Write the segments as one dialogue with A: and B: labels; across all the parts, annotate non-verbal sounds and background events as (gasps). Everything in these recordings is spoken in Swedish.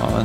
A: Ja,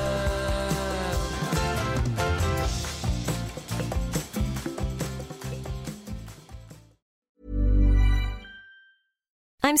B: I'm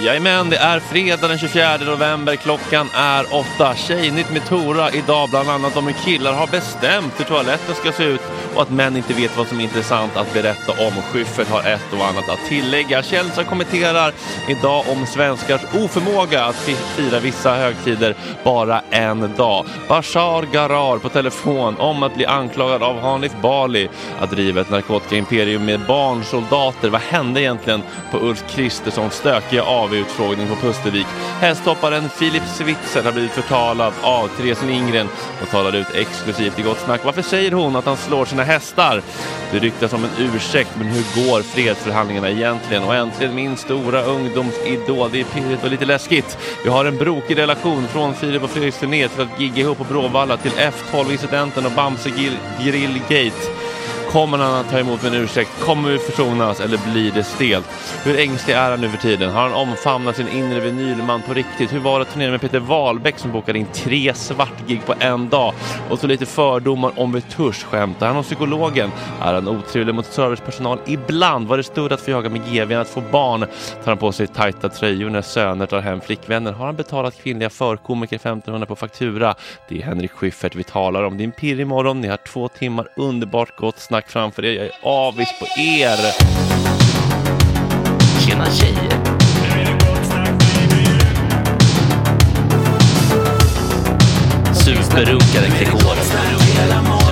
A: Jajamän, det är fredag den 24 november. Klockan är åtta. Tjejnytt med Tora idag bland annat om hur killar har bestämt hur toaletten ska se ut och att män inte vet vad som är intressant att berätta om. Schyffert har ett och annat att tillägga. Källström kommenterar idag om svenskars oförmåga att fi- fira vissa högtider bara en dag. Bashar Garar på telefon om att bli anklagad av Hanif Bali att driva ett narkotikaimperium med barnsoldater. Vad hände egentligen på Ulf Kristerssons stökiga AV TV-utfrågning på Pustervik. Hästhopparen Filip Switzer har blivit förtalad av Therese Lindgren och talade ut exklusivt i Gott Snack. Varför säger hon att han slår sina hästar? Det ryktas om en ursäkt, men hur går fredsförhandlingarna egentligen? Och äntligen min stora ungdomsidol. Det är pirrigt och lite läskigt. Vi har en brokig relation från Filip och Fredriks turné till att gigga ihop på Bråvalla till F12-incidenten och Bamse Grill- Grillgate. Kommer han att ta emot en ursäkt? Kommer vi försonas eller blir det stelt? Hur ängslig är han nu för tiden? Har han omfamnat sin inre vinylman på riktigt? Hur var det att turnera med Peter Wahlbeck som bokade in tre svartgig på en dag? Och så lite fördomar om retusch. Skämtar han om psykologen? Är han otrevlig mot servicepersonal? Ibland var det stort att få jaga med GWn, att få barn. Tar han på sig tajta tröjor när söner tar hem flickvänner? Har han betalat kvinnliga förkomiker 1500 på faktura? Det är Henrik Schyffert vi talar om. Det är en pirrig morgon. Ni har två timmar underbart gott snack framför er. Jag är avis på er. Tjena tjejer! Superrunkare Gregor.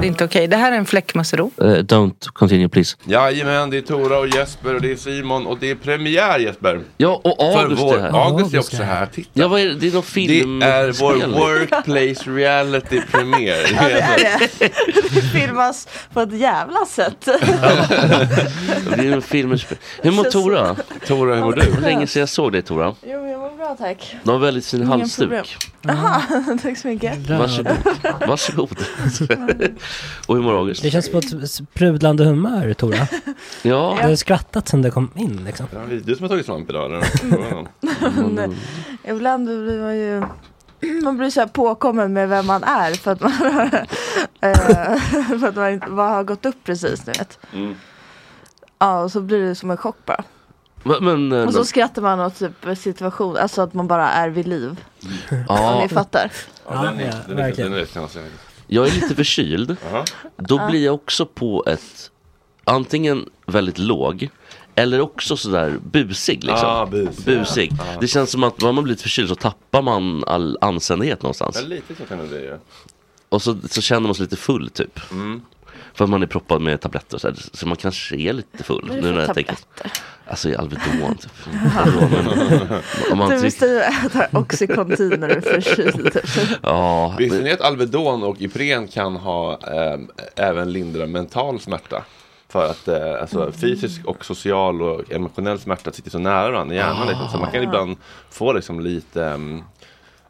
C: Det är inte okej. Det här är en fläckmussero.
D: Eh, don't continue please.
A: Jajamän, det är Tora och Jesper och det är Simon och det är premiär Jesper.
D: Ja, och August
A: vår,
D: är här.
A: August är också här. Titta.
D: Ja, vad är det? Det är någon film...
A: Det är vår
D: spel.
A: workplace reality
D: (laughs)
A: premiär.
E: (laughs) filmas på ett jävla sätt.
D: Det är någon film... Hur mår Tora?
A: Tora, hur mår du?
D: Det var länge sedan jag såg dig Tora.
E: Jo, jag mår bra tack.
D: Du har en väldigt fin
E: problem.
D: halsduk.
E: Jaha, (laughs) tack så mycket. (laughs)
D: Varsågod. Varsågod. och hur mår August?
F: Det känns på ett sprudlande humör, Tora.
C: (laughs)
F: Du
D: Ja,
F: har skrattat sen du kom in liksom.
A: Ja, det är Du som har tagit svamp idag
F: Mm.
A: eller?
E: Ibland blir man ju man blir så här påkommen med vem man är för att man, (laughs) har- eh, för att man inte, vad har gått upp precis nu vet. Ja och så blir det som en chock bara.
D: men... men eh,
E: Och så skrattar man åt typ situation, alltså att man bara är vid liv. Om
D: Mm. ja,
E: ni fattar.
F: Ja,
A: den är-
F: ja,
A: den är-
F: verkligen.
A: den är rätt knasig.
D: jag är lite
A: (laughs)
D: förkyld.
A: Jaha.
D: Då blir jag också på ett... Antingen väldigt låg. Eller också sådär busig liksom.
A: Ah, bus.
D: Busig. Det känns som att när man blir lite förkyld så tappar man all anständighet någonstans.
A: Ja, lite så kan det ju.
D: Och så, så känner man sig lite full typ.
A: Mm.
D: För att man är proppad med tabletter och så, här, så man kanske är lite full.
E: Vad är det
D: Nu
E: för
D: när jag tänker,
E: tabletter?
D: alltså i Alvedon
E: (laughs)
D: typ. Alvedon, men- Om man
E: Du
D: tycker,
E: måste ju äta Oxycontin när du är förkyld.
A: (laughs)
E: typ.
D: ja,
A: Visste ni att Alvedon och Ipren kan ha eh, även lindra mental smärta? För att eh,
F: Mm.
A: alltså, fysisk och social och emotionell smärta sitter så nära varandra i hjärnan. Liksom. Så man
F: Ah.
A: kan ibland få liksom, lite ehm,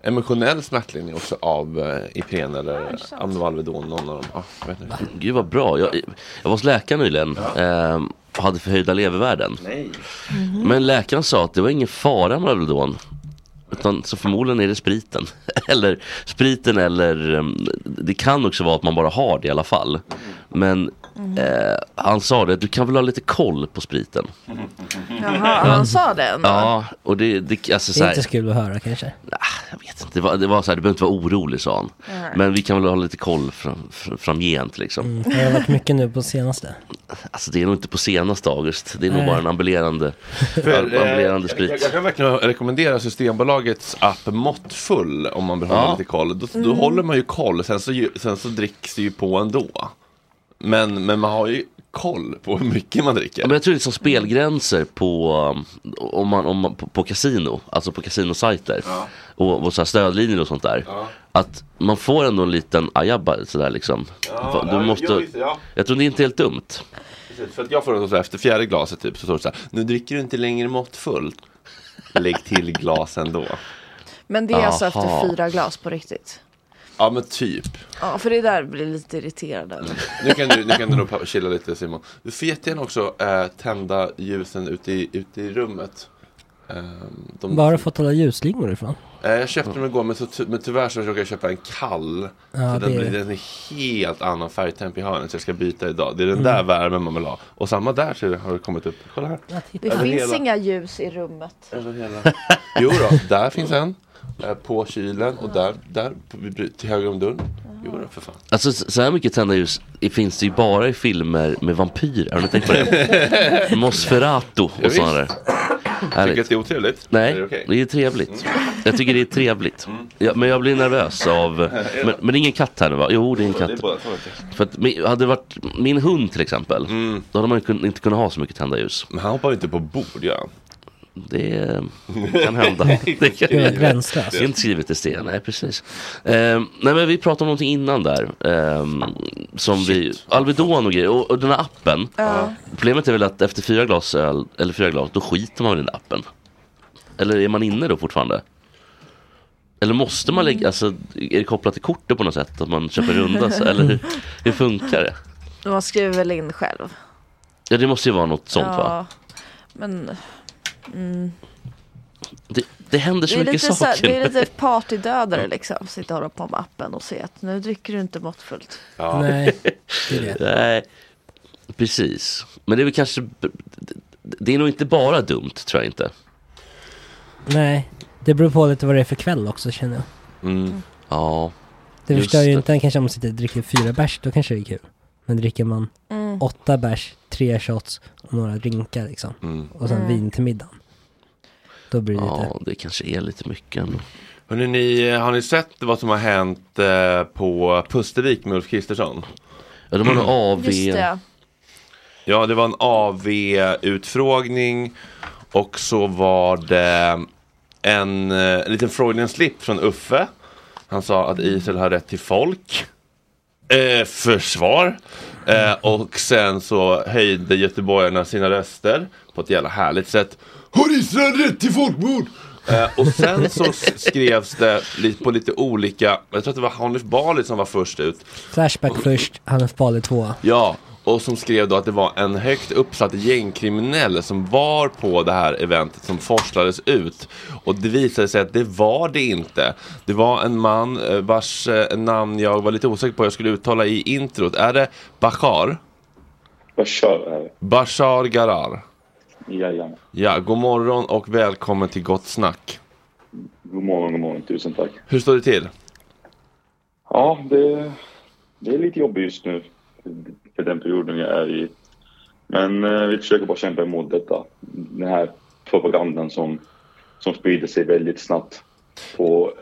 A: emotionell smärtlindring också av eh, Ipren eller av Alvedon. Någon av dem. Ah, jag vet inte.
D: gud vad bra. Jag, jag var hos läkaren nyligen ehm, och hade förhöjda levervärden. Mm-hmm. Men läkaren sa att det var ingen fara med Alvedon. Utan, så förmodligen är det spriten. (laughs) eller spriten eller ehm, det kan också vara att man bara har det i alla fall. Men eh, han sa det, du kan väl ha lite koll på spriten.
E: (laughs) Jaha, han sa det ändå.
D: Ja, och det, det alltså
F: Det
D: så
F: är
D: här,
F: inte så kul att höra kanske.
D: jag vet inte, det var, det var så här, du behöver inte vara orolig sa han. Men vi kan väl ha lite koll fram, fram, framgent liksom.
F: Mm, Det har varit mycket nu på senaste.
D: Alltså det är nog inte på senaste August, det är nog
F: Nej.
D: bara en ambulerande,
A: För,
D: am- ambulerande
A: eh,
D: sprit.
A: Jag, jag kan verkligen rekommendera Systembolagets app Måttfull om man vill ha
D: Ja.
A: lite koll. Då, då
E: Mm.
A: håller man ju koll, sen så, ju- sen så dricks det ju på ändå. Men, men man har ju koll på hur mycket man dricker.
D: Ja, men jag tror det är som spelgränser på, um, om man, om man, på, på kasino, alltså på kasinosajter. Och, och så här stödlinjer och sånt där. Att man får ändå en liten ajabba sådär liksom. Va- du måste, jag tror det är inte helt dumt.
A: Precis, För att jag får en sån här, efter fjärde glaset typ så står det så här, nu dricker du inte längre måttfullt. Lägg till glas ändå.
E: Men det är alltså
D: Aha.
E: efter fyra glas på riktigt.
A: Ja men typ.
E: Ja, för det där blir lite irriterad över.
A: Nu kan du, nu kan du nog pa- chilla lite Simon. Du får jättegärna också eh, tända ljusen ute i, ute i rummet. Ehm, de-
F: Var har du fått alla ljusslingor ifrån?
A: Eh, Jag köpte dem igår men, så ty- men tyvärr så råkade jag köpa en kall. så
F: det
A: den,
F: är
A: blir,
F: det.
A: den är helt annan färgtemp i hörnet så jag ska byta idag. Det är
F: Mm.
A: den där värmen man vill ha. Och samma där så har det kommit upp. Kolla här.
E: Det
A: Över
E: finns
A: hela.
E: inga ljus i rummet.
A: Över hela. (laughs) Jo då, där finns en. Eh, På kylen och där, där på- vid bry- till höger om dörren. Jo då, för fan.
D: Alltså s- så här mycket tända ljus i- finns det ju
A: (laughs)
D: bara i filmer med vampyrer. Har ni tänkt på det? Nosferatu och sådana där.
A: Tycker du att det är otrevligt?
D: Nej,
A: Är det
D: det,
A: okej? Mm.
D: är trevligt. Jag tycker det är trevligt. Mm. Ja, men jag blir nervös av...
A: (laughs) det?
D: Men, men det är ingen katt här nu va? Jo, det är en
A: Det är
D: katt.
A: båda två, vet Mm.
D: För att, min- hade det varit min hund till exempel, då hade man ju kun, inte kunnat ha så mycket tända ljus. Men han hoppar ju inte på bord, gör han? Det kan
A: (laughs)
D: hända. det, kan,
F: Det är gränslöst.
D: Det är inte skrivet i sten, nej precis. Ehm, nej men vi pratade om någonting innan där. ehm, som vi, Alvedon och grejer, och, och den här appen.
E: Ja.
D: Problemet är väl att efter fyra glas öl, eller fyra glas, då skiter man väl i den där appen. Eller är man inne då fortfarande? Eller måste man
E: Mm.
D: lägga, alltså är det kopplat till kortet på något sätt? Att man köper runda? så- eller
E: (laughs)
D: hur, hur funkar det?
E: Man skriver väl in själv.
D: Ja det måste ju vara något sånt va?
E: Men... Mm.
D: Det, det händer så
E: är
D: mycket
E: lite
D: saker.
E: Så, det är lite partydödare liksom. Sitta och hålla på med appen och se att nu dricker du inte måttfullt.
D: Ja. (laughs) Nej, precis. Men det är väl kanske... Det är nog inte bara dumt, tror jag inte.
G: Nej, det beror på lite vad det är för kväll också känner jag.
D: Mm. Ja.
G: Mm. Det
D: just
G: förstör ju
D: det.
G: inte, kanske om man sitter och dricker fyra bärs, då kanske det är kul. Men dricker man
E: Mm.
G: åtta bärs, tre shots och några drinkar liksom. Och sen
E: Mm.
G: vin till middagen. Då blir det lite...
D: Ja, det kanske är lite mycket ändå.
A: Hörrni, ni, eh, har ni sett vad som har hänt eh, på Pustervik med Ulf Kristersson? Mm.
D: Ja, de har en AV.
E: Just (laughs) det.
A: Ja, det var en AV-utfrågning och så var det en, eh, en liten Freudian-slip från Uffe. Han sa att Israel har rätt till folk. Eh, försvar. Eh, och sen så höjde göteborgarna sina röster på ett jävla härligt sätt. Har Israel rätt till folkmord? Eh, och sen så s- skrevs det lite- på lite olika, jag tror att det var Hanif Bali som var först ut.
G: Flashback först, Hanif Bali tvåa.
A: Ja, och som skrev då att det var en högt uppsatt gängkriminell som var på det här eventet som forslades ut. Och det visade sig att det var det inte. Det var en man eh, vars eh, namn jag var lite osäker på jag skulle uttala i introt. Är det Bashar?
H: Bashar är det.
A: Bashar Garar.
H: Jajamän.
A: Ja, god morgon och välkommen till Gott Snack.
H: God morgon, god morgon. Tusen tack.
A: Hur står det till?
H: Ja, det, det är lite jobbigt just nu. För den perioden jag är i. Men eh, vi försöker bara kämpa emot detta. Den här propagandan som, som sprider sig väldigt snabbt. På,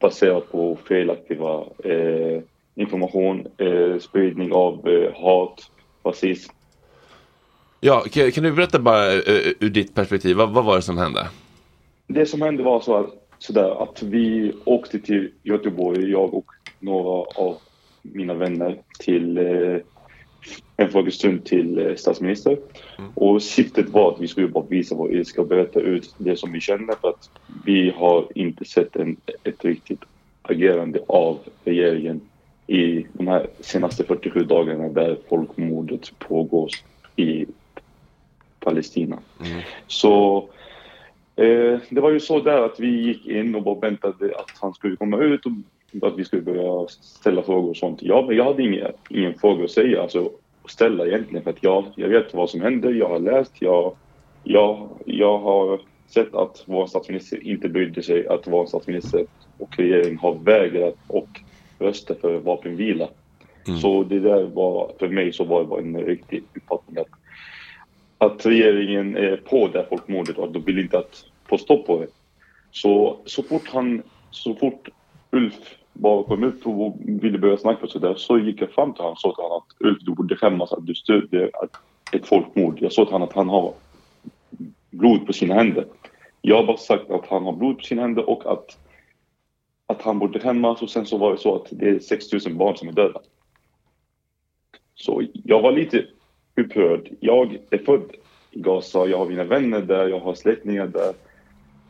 H: baserat på felaktiga eh, information, eh, spridning av eh, hat, rasism.
A: Ja, kan, kan du berätta bara eh, ur ditt perspektiv, vad, vad var det som hände?
H: Det som hände var så att, sådär, att vi åkte till Göteborg, jag och några av mina vänner till eh, en frågestund till eh, statsminister. Och syftet var att vi skulle bara visa vår ilska och berätta ut det som vi känner för att vi har inte sett en, ett riktigt agerande av regeringen i de här senaste 47 dagarna där folkmordet pågår i Palestina. Så Eh, det var ju så där att vi gick in och bara väntade att han skulle komma ut och att vi skulle börja ställa frågor och sånt. Jag, jag hade inga, ingen fråga att säga, alltså att ställa egentligen för att jag, jag vet vad som händer, jag har läst, jag, jag, jag har sett att vår statsminister inte brydde sig, att vår statsminister och regering har vägrat och rösta för vapenvila. Så det där var, för mig så var det bara en riktig uppfattning att att regeringen är på det här folkmordet och att de vill inte att få stopp på det. Så, så fort han, så fort Ulf bara kom ut och ville börja snacka så där så gick jag fram till honom och sa till honom att Ulf du borde skämmas att du stödjer att- ett folkmord. Jag sa till honom att han har blod på sina händer. Jag har bara sagt att han har blod på sina händer och att, att han borde skämmas och sen så var det så att det är 6 000 barn som är döda. Så jag var lite upprörd. Jag är född i Gaza, jag har mina vänner där, jag har släktingar där.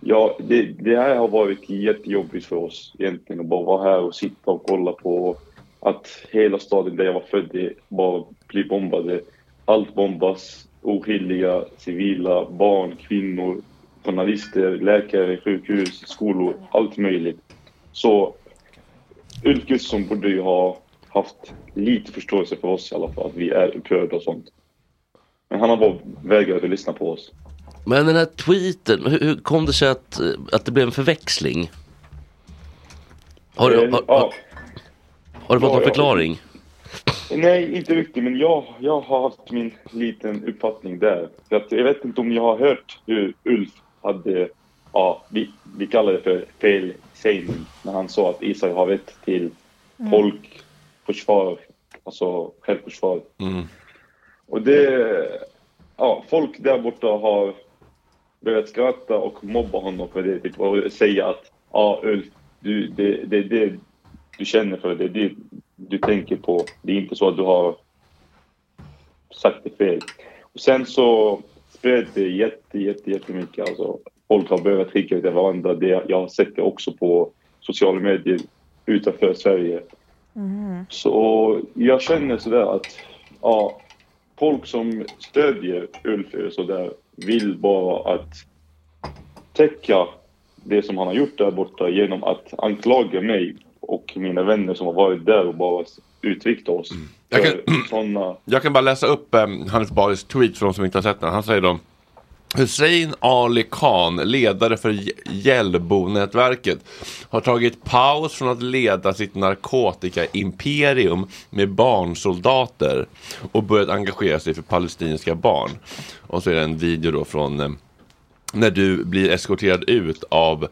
H: Ja, det, det här har varit jättejobbigt för oss egentligen att bara vara här och sitta och kolla på att hela staden där jag var född i bara blir bombade. Allt bombas, oskyldiga, civila, barn, kvinnor, journalister, läkare, sjukhus, skolor, allt möjligt. Så Ulf Gustafsson borde ju ha haft lite förståelse för oss i alla fall, att vi är upprörda och sånt. Men han har bara vägrat att lyssna på oss.
D: Men den här tweeten, hur, hur kom det sig att, eh, att det blev en förväxling? Har, du-
H: Eh,
D: har,
H: ja.
D: har, har du fått
H: Ja,
D: någon
H: ja.
D: förklaring?
H: Nej, inte riktigt, men jag, jag har haft min liten uppfattning där. För att jag vet inte om ni har hört hur Ulf hade, ja, vi, vi kallade det för felsägning när han sa att Israel har rätt till
I: Mm.
H: folkförsvar, alltså självförsvar. Och det, ja, folk där borta har börjat skratta och mobba honom för det typ, och säga att ja Ulf, du, det, det är det du känner för, det är det du tänker på. Det är inte så att du har sagt det fel. Och sen så spred det jätte, jätte, jättemycket. Alltså, folk har börjat skicka till varandra. Det, jag har sett det också på sociala medier utanför Sverige.
J: Mm.
H: Så jag känner sådär att ja, folk som stödjer Ulf och sådär vill bara att täcka det som han har gjort där borta genom att anklaga mig och mina vänner som har varit där och bara uttryckt oss.
A: Mm. Jag kan-
H: för såna...
A: Jag kan bara läsa upp um, Hanif Balis tweet för de som inte har sett den. Han säger då Hussein Ali Khan, ledare för J- Hjällbo-nätverket, har tagit paus från att leda sitt narkotikaimperium med barnsoldater och börjat engagera sig för palestinska barn. Och så är det en video då från eh, när du blir eskorterad ut av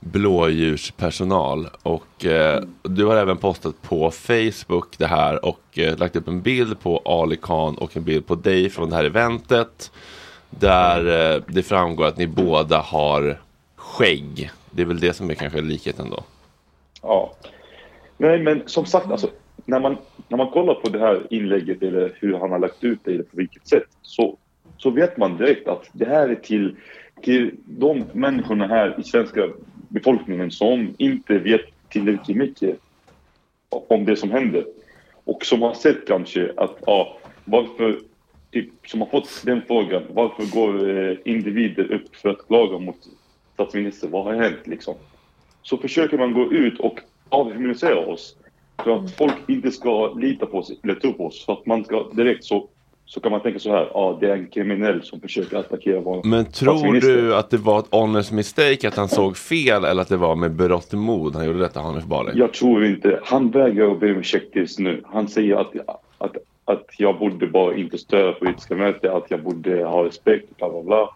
A: blåljuspersonal. Och eh, du har även postat på Facebook det här och eh, lagt upp en bild på Ali Khan och en bild på dig från det här eventet. Där eh, det framgår att ni båda har skägg. Det är väl det som är kanske likheten då.
H: Ja. Nej, men som sagt, alltså, när, man, när man kollar på det här inlägget eller hur han har lagt ut det eller på vilket sätt så, så vet man direkt att det här är till, till de människorna här i svenska befolkningen som inte vet tillräckligt mycket om det som händer och som har sett kanske att ja, varför typ, som har fått den frågan, varför går eh, individer upp för att klaga mot statsministern? Vad har hänt liksom? så försöker man gå ut och avhumanisera oss för att folk inte ska lita på oss eller tro på oss. För att man ska direkt så, så kan man tänka så här, ja ah, det är en kriminell som försöker attackera vår
A: Men tror
H: statsminister."
A: du att det var ett honest mistake att han såg fel eller att det var med berått mod han gjorde detta Hanif Bali?
H: Jag tror inte, han vägrar att be om ursäkt just nu. Han säger att, att, att jag borde bara inte störa politiska möten, att jag borde ha respekt, bla bla bla.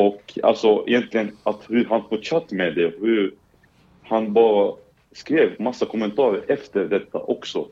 H: Och alltså egentligen att hur han fortsatt med det, hur han bara skrev massa kommentarer efter detta också,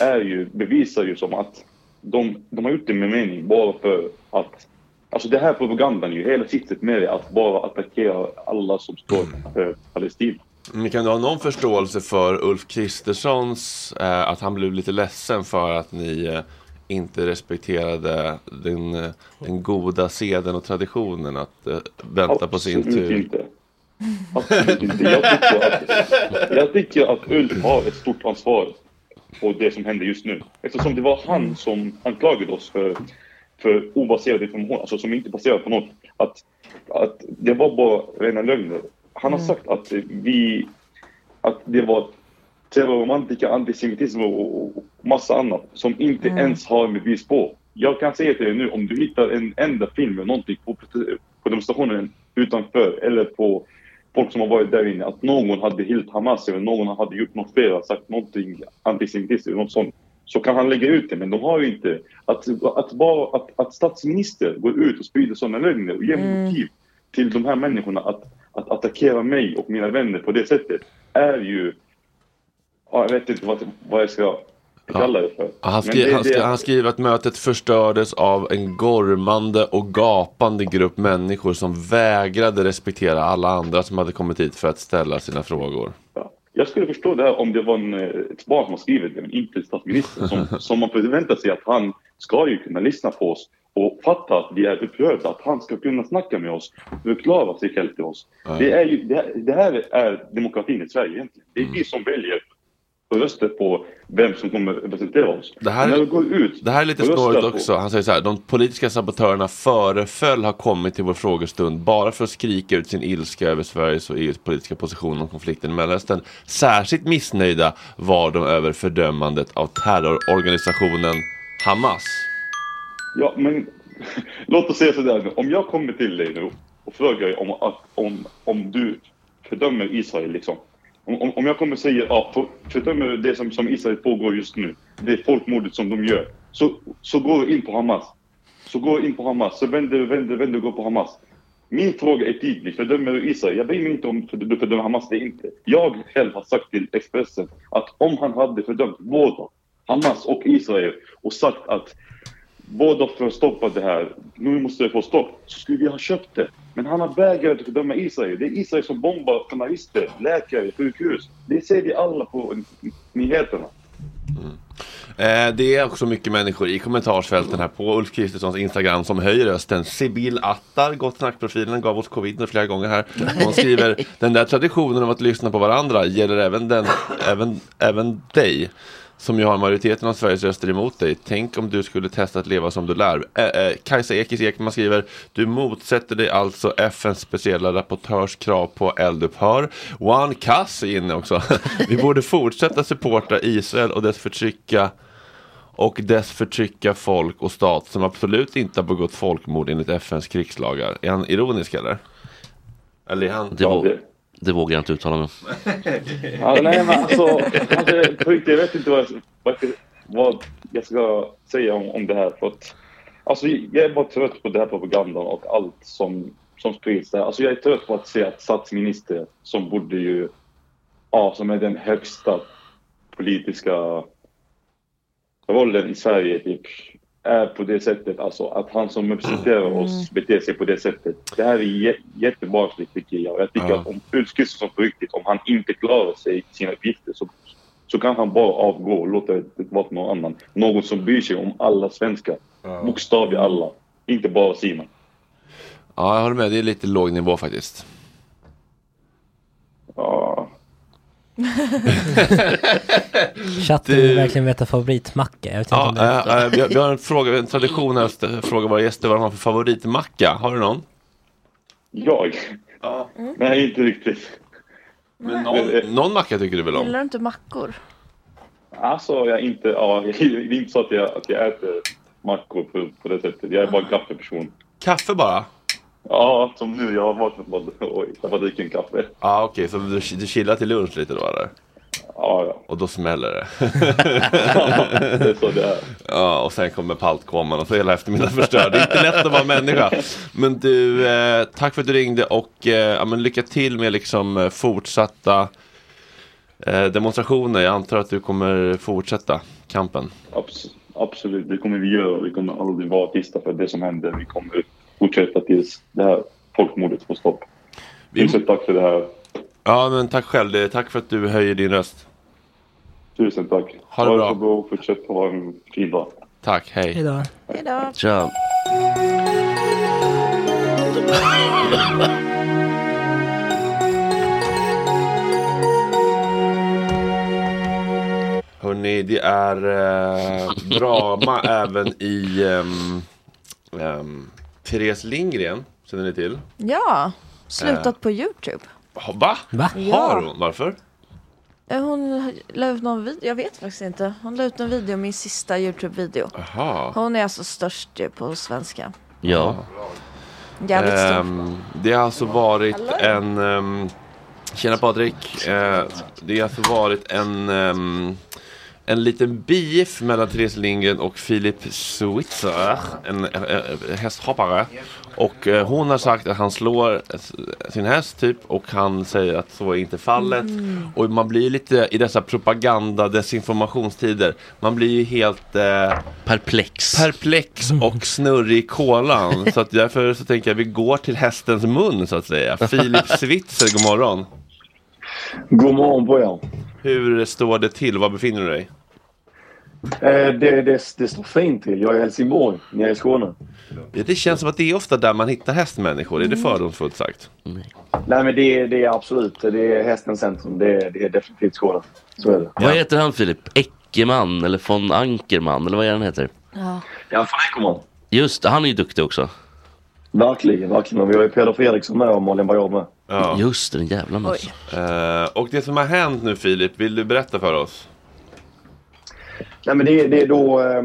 H: är ju, bevisar ju som att de, de har gjort det med mening bara för att Alltså det här propagandan ju, hela syftet med det att bara attackera alla som står för Palestina.
A: Men kan du ha någon förståelse för Ulf Kristerssons, eh, att han blev lite ledsen för att ni eh, inte respekterade den, eh, den goda seden och traditionen att eh, vänta på sin
H: Absolut
A: tur?
H: inte. Absolut inte. Jag tycker, att, jag tycker att Ulf har ett stort ansvar på det som händer just nu. Eftersom det var han som anklagade oss för, för obaserad information, alltså som inte baserad på något. Att, att det var bara rena lögner. Han har sagt att vi, att det var terrorromantika, antisemitism och, och, och massa annat som inte ens har med bevis på. Jag kan säga till dig nu, om du hittar en enda film eller någonting på, på demonstrationen utanför eller på folk som har varit där inne, att någon hade hyllt Hamas eller någon hade gjort något fel, sagt någonting antisemitiskt eller något sånt, så kan han lägga ut det, men de har ju inte. Att, att, bara, att, att statsminister går ut och sprider sådana lögner och ger motiv till de här människorna att, att attackera mig och mina vänner på det sättet är ju Ja, jag vet inte vad, vad jag ska kalla det för.
A: Ja, Han,
H: Men
A: skri
H: det-
A: han, skri
H: det-
A: han skriver att mötet förstördes av en gormande och gapande grupp människor som vägrade respektera alla andra som hade kommit hit för att ställa sina frågor.
H: Jag skulle förstå det här om det var en, eh, ett barn som har skrivit det, men inte
A: (laughs)
H: statsministern. Som, som man förväntar sig att han ska ju kunna lyssna på oss och fatta att vi är upprörda, att han ska kunna snacka med oss, förklara sig själv till oss.
A: Ja.
H: Det, är ju, det, här- det här är demokratin i Sverige egentligen. Det är
A: Mm.
H: vi som väljer och röster på vem som kommer representera oss.
A: Det här-
H: När vi går ut
A: Det här är lite
H: och röstar
A: snårigt
H: på-
A: också. Han säger så här. De politiska sabotörerna föreföll ha kommit till vår frågestund bara för att skrika ut sin ilska över Sveriges och EUs politiska position om konflikten i Mellanöstern. Särskilt missnöjda var de över fördömandet av terrororganisationen Hamas.
H: Ja, men (laughs) låt oss säga sådär nu. Om jag kommer till dig nu och frågar dig om, att- om, om du fördömer Israel liksom. Om, om, om jag kommer säga ja, för- fördömer det som, som Israel pågår just nu. Det är folkmordet som de gör. Så, så går du in på Hamas. Så går du in på Hamas. Så vänder, vänder, vänder och går på Hamas. Min fråga är tydlig. Fördömer du Israel? Jag bryr mig inte om du fördömer Hamas. Det är inte. Jag själv har sagt till Expressen att om han hade fördömt båda, Hamas och Israel, och sagt att båda får stoppa det här, nu måste det få stopp, så skulle vi ha köpt det. Men han har vägrat att fördöma Israel. Det är Israel som bombar journalister, läkare, sjukhus. Det ser vi alla på nyheterna.
A: Eh, det är också mycket människor i kommentarsfälten här på Ulf Kristerssons Instagram som höjer rösten. Sibyl Attar, Gott Snack-profilen, gav oss covid nu flera gånger här. Hon skriver (laughs) den där traditionen av att lyssna på varandra gäller även, den, även, även dig. Som ju har majoriteten av Sveriges röster emot dig. Tänk om du skulle testa att leva som du lär. Eh, eh, Kajsa Ekis Ekman skriver Du motsätter dig alltså FNs speciella rapportörs krav på eldupphör. One Cass är inne också. (laughs) Vi borde fortsätta supporta Israel och dess förtrycka och dess förtrycka folk och stat som absolut inte har begått folkmord enligt FNs krigslagar. Är han ironisk eller? Eller är han...
D: Det, vå- det vågar jag inte uttala mig om.
H: (laughs) Ja, nej, men alltså, alltså, på riktigt, jag vet inte vad jag, vad jag- vad jag ska säga om, om det här. För att, alltså, jag är bara trött på den här propagandan och allt som, som sprids där. Alltså, jag är trött på att se att statsminister som borde ju, ja, som är den högsta politiska rollen i Sverige, typ, är på det sättet. Alltså att han som representerar oss beter sig på det sättet. Det här är jä- jättebarnsligt tycker jag. Jag tycker
A: Ja.
H: att om Ulf Kristersson på riktigt, om han inte klarar sig sina uppgifter så, så kan han bara avgå och låta det vara någon annan. Någon som bryr sig om alla svenskar. Bokstavligt alla. Inte bara sina.
A: Ja, jag håller med. Det är lite låg nivå faktiskt.
H: Ja.
G: Chatten
A: Du-
G: vill verkligen veta favoritmacka. Jag vet inte
A: Ja,
G: om det är
A: eh, eh, vi, har, vi har en fråga, en tradition här, att st- fråga våra gäster vad de har för favoritmacka. Har du någon?
H: Jag?
E: Mm.
H: Nej, inte riktigt.
A: Men någon, någon macka tycker du väl om?
E: Gillar du inte mackor?
H: Alltså jag är inte, ja, (laughs) det är inte så att jag, att jag äter mackor på, på det sättet. Jag är bara en kaffeperson.
A: Kaffe bara?
H: Ja, som nu. Jag har vaknat bara och jag bara dricker en kaffe.
A: Ja, okej, så du, du chillar till lunch lite då eller?
H: Ja, ja.
A: Och då smäller det.
H: (laughs) det är så det är.
A: Ja, och sen kommer paltkomman och så är hela eftermiddagen förstörd. Det är inte lätt att vara människa. Men du, eh, tack för att du ringde och eh, ja, men lycka till med liksom eh, fortsatta eh, demonstrationer. Jag antar att du kommer fortsätta kampen.
H: Abs- absolut, det kommer vi göra. Vi kommer aldrig vara tysta för det som händer. Vi kommer fortsätta tills det här folkmordet får stopp. Tusen tack för det här.
A: Ja, men tack själv. Det- Tack för att du höjer din röst.
H: Tusen tack.
A: Ha det bra.
H: så bra och fortsätt ha en fin dag.
A: Tack, hej.
G: Hejdå.
E: Hejdå.
D: Tja.
A: Hörni, det är eh, drama även i ehm, ehm, Therese Lindgren, känner ni till?
E: Ja, slutat
A: Eh.
E: på YouTube.
A: Ha- Va? Va? Har hon? Varför?
E: Eh, Hon la ut någon video, jag vet faktiskt inte. Hon la ut en video, min sista YouTube-video.
A: Aha.
E: Hon är alltså störst ju på svenska.
D: Ja.
E: Jävligt stor.
A: Ehm, Det har alltså varit en... Um, tjena Patrik. Eh, det har alltså varit en... ehm, en liten beef mellan Therese Lindgren och Filip Switzer, en eh, eh, hästhoppare. Och eh, hon har sagt att han slår s- sin häst typ och han säger att så är inte fallet.
D: Mm.
A: Och man blir ju lite i dessa propaganda desinformationstider, man blir ju helt eh,
D: perplex.
A: perplex och snurrig i kolan. så att därför så tänker jag vi går till hästens mun så att säga. Filip Switzer, god morgon.
I: God morgon på er.
A: Hur står det till? Var befinner du dig?
I: Eh, Det, det, det står fint till. Jag är i Helsingborg, nere i Skåne.
A: Ja, Det känns som att det är ofta där man hittar hästmänniskor. Är det fördomsfullt sagt?
I: Nej, men det, det är absolut. Det är hästens centrum. Det, det är definitivt Skåne. Så är det.
D: Vad heter han Filip? Eckerman eller von Ankerman eller vad är han heter?
E: Ja.
I: Ja, fan Eckerman.
D: Just det, han är ju duktig också.
I: Verkligen, verkligen. Vi har ju Peder Fredriksson med och Malin Baryard med.
D: Just det, den jävla massa.
A: Eh, och det som har hänt nu Filip, vill du berätta för oss?
I: Nej, men det, det är då eh,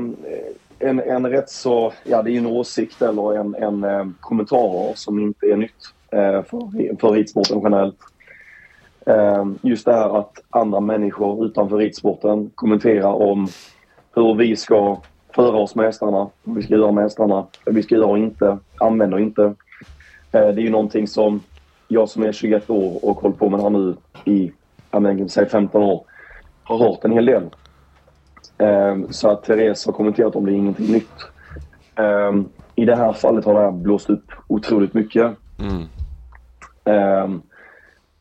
I: en, en rätt så... Ja, det är ju en åsikt eller en, en eh, kommentar som inte är nytt eh, för, för ridsporten generellt. Eh, Just det här att andra människor utanför ridsporten kommenterar om hur vi ska föra oss med hästarna, vad vi ska göra med hästarna, vad vi ska göra och inte, använda och inte. Eh, Det är ju någonting som jag som är 21 år och hållit på med det här nu i ja, men, kan säga 15 år har hört en hel del. Ehm, Så att Therese har kommenterat om det är ingenting nytt. Ehm, I det här fallet har det här blåst upp otroligt mycket. Ehm,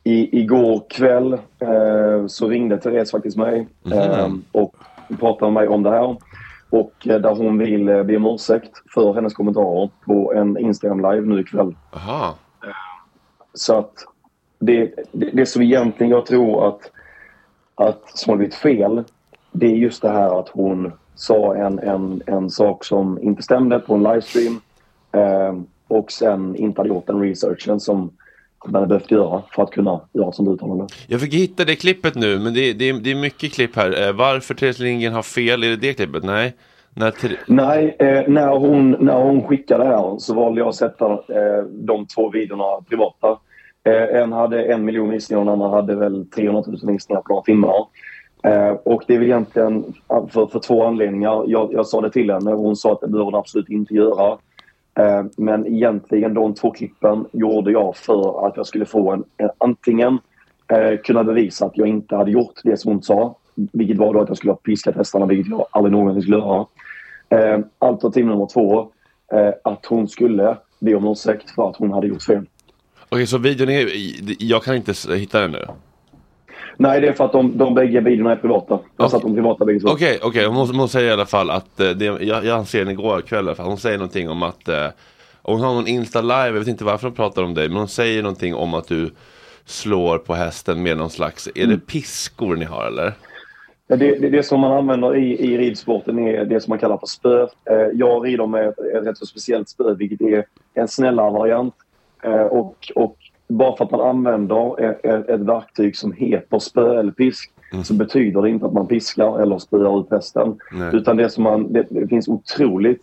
I: i, igår kväll eh, så ringde Therese faktiskt mig
K: Mhm.
I: eh, och pratade med mig om det här. Och eh, där hon vill eh, be om ursäkt för hennes kommentarer på en Instagram live nu ikväll.
A: Aha.
I: Så att det, det, det som egentligen jag tror att, att som har blivit fel det är just det här att hon sa en, en, en sak som inte stämde på en livestream eh, och sen inte hade gjort den researchen som man hade behövt göra för att kunna göra ett sånt uttalande.
A: Jag fick hitta det klippet nu, men det, det, det är mycket klipp här. Eh, varför Therese Lindgren har fel, är det det klippet? Nej. När Ther-
I: Nej, eh, när, hon, när hon skickade det här så valde jag att sätta eh, de två videorna privata. Eh, en hade en miljon visningar och den andra hade väl 300 000 visningar på några timmar. Eh, och det är väl egentligen ah, för, för två anledningar. Jag, jag sa det till henne och hon sa att det behöver hon absolut inte göra. Eh, men egentligen de två klippen gjorde jag för att jag skulle få en, en antingen eh, kunna bevisa att jag inte hade gjort det som hon sa. Vilket var då att jag skulle ha piskat hästarna, vilket jag aldrig någonsin skulle göra. Eh, alternativ nummer två, eh, att hon skulle be om ursäkt för att hon hade gjort fel.
A: Okej, så videon är... Jag kan inte s- hitta den nu.
I: Nej, det är för att de, de bägge videorna är privata. Jag satt de privata bägge två.
A: Okej, okej. Hon, hon säger i alla fall att, eh, det, jag, jag ser henne igår kväll i alla fall, hon säger någonting om att, eh, hon har någon Insta live, jag vet inte varför hon pratar om dig, men hon säger någonting om att du slår på hästen med någon slags, är det piskor ni har eller?
I: Ja, Det, det, det som man använder i, i ridsporten är det som man kallar för spö. Eh, jag rider med ett, ett rätt så speciellt spö, vilket är en snällare variant. Eh, och, och bara för att man använder ett, ett, ett verktyg som heter spö eller pisk så betyder det inte att man piskar eller spöar ut hästen.
K: Nej.
I: Utan det, som man, det, det finns otroligt,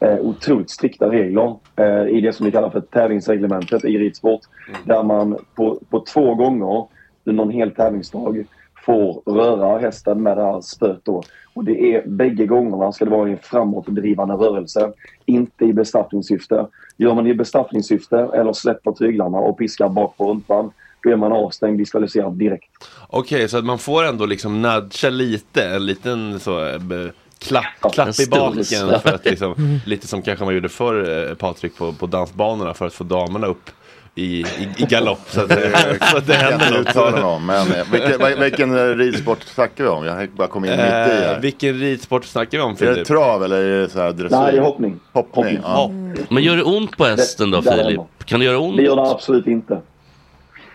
I: eh, otroligt strikta regler eh, i det som vi kallar för tävlingsreglementet i ridsport. Där man på, på två gånger under en hel tävlingsdag får röra hästen med det här spöet då. Och det är bägge gångerna ska det vara i en framåtdrivande rörelse, inte i bestraffningssyfte. Gör man det i bestraffningssyfte eller släpper tyglarna och piskar bak på rumpan, då är man avstängd, diskvalificerad direkt.
A: Okej, så att man får ändå liksom nudga lite, en liten så, eh, be- klapp,
D: en
A: klapp i
D: stor
A: baken.
D: slapp.
A: För att liksom,
D: Mm.
A: Lite som kanske man gjorde förr, eh, Patrik, på, på dansbanorna för att få damerna upp i, i, i galopp. Så att, eh, (laughs) så att det händer något.
L: Om, men, eh, vilken, vil- vilken eh, ridsport snackar vi om? Jag bara kom in mitt i
A: Eh,
L: här.
A: vilken ridsport snackar vi om
L: Är det
A: Filip?
L: trav eller är det så här dressyr?
A: Nej,
I: hoppning.
L: Hoppning, Ja.
D: Men gör det ont på hästen då
L: Det- där är
D: Filip? Kan det göra ont?
I: Det gör det absolut inte.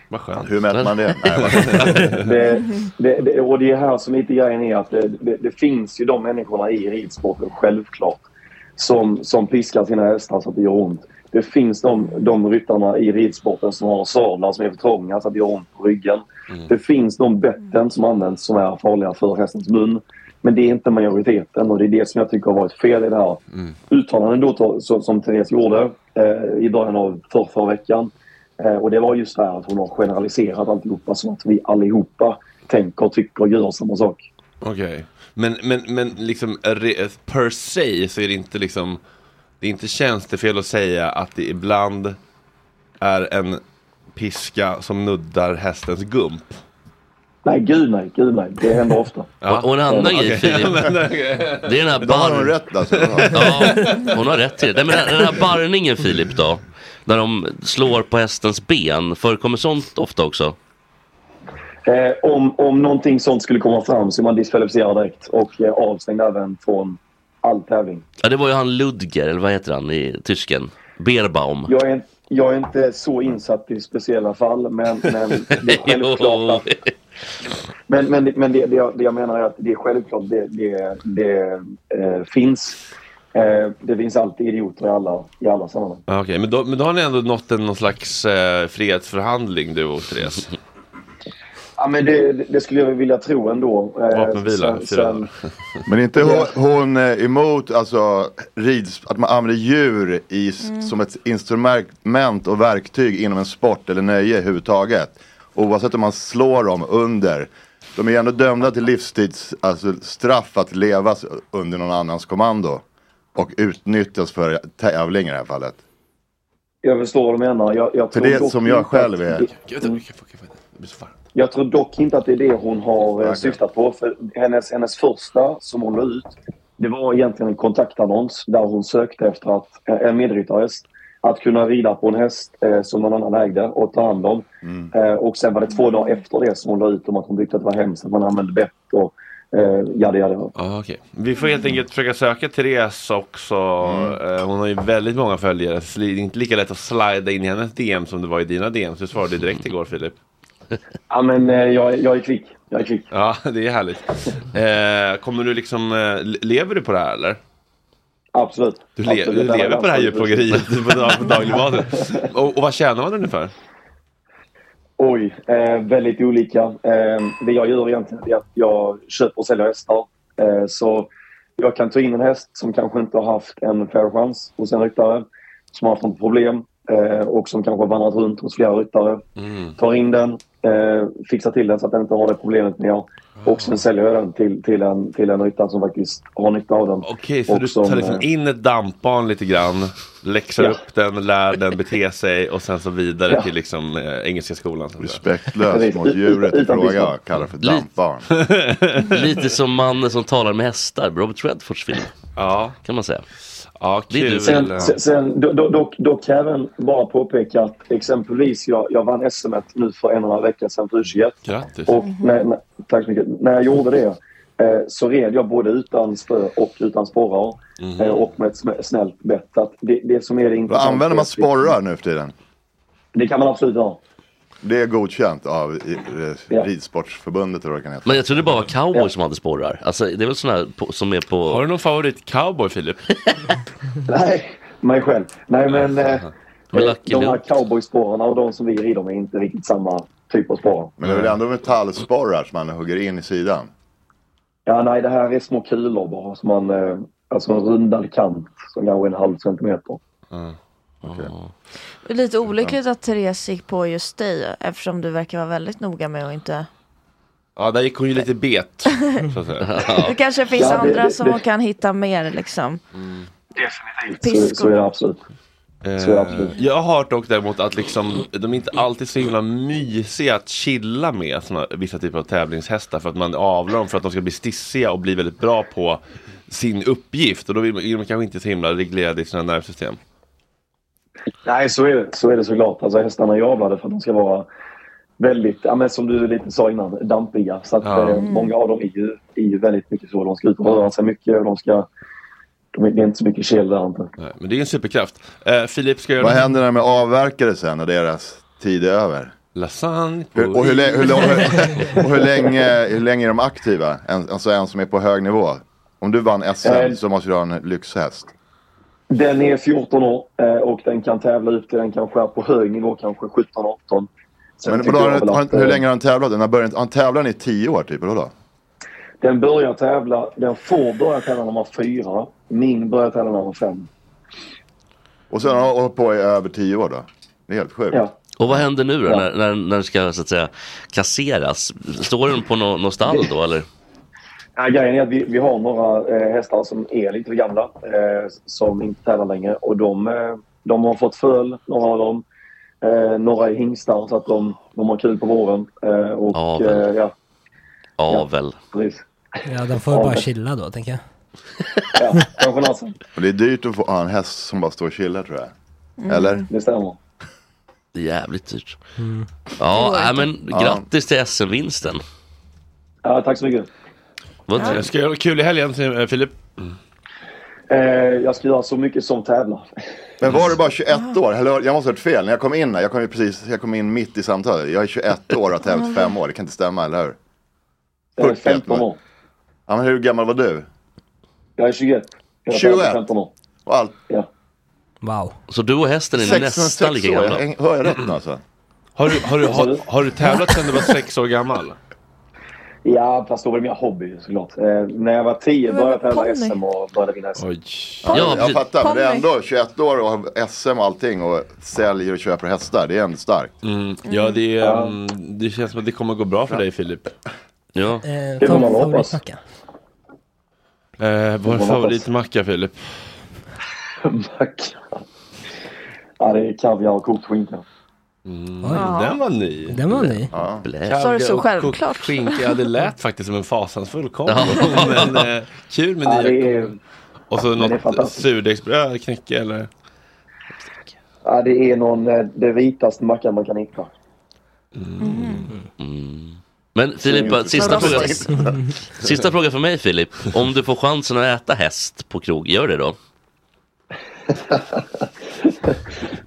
A: Vad skönt.
L: Hur mäter man det? Nej, vad-
I: (laughs) det, det, det, och det är här som lite grejen är att det, det, det finns ju de människorna i ridsporten självklart som, som piskar sina hästar så att det gör ont. Det finns de, de ryttarna i ridsporten som har sadlar som är för trånga så att det gör ont på ryggen. Det finns de betten som används som är farliga för hästens mun. Men det är inte majoriteten och det är det som jag tycker har varit fel i det här uttalanden då, to- som, som Therese gjorde eh, i början av för, förra veckan. Eh, och det var just det här att hon har generaliserat alltihopa så att vi allihopa tänker, tycker och gör samma sak.
A: Okej, men, men, men liksom re- per se så är det inte liksom Det är inte tjänstefel att säga att det ibland är en piska som nuddar hästens gump.
I: Nej, gud nej, gud nej. Det händer ofta.
D: Och, och en annan grej Filip. Det är den här
L: Då har
D: barr...
L: hon rätt alltså.
D: Ja, hon har rätt till det. Nej, men den den här barrningen Filip då? När de slår på hästens ben. Förekommer sånt ofta också?
L: alltså.
I: Eh, om, om någonting sånt skulle komma fram så är man diskvalificerad direkt och eh, avstängd även från all tävling.
D: Ja, det var ju han Ludger, eller vad heter han i tysken? Berbaum.
I: Jag är, jag är inte så insatt i speciella fall, men, men
D: (laughs)
I: det är självklart att Men, men, men det, det, jag, det jag menar är att det är självklart det, det, det eh, finns. Eh, det finns alltid idioter i alla, i alla sammanhang.
A: Ja, Okej, men, då, men då har ni ändå nått en, någon slags eh, frihetsförhandling du och (laughs) Therese.
I: Ja, men det, det det skulle jag vilja tro ändå. Eh,
A: Vapenvila,
I: sen-
A: fyra
I: sen-
A: dagar.
L: Men är inte hon, hon eh, emot alltså, rids, att man använder djur i, s-
I: Mm.
L: som ett instrument och verktyg inom en sport eller nöje överhuvudtaget? Oavsett om man slår dem under. De är ju ändå dömda till livstids alltså, straff att levas under någon annans kommando. Och utnyttjas för tävling i det här fallet.
I: Jag förstår vad du menar. Jag, jag
L: För
I: tror
L: det är
I: dock
L: som jag
I: inte
L: själv
I: att-
L: är.
I: Jag tror dock inte att det är det hon har eh, syftat på. För hennes, hennes första som hon la ut, det var egentligen en kontaktannons där hon sökte efter att, eh, en medryttarhäst. Att kunna rida på en häst eh, som någon annan ägde och ta hand om.
L: Mm.
I: Eh, och sen var det två dagar efter det som hon la ut om att hon tyckte att det var hemskt att man använde bett och eh, jada jada.
A: Ah, okay. Vi får helt enkelt försöka söka Therese också. Eh, Hon har ju väldigt många följare. Så Det är inte lika lätt att slida in i hennes DM som det var i dina DM. Så du svarade direkt igår Filip.
I: Ja men eh, jag, jag är klick. Jag är klick.
A: (laughs) Ja, det är härligt. Eh, kommer du liksom, eh, le- lever du på det här eller?
I: Absolut.
A: Du, le-
I: Absolut,
A: du
I: det här
A: lever
I: är
A: på det här
I: absolut.
A: djurplågeriet på, dag- på daglig basis.
I: (laughs)
A: Och, och vad tjänar man ungefär?
I: Oj, eh, väldigt olika. Eh, det jag gör egentligen är att jag köper och säljer hästar. Eh, så jag kan ta in en häst som kanske inte har haft en fair chans hos en ryttare, som har haft något problem eh, och som kanske har vandrat runt hos flera ryttare.
A: Mm.
I: Tar in den, eh, fixar till den så att den inte har det problemet mer. Och sen säljer jag den till, till, en, till en ryttare som faktiskt har nytta av den.
A: Okej, så
I: Och
A: du
I: som,
A: tar liksom
I: eh,
A: in ett dampbarn lite grann, läxar
I: Ja.
A: upp den, lär den bete sig och sen så vidare
I: Ja.
A: till liksom eh, Engelska skolan. så att säga.
L: Respektlöst mot djuret i fråga kallar för dampbarn.
D: Lite som mannen som talar med hästar, Robert Redfords film.
A: Ja.
D: Kan man säga.
A: Ja,
D: Det är du.
I: Sen, sen, sen do- do- dock, dock kan jag även bara påpeka att exempelvis jag, jag vann SM nu för en och en halv vecka sedan för U21.
A: Grattis.
I: Och när, när, tack så mycket. När jag gjorde det eh, så red jag både utan spö och utan sporrar.
D: Mhm.
I: Eh, och med ett sm- snällt bett. Att Det, det som är det
L: Vad
I: intressanta
L: använder
I: är
L: man
I: att det-
L: sporrar nu för tiden?
I: Det kan man absolut göra.
L: Det är godkänt av i- eh, Ridsportsförbundet eller vad det kan heta.
D: Men jag trodde det bara var cowboys som hade sporrar. Alltså det är väl sådana här på, som är på... Har
A: du någon favorit cowboy Filip?
I: Nej, mig själv. Nej men eh,
D: Men
I: eh,
D: Lucky
I: de här
D: Luke.
I: cowboysporrarna och de som vi rider med är inte riktigt samma typ av sporrar.
L: Men det är väl ändå metallsporrar som man hugger in i sidan?
I: Ja, nej, det här är små kulor bara. Som man, eh, alltså en rundad kant som kanske är en halv centimeter.
L: Mm.
E: Det är Lite olyckligt att Therese gick på just dig eftersom du verkar vara väldigt noga med att inte...
A: Ja, där gick hon ju lite bet. Så att säga.
E: Det kanske finns
A: (laughs) Ja, det-
E: andra
A: det-
E: som
A: det-
E: hon kan hitta mer liksom.
I: Så, så är det absolut. Så är det
A: Eh,
I: absolut.
A: jag har hört dock däremot att liksom, de är inte alltid så himla mysiga att chilla med såna, vissa typer av tävlingshästar för att man avlar dem för att de ska bli stissiga och bli väldigt bra på sin uppgift och då vill- är de kanske inte så himla reglerade i sina nervsystem.
I: Nej, så är, det- så är det såklart. Alltså, hästarna är ju avlade för att de ska vara väldigt, ja, men som du lite sa innan, dampiga. Så att,
A: Ja.
I: eh, många av dem är ju, är ju väldigt mycket så. De ska ut och röra sig mycket och de ska... De är, det är inte så mycket kel där inte.
A: Nej, men det är en superkraft. Eh, Filip ska göra
L: Vad händer när de är avverkade sen och deras tid är över?
A: Lasagne på
L: Hur, och, hur, lä- hur, lång-
A: is.
L: (laughs) och hur, länge, hur länge är de aktiva? En, alltså en som är på hög nivå. Om du vann SM
I: Eh.
L: så måste du ha en lyxhäst.
I: Den är 14 år eh, och den kan tävla ut till den kanske är på hög nivå, kanske 17-18. Sen
L: Men
I: tycker
L: vadå, har,
I: jag väl
L: den- har,
I: att,
L: den- hur
I: eh,
L: länge har han tävlat? Den har börjat, han tävlar i tio år typ, eller då?
I: Den börjar tävla, den får börja tävla när man var fyra. Min börjar tävla när man var fem.
L: Och sen har han hållit på i över tio år då? Det är helt sjukt.
I: Ja.
D: Och vad händer nu då
I: Ja.
D: när, när, när den ska så att säga kasseras? Står den på något nå stall då eller?
I: Ja, grejen är att vi, vi har några eh, hästar som är lite för gamla, eh, som inte tävlar längre. Och de, eh, de har fått föl, några av dem. Eh, några är hingstar, så att de, de har kul på våren. Eh, och, eh,
D: Avel.
I: ja,
D: Avel.
I: precis.
G: Ja, de får ju bara chilla då, tänker jag. (laughs)
L: Och det är dyrt att få ha en häst som bara står och chillar tror jag. Eller?
I: Mm. Det stämmer.
D: Det är jävligt dyrt.
L: Mm.
D: Ja,
L: Det går
D: nej, men
L: inte. Ja.
D: grattis till SM-vinsten.
I: Ja, tack så mycket.
D: Vad
I: Ja.
A: Ska jag göra kul i helgen eh, Filip?
I: Eh, jag ska göra så mycket som tävlar.
L: Men var du bara 21 år? Hallå, jag måste ha hört fel. När jag kom in här, jag kom, ju precis, jag kom in mitt i samtalet. Jag är 21 år och har tävlat fem år. Det kan inte stämma, eller hur?
I: Jag är
L: 41
I: 15 år.
L: Ja, men hur gammal var du?
I: Jag är 21. Jag har tävlat i
L: 21?
I: 15 år.
L: Och allt.
I: Ja.
G: Wow.
D: Så du och hästen är
L: 66
D: nästan lika
L: år.
D: gamla.
L: Häng- Hör jag rätt nu alltså?
A: Har du, har, du, har, har du tävlat sedan du var sex år gammal?
I: Ja, fast då var det mer hobby såklart. Eh, när jag var 10
L: Men vad
I: började jag tävla
L: ponny?
I: SM och började vinna SM.
L: Ja, jag
I: precis.
L: fattar, men det är
I: Ponny.
L: ändå 21 år och har SM och allting och säljer och köper hästar. Det är ändå starkt.
A: Ja, det, är, mm, det känns som att det kommer gå bra för dig Filip.
D: Ja.
G: Eh,
A: Det får man
G: fa-
A: hoppas.
G: favoritmacka.
A: Eh,
I: får
A: vår
I: man
A: favoritmacka Filip?
I: Macka. Ja, det är kaviar och kokt skinka.
A: Mm, den var ny.
G: Den var ny.
A: Ja.
E: Sa du så självklart?
A: Skinka, ja, det lät faktiskt som en fasansfull kombo.
D: Ja.
A: (laughs) Men eh, kul med
D: Ja,
A: nya
D: det är-
A: kom- Och så
I: det är
A: något
I: fantastiskt.
A: surdegsbröd, knäcke eller?
I: Ja, det är någon, eh, det vitaste mackan man kan hitta.
D: Men Filip,
I: Mm.
D: sista
I: Men
D: fråga,
I: rostig.
D: sista fråga för mig Filip. Om du får chansen att äta häst på krog, gör det då?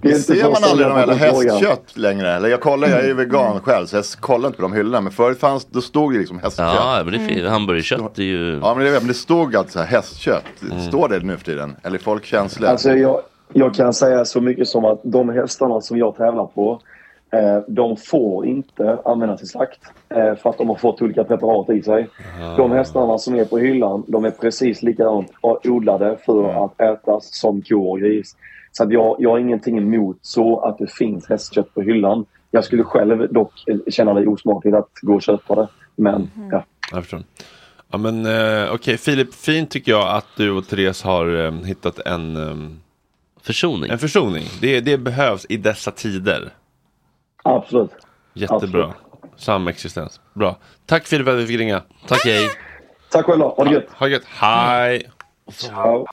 I: Det är inte
L: Ser
I: så
L: man aldrig
I: sällan
L: de
I: man
L: jävla
I: får frågan.
L: hästkött längre? Eller jag kollar, jag är ju
I: Mm.
L: vegan själv så jag kollar inte på de hyllorna. Men förut fanns, då stod det liksom hästkött.
D: Ja, men det är mm. hamburgerkött är ju...
L: Ja men det, men det stod alltid så här hästkött. Står det nu för tiden? Eller är folk känsliga?
I: Alltså jag, jag kan säga så mycket som att de hästarna som jag tävlar på, eh, de får inte användas till slakt eh, för att de har fått olika preparat i sig. De hästarna som är på hyllan, de är precis likadant odlade för att ätas som ko och gris. Så att jag, jag har ingenting emot så att det finns hästkött på hyllan. Jag skulle själv dock eh, känna det osmakligt att gå och köpa det. Men ja.
A: Jag förstår. Ja men eh, okej, Filip, fint tycker jag att du och Therese har eh, hittat en... ehm,
D: försoning.
A: En försoning. Det, det behövs i dessa tider.
I: Absolut.
A: Jättebra. Samexistens. Bra. Tack Filip för att vi fick ringa. Tack hej.
I: Tack själva. Ha det gött.
A: Ha det gött. Hej.
I: Ciao.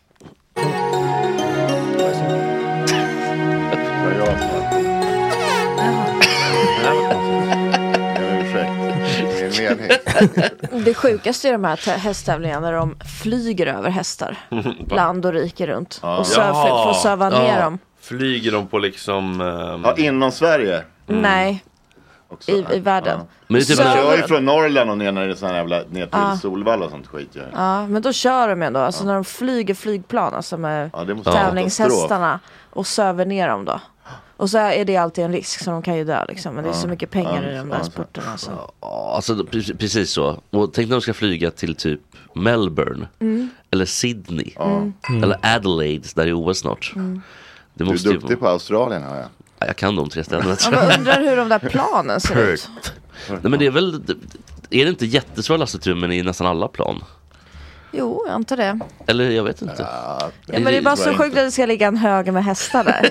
E: Det sjukaste är de här tä- hästtävlingarna när de flyger över hästar. (laughs) Land och rike runt.
A: Ja.
E: Och söv,
A: Ja.
E: får söva ner
A: Ja.
E: dem.
A: Flyger de på liksom...
L: Ja, inom Sverige.
E: Nej. I, I världen.
L: Men det
E: typ-
L: Jag är ju från Norrland och ner när det är sån här jävla ner till
E: Ja.
L: Solvalla och sånt skit ju.
E: Ja, men då kör de ändå. Alltså när de flyger flygplan, alltså med
L: Ja, det måste vara
E: tävlingshästarna. Och söver ner dem då. Och så är det alltid en risk, så de kan ju dö liksom. Men det är så mycket pengar i de där sporterna. Alltså.
D: Ja, Alltså, pre- precis så. Och tänk när de ska flyga till typ Melbourne.
E: Mm.
D: Eller Sydney.
E: Mm. Mm.
D: Eller Adelaide där det är OS snart.
L: (laughs)
E: Mm.
D: Det
L: Du är
D: måste ju
L: duktig
D: vara-
L: på Australien har jag.
D: Ja, jag kan de tre ställena.
E: Ja,
D: tror jag.
E: men undrar hur de där planen ser ut.
D: Nej men det är väl, är det inte jättesvåra lastutrymmen i nästan alla plan?
E: Jo, jag antar det.
D: Eller jag vet inte.
E: Ja, men det är bara så sjukt att det ska ligga en hög med hästar där.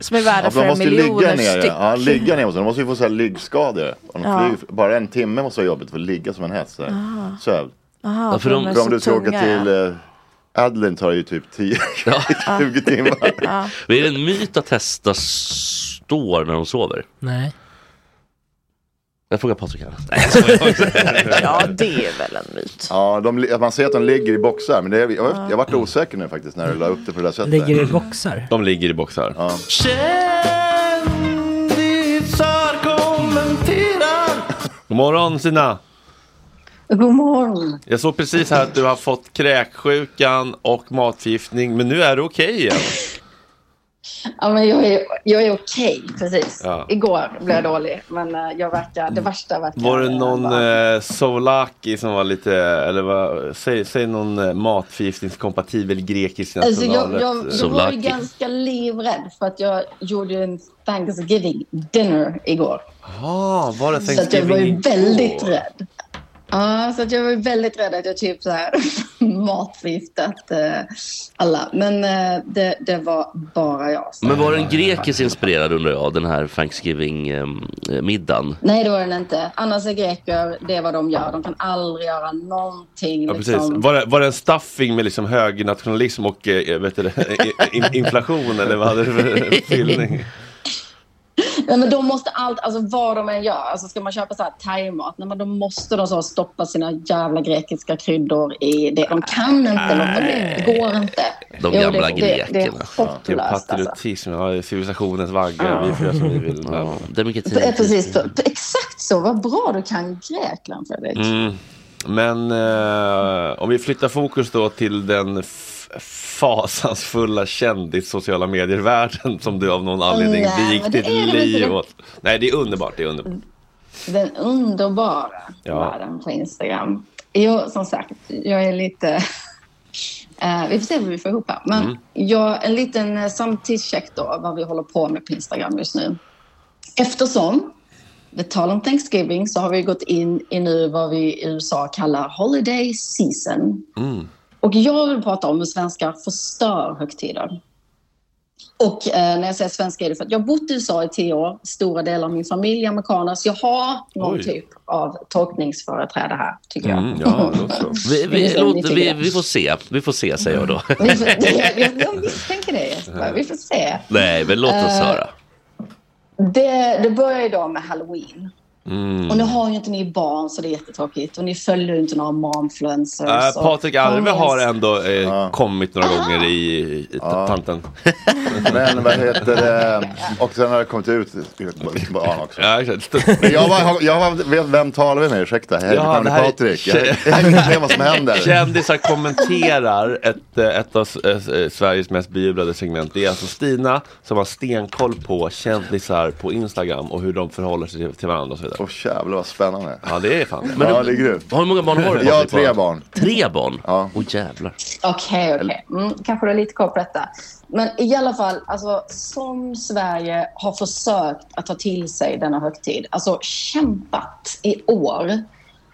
E: (laughs) Som är värda
L: Ja, för
E: för
L: de
E: en
L: måste ju
E: miljon
L: ligga ner.
E: styck.
L: Ja, ligga ner måste de. De måste ju få så här liggskador. Om de
E: Ja.
L: flyger, bara en timme måste vara jobbigt för att ligga som en häst. så här.
E: Ah.
L: Sövd.
E: Aha,
L: för
E: för de
L: om,
E: är
L: för om
E: så
L: du ska åka
E: tunga, (laughs)
L: till eh, Adelaide tar det ju typ
D: (laughs)
L: 10, 20 timmar.
E: (laughs) Ja.
D: Men är det en myt att hästar står när de sover?
G: Nej.
D: Jag frågar Patrik här.
E: (laughs) Ja, det är väl en myt.
L: Ja, de, li- man ser att de ligger i boxar. Men det, är- jag, var- jag varit osäker nu faktiskt när du la upp det på det där sättet.
G: Ligger i boxar?
A: De ligger i boxar.
L: Ja.
A: Kändisar kommenterar. God morgon Sina.
K: God morgon.
A: Jag såg precis här att du har fått kräksjukan och matförgiftning. Men nu är du okej igen.
K: Ja, men jag är, jag är okej, precis.
A: Ja.
K: Igår blev jag dålig, men eh, jag verkar, det värsta verkar...
A: Var det någon eh, souvlaki som var lite, eller vad, säg, säg någon eh, matförgiftningskompatibel grekisk
K: Alltså, jag, jag, jag var ju
A: Souvlaki.
K: ganska livrädd för att jag gjorde en Thanksgiving dinner igår.
A: Ja, var det
K: Så att jag var ju
A: Thanksgiving
K: väldigt
A: igår?
K: rädd. Ja, så att jag var ju väldigt rädd att jag typ så här (laughs) matförgiftat eh, alla. Men eh, det, det var bara jag. Så.
D: Men var den grekiskt inspirerad undrar jag, den här ehm, Thanksgiving-middagen?
K: Nej, det var den inte. Annars är greker, det är vad de gör. De kan aldrig göra någonting.
A: Ja, precis.
K: liksom.
A: Var, det, var det en stuffing med liksom högernationalism och eh, vet du, det, in, inflation eller vad hade
K: (laughs)
A: du för fyllning?
K: Nej, men de måste allt, alltså vad de än gör. Alltså ska man köpa så här thaimat, nej, men då måste de så stoppa sina jävla grekiska kryddor i det. De kan inte låta bli. Det går inte. Jo,
A: De
K: det-
A: gamla
K: det,
A: grekerna.
K: Det, är
A: Det är
K: hopplöst. alltså.
A: Typ patriotism, ja, civilisationens vagga. Vi får göra som vi vill.
K: Så, eh,
D: Demokrati.
K: Precis, så, exakt så. Vad bra du kan Grekland, Fredrik.
A: Mm. Men eh, om vi flyttar fokus då till den f- fasansfulla kändis sociala medier-världen som du av någon anledning
K: Nej,
A: vigde
K: men det
A: ditt
K: är det väl inte.
A: liv åt. Nej, det är underbart. Det är underbart.
K: Den underbara
A: Ja.
K: världen på Instagram. Jo, som sagt, jag är lite... (laughs) Eh, vi får se vad vi får ihop här. Men
M: Mm.
K: jag, en liten eh, samtidscheck då, vad vi håller på med på Instagram just nu. Eftersom, med tal om Thanksgiving, så har vi gått in i nu vad vi i USA kallar Holiday Season.
A: Mm.
K: Och jag vill prata om hur svenskar förstör högtider. Och eh, när jag säger svenska är det för att jag har bott i USA i tio år. Stora delar av min familj är amerikaner, så jag har någon
D: Oj.
K: typ av tolkningsföreträde här, tycker jag.
D: Mm, ja, då så. Vi,
K: Det är
D: vi,
K: så
D: låt,
K: mycket
D: vi,
K: gräs.
D: vi får se, vi får se säger jag då. (laughs)
K: Vi får- jag, jag misstänker det, Jesper. Vi får se.
D: Nej, men låt oss
K: Eh,
D: höra.
K: Det, det börjar ju då med halloween.
D: Mm.
K: Och nu har ju inte ni barn så det är jättetråkigt. Och ni följer ju inte några momfluencers.
A: Äh,
K: och-
A: Patrik Alve
K: Kom
A: har
K: igen.
A: ändå eh, kommit
K: Ah.
A: några gånger i, i tanten.
L: Men vad heter det? Och sen har det kommit ut barn också.
A: Ja, exakt.
L: Men jag, var, jag var, vet vem talar vi med? Ursäkta, hej, mitt
A: Ja,
L: namn
A: det
L: är
A: här är-
L: Patrik. Jag, (laughs) jag har ingen idé om vad som
A: (laughs)
L: händer.
A: Kändisar kommenterar ett, eh, ett av s- eh, Sveriges mest bejublade segment. Det är alltså Stina som har stenkoll på kändisar på Instagram och hur de förhåller sig till- till varandra och så vidare.
L: Åh jävlar vad spännande.
A: Ja det är fan
L: Men Ja, det är grymt.
D: Hur många barn har du?
L: Jag har
D: Patrik,
L: tre
D: bara?
L: barn.
D: Tre barn? Ja. Åh jävlar.
K: Okej, okej. Mm, kanske du har lite koll på detta. Men i alla fall, alltså, som Sverige har försökt att ta till sig denna högtid, alltså kämpat i år.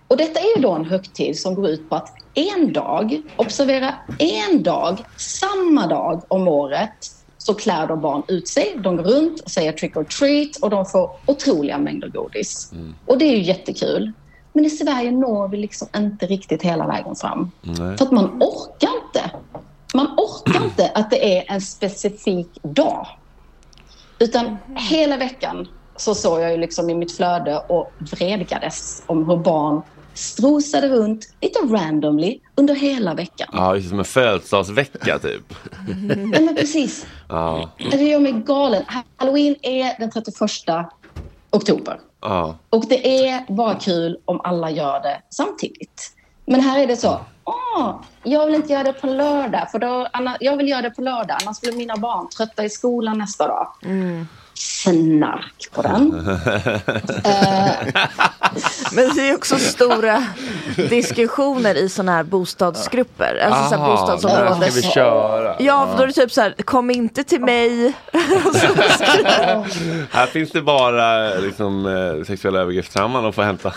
K: Och detta är ju då en högtid som går ut på att en dag, observera en dag, samma dag om året, så klär de barn ut sig, de går runt och säger trick or treat och de får otroliga mängder godis. Och det är ju jättekul. Men i Sverige når vi liksom inte riktigt hela vägen fram. För att man orkar inte. Man orkar inte att det är en specifik dag. Utan hela veckan så såg jag ju liksom i mitt flöde och vredgades om hur barn strosade runt lite randomly under hela veckan.
A: Ja, just som en födelsedagsvecka typ.
K: Nej, men precis.
A: Ja.
K: Det gör mig galen. Halloween är den 31 oktober.
A: ja.
K: Och det är bara kul om alla gör det samtidigt. Men här är det så. Åh, jag vill inte göra det på lördag, för då, anna, jag vill göra det på lördag, annars blir mina barn trötta i skolan nästa dag.
E: Mm.
K: Snark på
I: Mm.
K: den.
E: Men det är också stora diskussioner i sådana här bostadsgrupper. Alltså så här
A: Ah,
E: bostadsområden.
A: där ska vi köra.
E: Ja, för då är det typ så här, kom inte till mig.
A: (laughs)
E: (laughs)
A: Här finns det bara liksom, eh, sexuella övergreppstrauman att få hämta.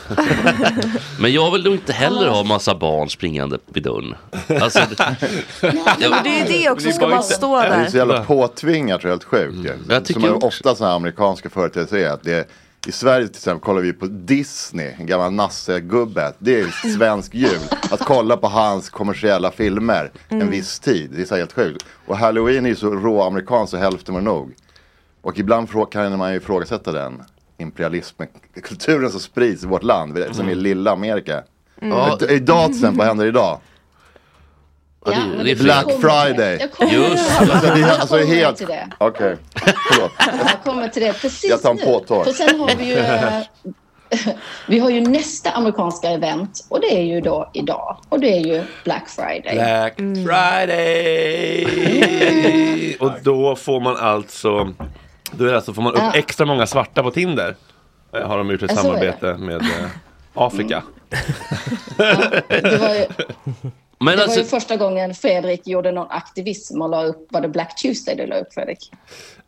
D: Men jag vill nog inte heller ha massa barn springande vid dörren. Alltså,
N: (laughs)
E: Men det är ju det också, ska man stå
L: Det är så
E: där.
L: jävla påtvingat och helt sjukt
E: Mm.
L: ju. Som är ofta sådana här amerikanska företeelser är att det i Sverige till exempel kollar vi på Disney, en gammal nassegubbe.
E: (laughs)
L: Det är svensk jul. Att kolla på hans kommersiella filmer en
M: Mm.
L: viss tid. Det är så här helt sjukt. Och halloween är ju så råamerikanskt så hälften var nog. Och ibland frå- kan man ju ifrågasätta den imperialismen, kulturen som sprids i vårt land, som i lilla Amerika.
K: Mm.
L: Ja, Idag till exempel, vad händer idag?
K: Ja, men
L: det är
K: jag
L: Black
K: kommer-
L: Friday.
K: Jag kommer,
L: Alltså, det är, alltså, det är
K: jag kommer
L: helt...
K: till
L: Okej,
K: det.
L: förlåt.
K: Jag kommer till det precis
L: Jag tar en
K: nu.
L: påtår.
K: För sen har vi ju, eh,
A: (laughs)
K: vi har ju nästa amerikanska event och det är ju då idag. Och det är ju Black Friday. Mm.
A: Black (laughs) Friday! Och då får man alltså, då är det alltså, får man upp
K: Ja.
A: extra många svarta på Tinder. Eh, Har de gjort ett
K: Ja, så är
A: samarbete med eh, Afrika.
K: Det var ju,
D: Men
K: det
D: alltså,
K: var ju första gången Fredrik gjorde någon aktivism och la upp, var det Black Tuesday du la upp Fredrik?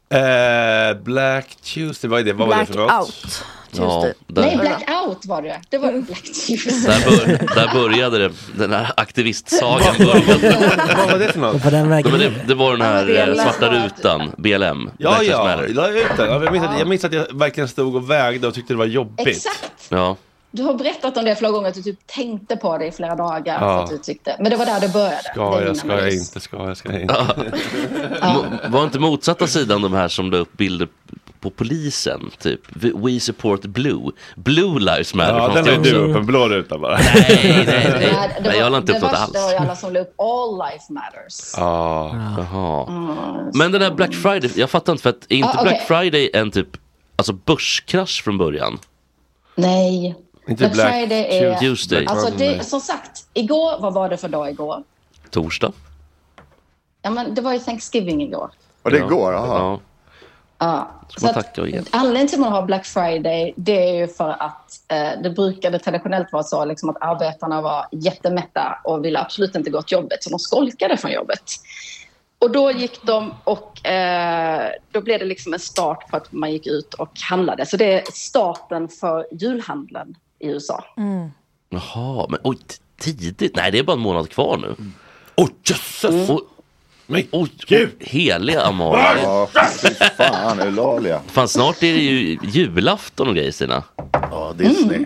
A: Eh, Black Tuesday, vad är det? Vad var det för något?
K: Blackout
D: ja,
K: Nej,
D: där,
K: Blackout var det. Det var Black Tuesday.
D: där, bör, där började det, den här aktivistsagan började.
A: Vad var det för något?
D: På den vägen men det, det var den här
A: Ja,
D: eh,
A: BLM.
D: svarta rutan, BLM.
A: Ja,
D: Black Lives
A: ja,
D: Matter.
A: la jag ut den. Ja, Jag minns, att- jag minns att jag verkligen stod och vägde och tyckte det var jobbigt.
K: Exakt.
D: Ja.
K: Du har berättat om det flera gånger, att du typ tänkte på det i flera dagar.
A: Ja.
K: För att du tyckte. Men det var där det började.
A: Ska
K: Det är
A: jag,
K: min
A: ska jag
K: analys.
A: inte, ska jag, ska jag inte.
K: (laughs)
D: Mo- Var inte motsatta sidan de här som la upp bilder på polisen, typ We support blue, blue lives matter
A: Ja,
D: fanns
A: den
D: det
A: la ju du
D: också.
A: upp, en blå ruta bara. (laughs)
D: Nej,
K: Nej,
D: nej, nej,
K: det
D: nej
K: var-
D: jag la inte upp
K: det
D: något
K: värsta var
D: alls.
K: ju alla som la upp All Life Matters.
D: Ah, jaha. Men den här Black Friday, jag fattar inte för att är inte
K: Ah, okej.
D: Black Friday en typ, alltså börskrasch från början?
K: Nej.
D: Inte
K: Black
D: Black
K: Friday är...
D: Tuesday.
K: Alltså
D: Nej.
K: det, som sagt, igår, vad var det för dag igår?
D: Torsdag?
K: Ja, men det var ju Thanksgiving igår.
L: Och det går, jaha.
K: Ja.
D: Ska
K: Så
D: man
K: att,
D: tacka och ge?
K: anledningen till att man har Black Friday, det är ju för att eh, det brukade traditionellt vara så liksom, att arbetarna var jättemätta och ville absolut inte gå till jobbet, så de skolkade från jobbet. Och då gick de och eh, då blev det liksom en start på att man gick ut och handlade. Så det är starten för julhandeln i USA.
D: Jaha, men oj, t- tidigt? Nej, det är bara en månad kvar nu.
A: Åh, jösses!
D: Och, Men oh, heliga Amalia.
L: Ja, fy fan, Eulalia.
D: Fan, snart är det ju julafton och grejer Stina.
L: Ja, Disney.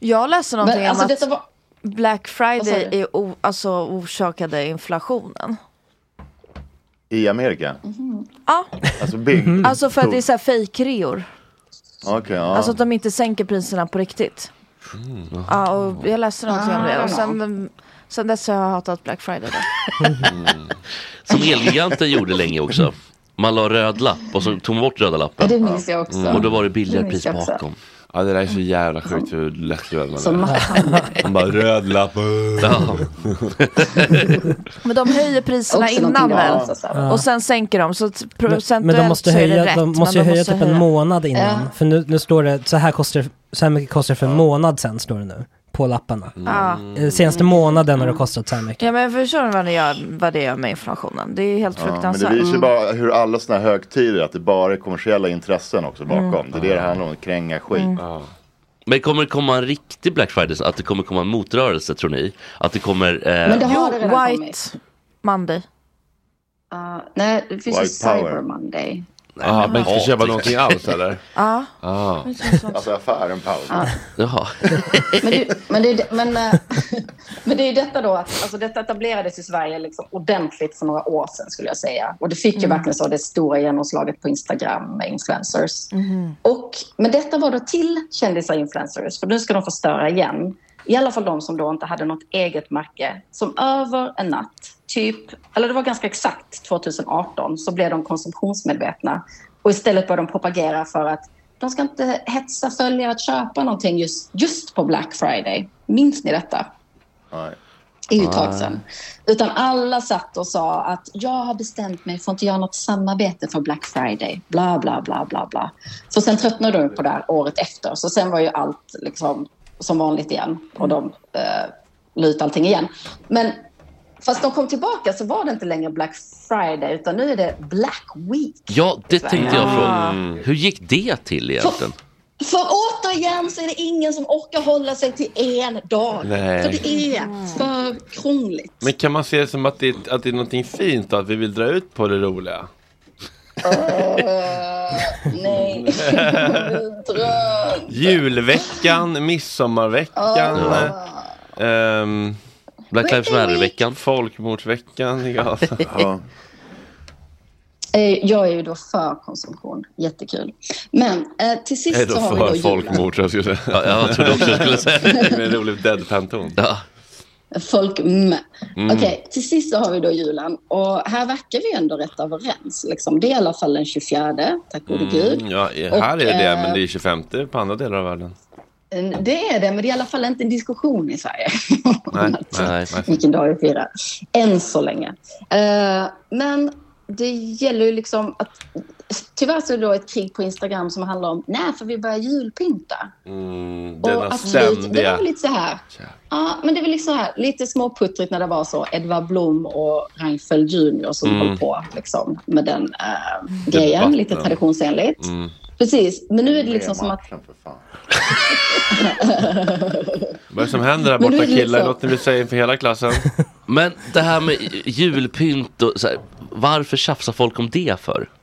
E: Jag läste någonting
K: Men, alltså,
E: om
K: detta
E: att
K: var-
E: Black
K: Vad sa
E: Friday
K: du?
E: är o- alltså, orsakade inflationen.
L: I Amerika?
K: Mhm.
E: Ja,
L: Alltså big.
G: Mm.
E: alltså för att det är så här fejkreor.
L: Okej, ja.
E: Alltså att de inte sänker priserna på riktigt.
G: Ah.
E: Ja, och jag läste någonting om det.
K: Ah.
E: Och sen, sen dess har jag hatat Black Friday.
K: (laughs)
E: Då.
D: Mm. Som Elgiganten gjorde länge också. Man la röd lapp och så tog man bort röda lappen. Mm.
K: Det minns jag också.
D: Och då var det billigare
K: Det minns
D: pris
K: jag också.
D: bakom.
A: Ja, det där är så jävla sjukt hur lättlurad man
K: Som
A: är. Man bara röd lapp. Ja.
E: Men de höjer priserna
K: Också
E: innan
K: någonting
E: väl?
K: jag hatar, så här.
E: Och sen sänker de. Så att procentuellt
G: Men de måste
E: så är det
G: höja,
E: rätt.
G: de
E: men
G: måste ju höja typ en månad innan.
E: Ja.
G: För nu, nu står det, så här kostar så här mycket kostar det för en månad sen står det nu. På lapparna.
E: Ja.
G: Eh, Senaste månaden har det kostat så här mycket.
E: Ja men förstår ni vad det gör, vad det gör med inflationen? Det är ju helt
L: Ja, men det
E: fruktansvärt. Mm.
L: visar ju bara hur alla såna här högtider, att det bara är kommersiella intressen också bakom.
D: Mm.
L: Det är det det handlar om, att kränga skit.
E: Mm.
D: Men kommer det komma en riktig Black Friday? Att det kommer komma en motrörelse tror ni? Att det kommer... Eh,
E: Men det
K: har Mm. det redan
E: White Monday.
K: Nej, det finns ju
D: White power.
K: Cyber Monday.
A: Ah, men inte
D: hat,
A: köpa
D: liksom.
A: någonting alls eller?
E: Ja.
A: Ah.
L: Alltså affären Paul.
K: Ja.
D: Jaha.
K: Men, det, men, det, men, eh, men det är ju detta då, att, alltså detta etablerades i Sverige liksom ordentligt för några år sedan skulle jag säga. Och det fick ju
E: Mm.
K: verkligen så det stora genomslaget på Instagram med influencers.
E: Mhm.
K: Och, men detta var då till kändisar och influencers, för nu ska de förstöra igen. I alla fall de som då inte hade något eget märke, som över en natt, typ, eller det var ganska exakt 2018, så blev de konsumtionsmedvetna. Och istället började de propagera för att de ska inte hetsa följare att köpa någonting just, just på Black Friday. Minns ni detta?
L: Nej.
K: Det är ju ett tag sedan. Utan alla satt och sa att jag har bestämt mig för att inte göra något samarbete för Black Friday. Bla, bla, bla, bla, bla. Så sen tröttnade de på det här året efter. Så sen var ju allt liksom som vanligt igen. Och de eh, la ut allting igen. Men fast de kom tillbaka så var det inte längre Black Friday utan nu är det Black Week.
D: Ja, det tänkte jag
K: Ah.
D: fråga. Hur gick det till egentligen?
K: För återigen så är det ingen som orkar hålla sig till en dag.
A: Nej.
K: För det är för krångligt.
A: (laughs) Men kan man se det som att det, är- att det är någonting fint då, att vi vill dra ut på det roliga?
K: Nej. Dröm.
A: Julveckan, midsommarveckan. ehm,
D: Black Lives Matter-veckan.
A: Folkmordsveckan. (laughs) Ja.
K: Eh, Jag är ju då för konsumtion. Jättekul. Men eh, till sist
A: Jag är då
K: så har vi då
A: för
K: julen.
A: folkmord. tror Jag, skulle säga. Ja,
D: jag trodde också jag skulle säga.
A: Med en rolig deadpan-ton.
D: Ja.
K: Folk mm.
A: Mm.
K: Okej, till sist så har vi då julen. Och här verkar vi ändå rätt överens. Liksom. Det är i alla fall den 24, tack gode gud.
A: Mm, ja, här
K: Och,
A: är det,
K: eh,
A: men det är 25 på andra delar av världen.
K: Eh, Det är det, men det är i alla fall inte en diskussion i Sverige. (laughs)
A: Nej, nej, nej.
K: vilken dag vi firar. Än så länge. Eh, men det gäller ju liksom att... Tyvärr så är det då ett krig på Instagram som handlar om när får vi börja julpynta?
A: Mm,
K: Och
A: denna
K: att vi, det
A: ständiga...
K: var lite så här. Ja, men det var lite så här, lite småputtrigt när det var så. Edvard Blom och Reinfeldt Junior som
A: Mm.
K: höll på liksom, med den eh, grejen, lite
A: Debatten.
K: traditionsenligt.
A: Mm.
K: Precis, men nu är det liksom som att...
A: Vad är det som händer här
K: Men då är
A: borta
K: det
A: killar?
K: liksom-
A: Låt ni bli säga inför hela klassen.
D: (laughs) Men det här med julpynt och så här, varför tjafsar folk om det för?
K: (laughs)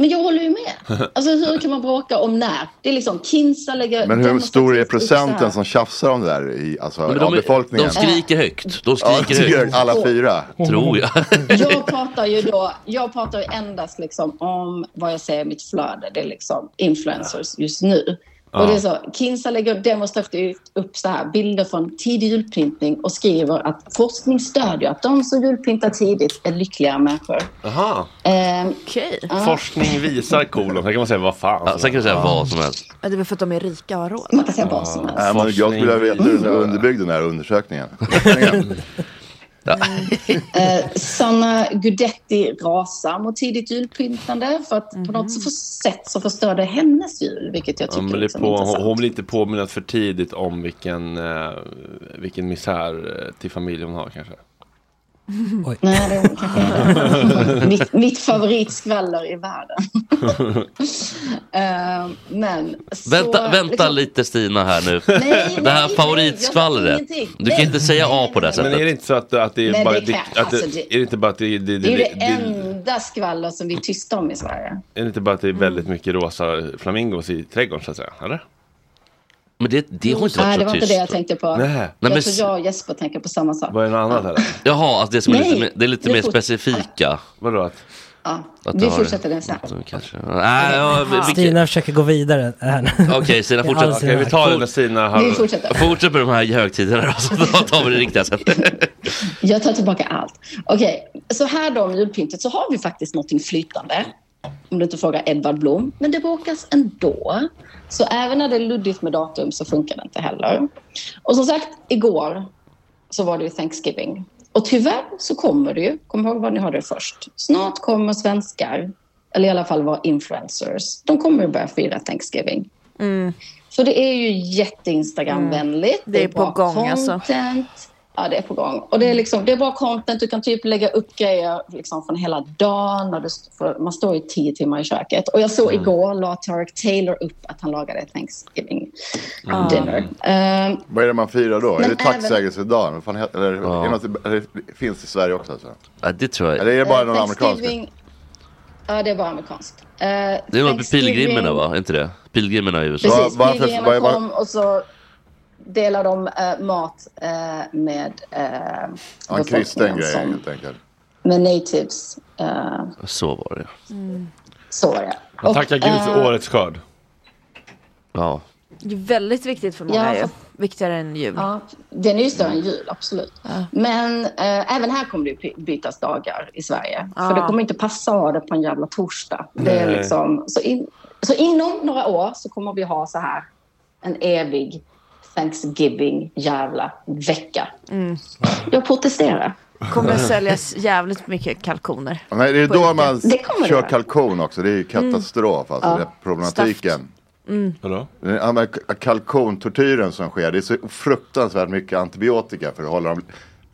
K: Men jag håller ju med. Alltså hur kan man bråka om när? Det är liksom Kinsa lägger...
L: Men hur stor är procenten
K: upp så
L: som tjafsar om det där i, alltså,
D: Men
L: av
D: de, är,
L: befolkningen?
D: de skriker högt. De
L: Ja,
D: skriker
L: det gör
D: högt.
L: alla
A: (laughs)
L: fyra.
D: Tror jag.
K: Jag pratar ju då, jag pratar ju endast liksom om vad jag ser i mitt flöde. Det är liksom influencers just nu.
D: Ja.
K: Och det är så, Kinsa lägger demonstrativt upp så här, bilder från tidig julpyntning och skriver att forskning stödjer att de som julpyntar tidigt är lyckligare människor.
A: Jaha.
K: Ehm, ja.
A: Forskning visar kolon. Sen kan man säga vad fan.
D: Ja, sen kan man säga vad som helst.
E: Ja, Det är väl för att de är rika och har råd.
K: Man kan säga vad som helst.
L: Nej, men jag skulle vilja veta hur du underbyggde den här undersökningen.
K: Eh, Sanna Gudetti rasar mot tidigt julpyntande för att på något så- sätt så förstörde hennes jul, vilket jag
A: Ja,
K: tycker
A: men det är
K: liksom
A: på,
K: är intressant.
A: hon, hon blir inte påminnad för tidigt om vilken, eh, vilken misär eh, till familj hon har kanske.
G: Oj.
K: Nej, det är kanske
L: (laughs)
K: inte (laughs) mitt, mitt favoritskvaller i världen. (laughs) Eh, men så,
D: Vänta, vänta
K: liksom-
D: lite Stina här nu.
K: Nej,
D: det här
K: nej, jag
D: favoritskvallret.
K: sa ingenting.
D: Du kan inte säga A på det här
A: Men
D: sättet.
A: är det inte så att, att det är
K: Men det
A: bara...
K: är klart,
A: dikt- att det-
K: alltså, det-
A: Är det inte bara att det, det,
K: Det är ju
A: det,
K: det
A: det,
K: enda skvaller som vi är tysta om i Sverige.
A: Är det inte bara att det är väldigt
K: Mm.
A: mycket rosa flamingos i trädgården så att säga? Eller?
D: Men det, det har inte
K: Nej,
D: varit
K: det
D: så
K: var
D: tyst.
K: inte det jag tänkte på.
D: Nej. Nej, men
K: jag
D: s-
K: tror jag och Jesper tänker på samma sak.
D: Vad är det annat eller? Jaha, att det, som är lite,
K: Nej,
D: mer- det är lite
K: vi
D: mer
K: fort-
D: specifika.
A: Vadå? Att,
K: Ja,
D: att det
K: vi
D: har-
K: fortsätter det sen.
D: Kanske. Nej, ja, vi- vi-
G: Stina försöker gå vidare här (laughs) nu.
D: Okej, Stina
G: Det är
D: fortsätt.
G: all Stina.
D: Stina
K: Vi fortsätter.
D: Fortsätt med de här högtiderna då, så då tar vi det riktiga sen.
K: Jag tar tillbaka allt. Okej, så här då om julpyntet så har vi faktiskt någonting flytande. Om du inte frågar Edvard Blom. Men det råkas ändå. Så även när det är luddigt med datum så funkar det inte heller. Och som sagt, igår så var det ju Thanksgiving. Och tyvärr så kommer det ju, kom ihåg vad ni hörde först. Snart kommer svenskar, eller i alla fall vara influencers. De kommer ju börja fira Thanksgiving. Så det är ju jätte-Instagram-vänligt.
E: Mm. Det är på
K: bra
E: gång, alltså.
K: content. Ja, det är på gång. Och det är, liksom, det är bra content. Du kan typ lägga upp grejer liksom från hela dagen. När du, st- för man står ju tio timmar i köket. Och jag såg
E: Mm.
K: igår, la Tarek Taylor upp att han lagade ett Thanksgiving
L: Mm.
K: dinner. Ehm,
L: Vad är det man firar då? Är
K: Men
L: det
K: även-
L: tacksägelsedagen? Vad fan heter- Eller, är det något, eller finns det i Sverige också? Alltså?
D: Ja, det tror jag.
L: Eller är det bara någon
K: eh,
L: amerikansk?
K: Thanksgiving- Ja, det är bara amerikanskt. Eh,
D: Det är något med
K: Thanksgiving-
D: pilgrimerna va? Är inte det? Pilgrimerna i USA.
K: Precis, pilgrimerna kom och så delar de eh, mat eh, med eh,
L: Ja, en
K: befolkningen
L: kristen grej
K: som-
L: helt enkelt.
K: med natives. eh,
D: Så var det.
K: så var det.
A: Man tackar
E: Och,
A: Gud för
E: eh,
A: årets skörd.
D: Ja.
E: Det är väldigt viktigt för
K: Ja,
E: många ju.
K: fast-
E: Viktigare än jul.
K: Ja, den är ju större än jul, absolut. Men eh, även här kommer det ju by- bytas dagar i Sverige. För
E: Ja.
K: det kommer inte passa att ha det på en jävla torsdag. Det är
E: Nej.
K: liksom, så, in, så inom några år så kommer vi ha så här en evig Thanksgiving jävla vecka.
E: Mm.
K: Jag protesterar.
E: Kommer säljas jävligt mycket kalkoner.
L: Ja, Nej, det är då man
E: Det kommer det
L: kör
E: göra.
L: kalkon också. Det är ju katastrof, alltså
E: Ja.
L: den problematiken.
E: Mm.
A: Vadå?
L: Ja, men k- Kalkontortyren som sker, det är så fruktansvärt mycket antibiotika för att hålla dem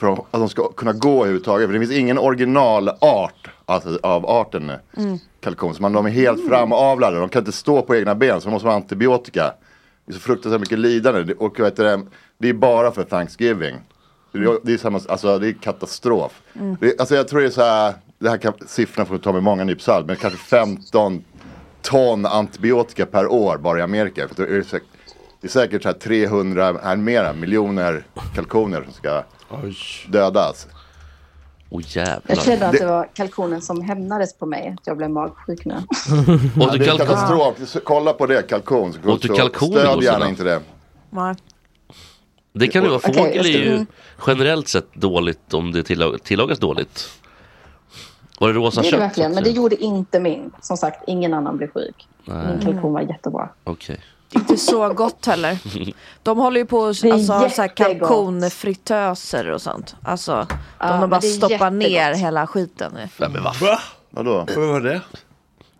L: för att de ska kunna gå överhuvudtaget. För det finns ingen originalart alltså, av arten
M: Mm.
L: kalkon. Så man, de är helt framavlade, de kan inte stå på egna ben så de måste ha antibiotika. Det är så fruktansvärt mycket lidande Det- och vet du, det, det är bara för Thanksgiving. Det är, det är, samma, alltså, det är katastrof.
M: Mm.
L: Det, alltså, jag tror det är så här, det här kan, siffrorna får du ta med många nypsalt, men kanske 15 ton antibiotika per år bara i Amerika. För det, är säkert, det är säkert så här 300, nej, mera, miljoner kalkoner som ska dödas.
D: Åh
K: Jag kände
L: jävlar.
K: att det var kalkonen som hämnades på mig. att Jag blev magsjuk nu.
L: Ja, det är
D: kalkon?
L: katastrof, Så kolla på det, kalkon. Så-
D: Åt du
L: så
D: kalkon igår,
L: Stöd gärna
D: Sanna?
L: inte det.
D: Det kan det vara.
L: Okej,
D: Fågel
L: jag ska-
D: är ju
L: Mm.
D: generellt sett dåligt om det tillag- tillagas dåligt. Var det rosa
K: Det är det
D: kött?
K: verkligen, men det gjorde inte min. Som sagt, ingen annan blev sjuk.
D: Nej.
K: Min kalkon var jättebra.
D: Okej.
E: Det är inte så gott heller. De håller ju på och
K: är
E: alltså, har så här
K: jättegott.
E: kalkonfritöser och sånt. Alltså, de, de
K: men
E: bara
K: det är
E: stoppar
K: jättegott.
E: ner hela skiten. i.
D: Nej men vad Va?
L: Vadå?
A: Vad var det?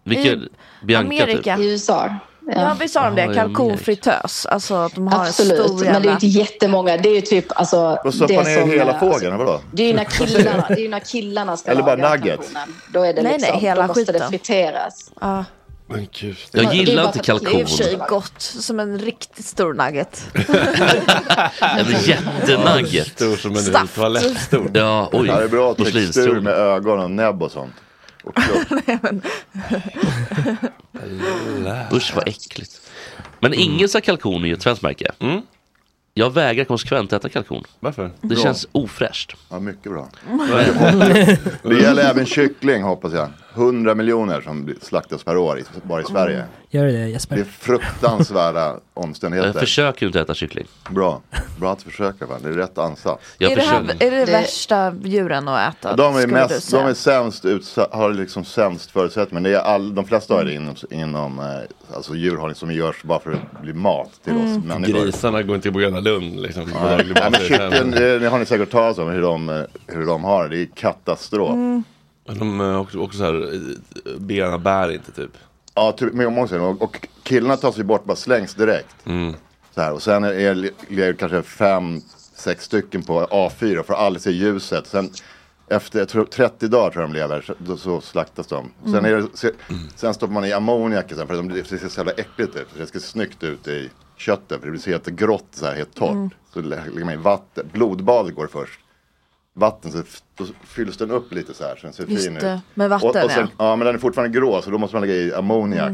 D: Vilken? Bianca
E: Amerika.
D: typ?
K: I USA.
E: Ja, visst har de
D: Ja,
E: det?
D: i Amerika.
E: Kalkonfritös. Alltså att de har en
K: Absolut,
E: stor
K: men det är ju inte jättemånnga. Det är ju typ alltså...
L: Och stoppa
K: det
L: ner
K: som,
L: hela
K: eh,
L: fågeln, vadå?
K: Det är ju när killarna, det är ju när killarna ska
L: Eller bara
K: laga
L: nuggets.
K: kalkonen. Då, är det
E: Nej,
K: liksom,
E: nej, hela
K: då måste det
E: skiten.
K: friteras.
A: Men gud.
D: Jag
E: Det är
D: gillar
E: bara
D: inte
E: för att- Det är i och för sig
D: kalkon.
E: gott, som en riktigt stor nugget.
D: En jättenugget.
A: Stor som
E: en Saft. toalettstor.
D: Ja, oj.
L: Det här är bra textur
D: Porslinsstol.
L: med ögon och näbb och sånt.
D: Usch vad äckligt. Men
A: Mm.
D: Ingelsta kalkon är ju ett svenskt märke. Jag vägrar konsekvent äta kalkon.
A: Varför?
D: Det
L: Bra.
D: känns ofräscht.
L: Ja,
D: (laughs)
L: mycket bra. Det- Det gäller även kyckling hoppas jag. 100 miljoner som slaktas per år i, bara i Sverige.
G: Gör det Jesper?
L: Det är
E: (laughs)
L: fruktansvärda
D: Jag
L: omständigheter.
D: försöker inte äta kyckling.
L: Bra. Bra att försöka. Va? Det är rätt ansats.
E: är, det här, är det, värsta djuren att äta?
L: De är,
E: skulle du
L: mest,
E: säga?
L: de är sämst utsa- har liksom sämst förutsättningar. Det är all, de flesta har det inom,
E: Mm.
L: inom eh, alltså djurhållning som görs bara för att bli mat till oss
E: Mm.
L: människor.
A: Grisarna går inte på Gröna Lund liksom. på
L: Nej,
A: daglig
L: men
A: basis.
L: kyckling, det, det har ni säkert talat om hur de, eh, hur de har det. Det är katastrof.
A: Mm. De eh, också, också så här, eh, benen bär inte typ.
L: Ja, typ, med omgångsregeln. Och, och killarna tas ju bort, bara slängs direkt.
A: Mm.
L: Så här, och sen är- är ligger kanske fem, sex stycken på A4 och får aldrig se ljuset. Sen Efter jag tror, 30 dagar tror jag de lever, så, då- så slaktas de. Sen,
M: Mm.
L: är det, se, sen stoppar man i ammoniak i sen, för de blir- det ser så jävla äckligt ut. Det ska se snyggt ut i köttet, för det blir så helt grått, så här, helt torrt.
M: Mm.
L: Så lä- lägger man i vatten, blodbadet går först. Vatten, så f- då fylls den upp lite så här, så den ser
E: Just
L: fin ut.
E: det, med vatten,
L: och, och sen,
E: ja. Mm.
L: ja. men den är fortfarande grå, så då måste man lägga i ammoniak.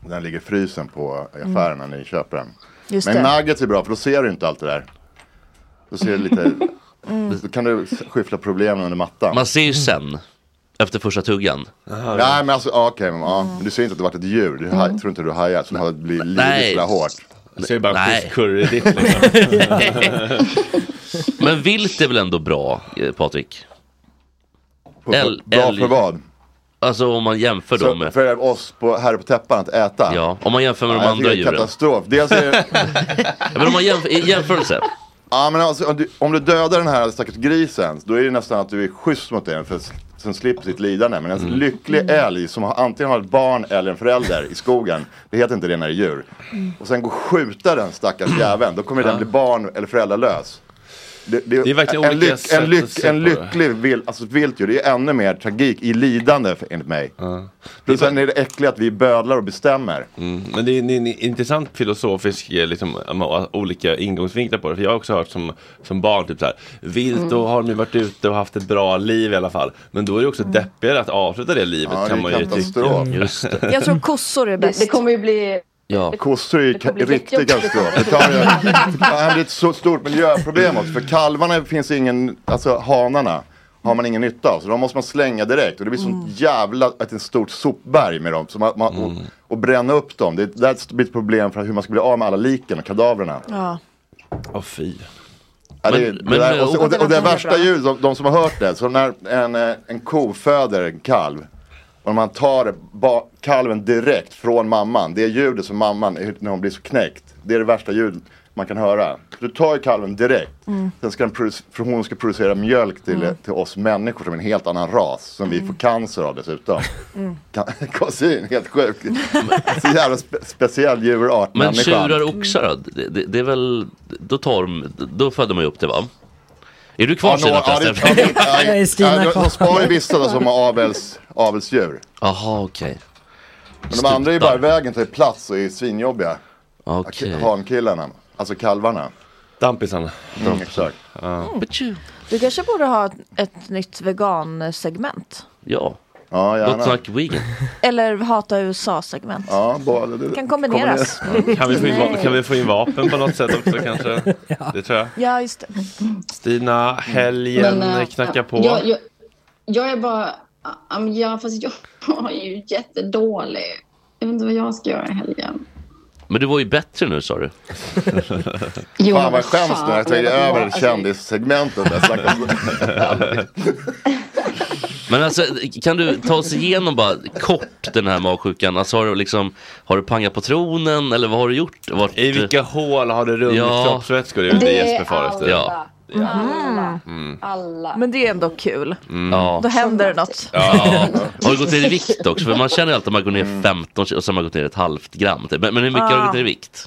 L: Den ligger i frysen på i affären när ni köper den.
E: Just
L: men
E: det.
L: nuggets är bra, för då ser du inte allt det där. Då ser du lite...
E: Mm.
L: Då kan du skyffla problemen under mattan.
D: Man ser ju sen, efter första tuggan.
L: Nej men alltså, ja, okej, men, ja. men du ser inte att det varit ett djur. Du haj- tror inte du hajar, så det blir
D: Nej.
L: livligt sådär hårt.
D: Du ser ju bara en Nej. schysst curry i ditt, liksom. (laughs) Men vilt är väl ändå bra, eh, Patrik? El-
L: bra
D: älg-
L: för vad?
D: Alltså om man jämför
L: Så
D: dem med...
L: för oss på, här på täppan att äta?
D: Ja, om man jämför med de
L: Ja, jag
D: andra
L: tycker det är
D: djuren.
L: katastrof. Dels är
D: (laughs)
L: det...
D: men om man jämför, i jämförelse.
L: Ja men alltså, om, du, om du dödar den här stackars grisen, då är det nästan att du är schysst mot den, för s- sen slipper sitt lidande. Men en
D: Mm.
L: lycklig älg som har, antingen har ett barn eller en förälder i skogen, det heter inte det när det är djur. Och sen gå och skjuta den stackars
D: Mm.
L: jäveln, då kommer den bli barn eller föräldralös. Det,
A: Det är verkligen
L: en,
A: olika
L: lyck,
A: sätt
L: en,
A: att
L: lyck,
A: se
L: en
A: på det.
L: lycklig vild, alltså ett vilt djur, det är ännu mer tragik i lidande för, enligt mig. Plus sen är det äckligt att vi bödlar och bestämmer.
A: Mm. Men det är en, en intressant filosofisk, eh, liksom, um, o- olika ingångsvinklar på det. För jag har också hört som, som barn, typ så här, vilt,
M: Mm.
A: då har de ju varit ute och haft ett bra liv i alla fall. Men då är det också deppigare att avsluta det livet
L: Mm. Ja, det
A: kan
L: är
A: man ju (laughs)
L: katastrof.
A: tycka.
E: Jag tror kossor är bäst.
K: Det kommer ju bli...
D: Ja.
L: Kossor är ju ka-
K: bli
L: riktigt
K: jättejobbigt.
L: katastrof. Det tar ju- det här blir ett så stort miljöproblem också. För kalvarna finns ingen, alltså hanarna har man ingen nytta av. Så de måste man slänga direkt. Och det blir sånt jävla, ett, ett stort sopberg med dem. Så man, man, och, och bränna upp dem. Det, det här blir ett problem för hur man ska bli av med alla liken och kadaverna.
E: Ja.
A: Åh fy.
L: Ja, det,
A: Men-
L: det
A: men-
L: där, och, och, och, det- och det
A: Den är
L: värsta
A: bra.
L: ljudet, de, de som har hört det, så när en, eh, en ko föder en kalv och man tar ba, kalven direkt från mamman, det är ljudet som mamman, när hon blir så knäckt, det är det värsta ljudet man kan höra. Du tar ju kalven direkt,
M: Mm.
L: sen ska den produc- för hon ska producera mjölk till,
M: Mm.
L: till oss människor som är en helt annan ras, som vi får cancer
M: (laughs)
L: av dessutom.
M: Mm.
L: (laughs) Kan- Kosin,
M: (laughs)
L: helt sjukt. Så jävla spe, speciell djurart,
D: Men
L: människan.
D: tjurar och oxar då? Det, det, det är väl, då tar de, då födder man ju upp det va? Är du kvar
L: Ja,
D: Stina
L: några- ja, det-
D: förresten?
L: Nej, ja, de- de sparar ju vissa då, som har avels, avelsdjur.
D: (laughs) Jaha okej.
L: Men de andra är ju bara i vägen, tar ju plats och är svinjobbiga.
D: Okej.
L: Hankillarna, alltså kalvarna.
A: Dampisarna.
L: Mm, exakt.
E: Du kanske borde ha ett, ett nytt vegansegment.
D: Ja.
L: Ja, gärna.
D: Gott snack vegan.
E: Eller hata USA-segment.
L: Ja, både. Det
E: Kan kombineras.
A: Kombineras. Mm. Kan vi, få in, va- kan vi få in vapen på något sätt också kanske?
L: (laughs)
A: Det tror jag.
E: Ja, just det.
A: Stina, helgen
K: Men, eh,
A: knackar på.
K: Jag, jag, jag är bara... ja, men Ja, fast jag (laughs) är ju jättedålig. Jag vet inte vad jag ska göra i helgen.
D: Men du var ju bättre nu sa du.
L: Fan vad jag skäms nu, jag tog
K: vad bra.
L: över
K: Alltså-
L: kändissegmentet. där, stackars.
D: Men alltså kan du ta oss igenom bara kort den här magsjukan? Alltså har du liksom, har du pangat på tronen eller vad har du gjort? Vart... I vilka
A: hål har du runnit kroppsvätskor? Det är ju det Det är Jesper far efter. Mm. alla.
D: Ja.
E: Alla.
K: Alla.
E: Mhm. Men det är ändå kul.
D: Ja.
E: Då händer det något.
D: Ja. Har du gått ner i vikt också? För man känner ju alltid att man går
A: Mm.
D: ner 15 kilo och sen har man gått ner ett halvt gram. typ. Men, men hur mycket har du gått ner i vikt?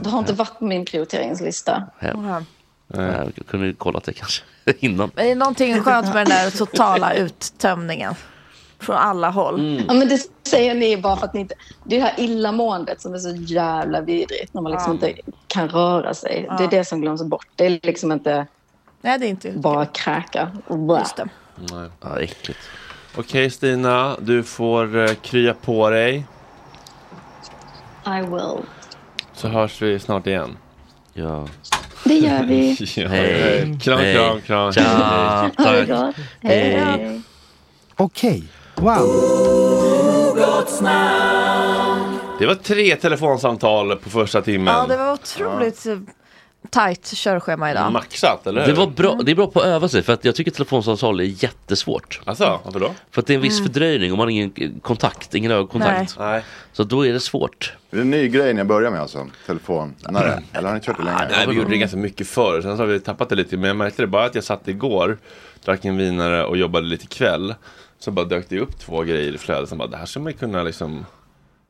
K: Det har inte varit på min prioriteringslista.
E: Wow.
A: Eh.
D: Eh, Jag kunde ju kollat det kanske (laughs) innan.
E: Men det är någonting skönt med den där totala uttömningen. Från alla håll.
K: Ja, men det säger ni bara för att ni inte... Det är det här illamåendet som är så jävla vidrigt när man liksom
E: Ja.
K: inte kan röra sig. Det är det som glöms bort. Det är liksom inte
E: Nej, det är inte...
K: bara kräka och bra. Just det.
A: Nej. Ja, äckligt. Okej Stina, du får eh, krya på dig.
K: I will.
A: Så hörs vi snart igen.
D: Ja.
K: Det gör
D: (laughs)
K: vi.
A: ja.
D: Hej.
A: Kram,
D: Hej.
A: kram, kram.
D: Tja,
A: Hej.
D: tack.
K: Ha det gott. Hej då.
D: Hej.
M: Okej, wow.
A: Det var tre telefonsamtal på första timmen.
E: Ja, det var otroligt eh, tajt körschema idag.
A: Maxat, eller hur?
D: Det, var bra, det är bra på att öva sig för att jag tycker telefonsamtal är jättesvårt.
A: Alltså, varför då?
D: För att det är en viss
E: Mm.
D: fördröjning och man har ingen kontakt, ingen ögonkontakt. Så då är det svårt.
L: Det är en ny grej jag börjar med alltså, telefon. Nej,
D: (clears throat)
L: eller har ni kört det länge?
A: Nej, vi gjorde det ganska mycket förr. Sen så har vi tappat det lite. Men jag märkte det bara att jag satt igår, drack en vinare och jobbade lite kväll. Så bara dök det upp två grejer i flödet som bara, det här skulle man ju kunna liksom,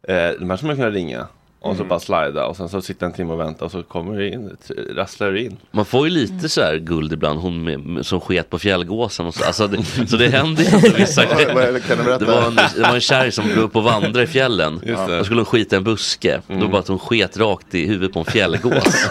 A: eh, de här skulle man kunna ringa. Och så
D: Mm.
A: bara slida och sen så sitta en timme och vänta och så kommer det in, t- rasslar det in.
D: Man får ju lite så här guld ibland, hon med, med, som sket på fjällgåsen och så. Alltså, det, så det händer ju inte vissa
L: Vad- vad- kan du berätta?
D: Det var en, det var en kärring som går upp och vandrar i fjällen.
L: Just det.
D: Då skulle hon skita i en buske. Då bara att hon sket rakt i huvudet på en fjällgås.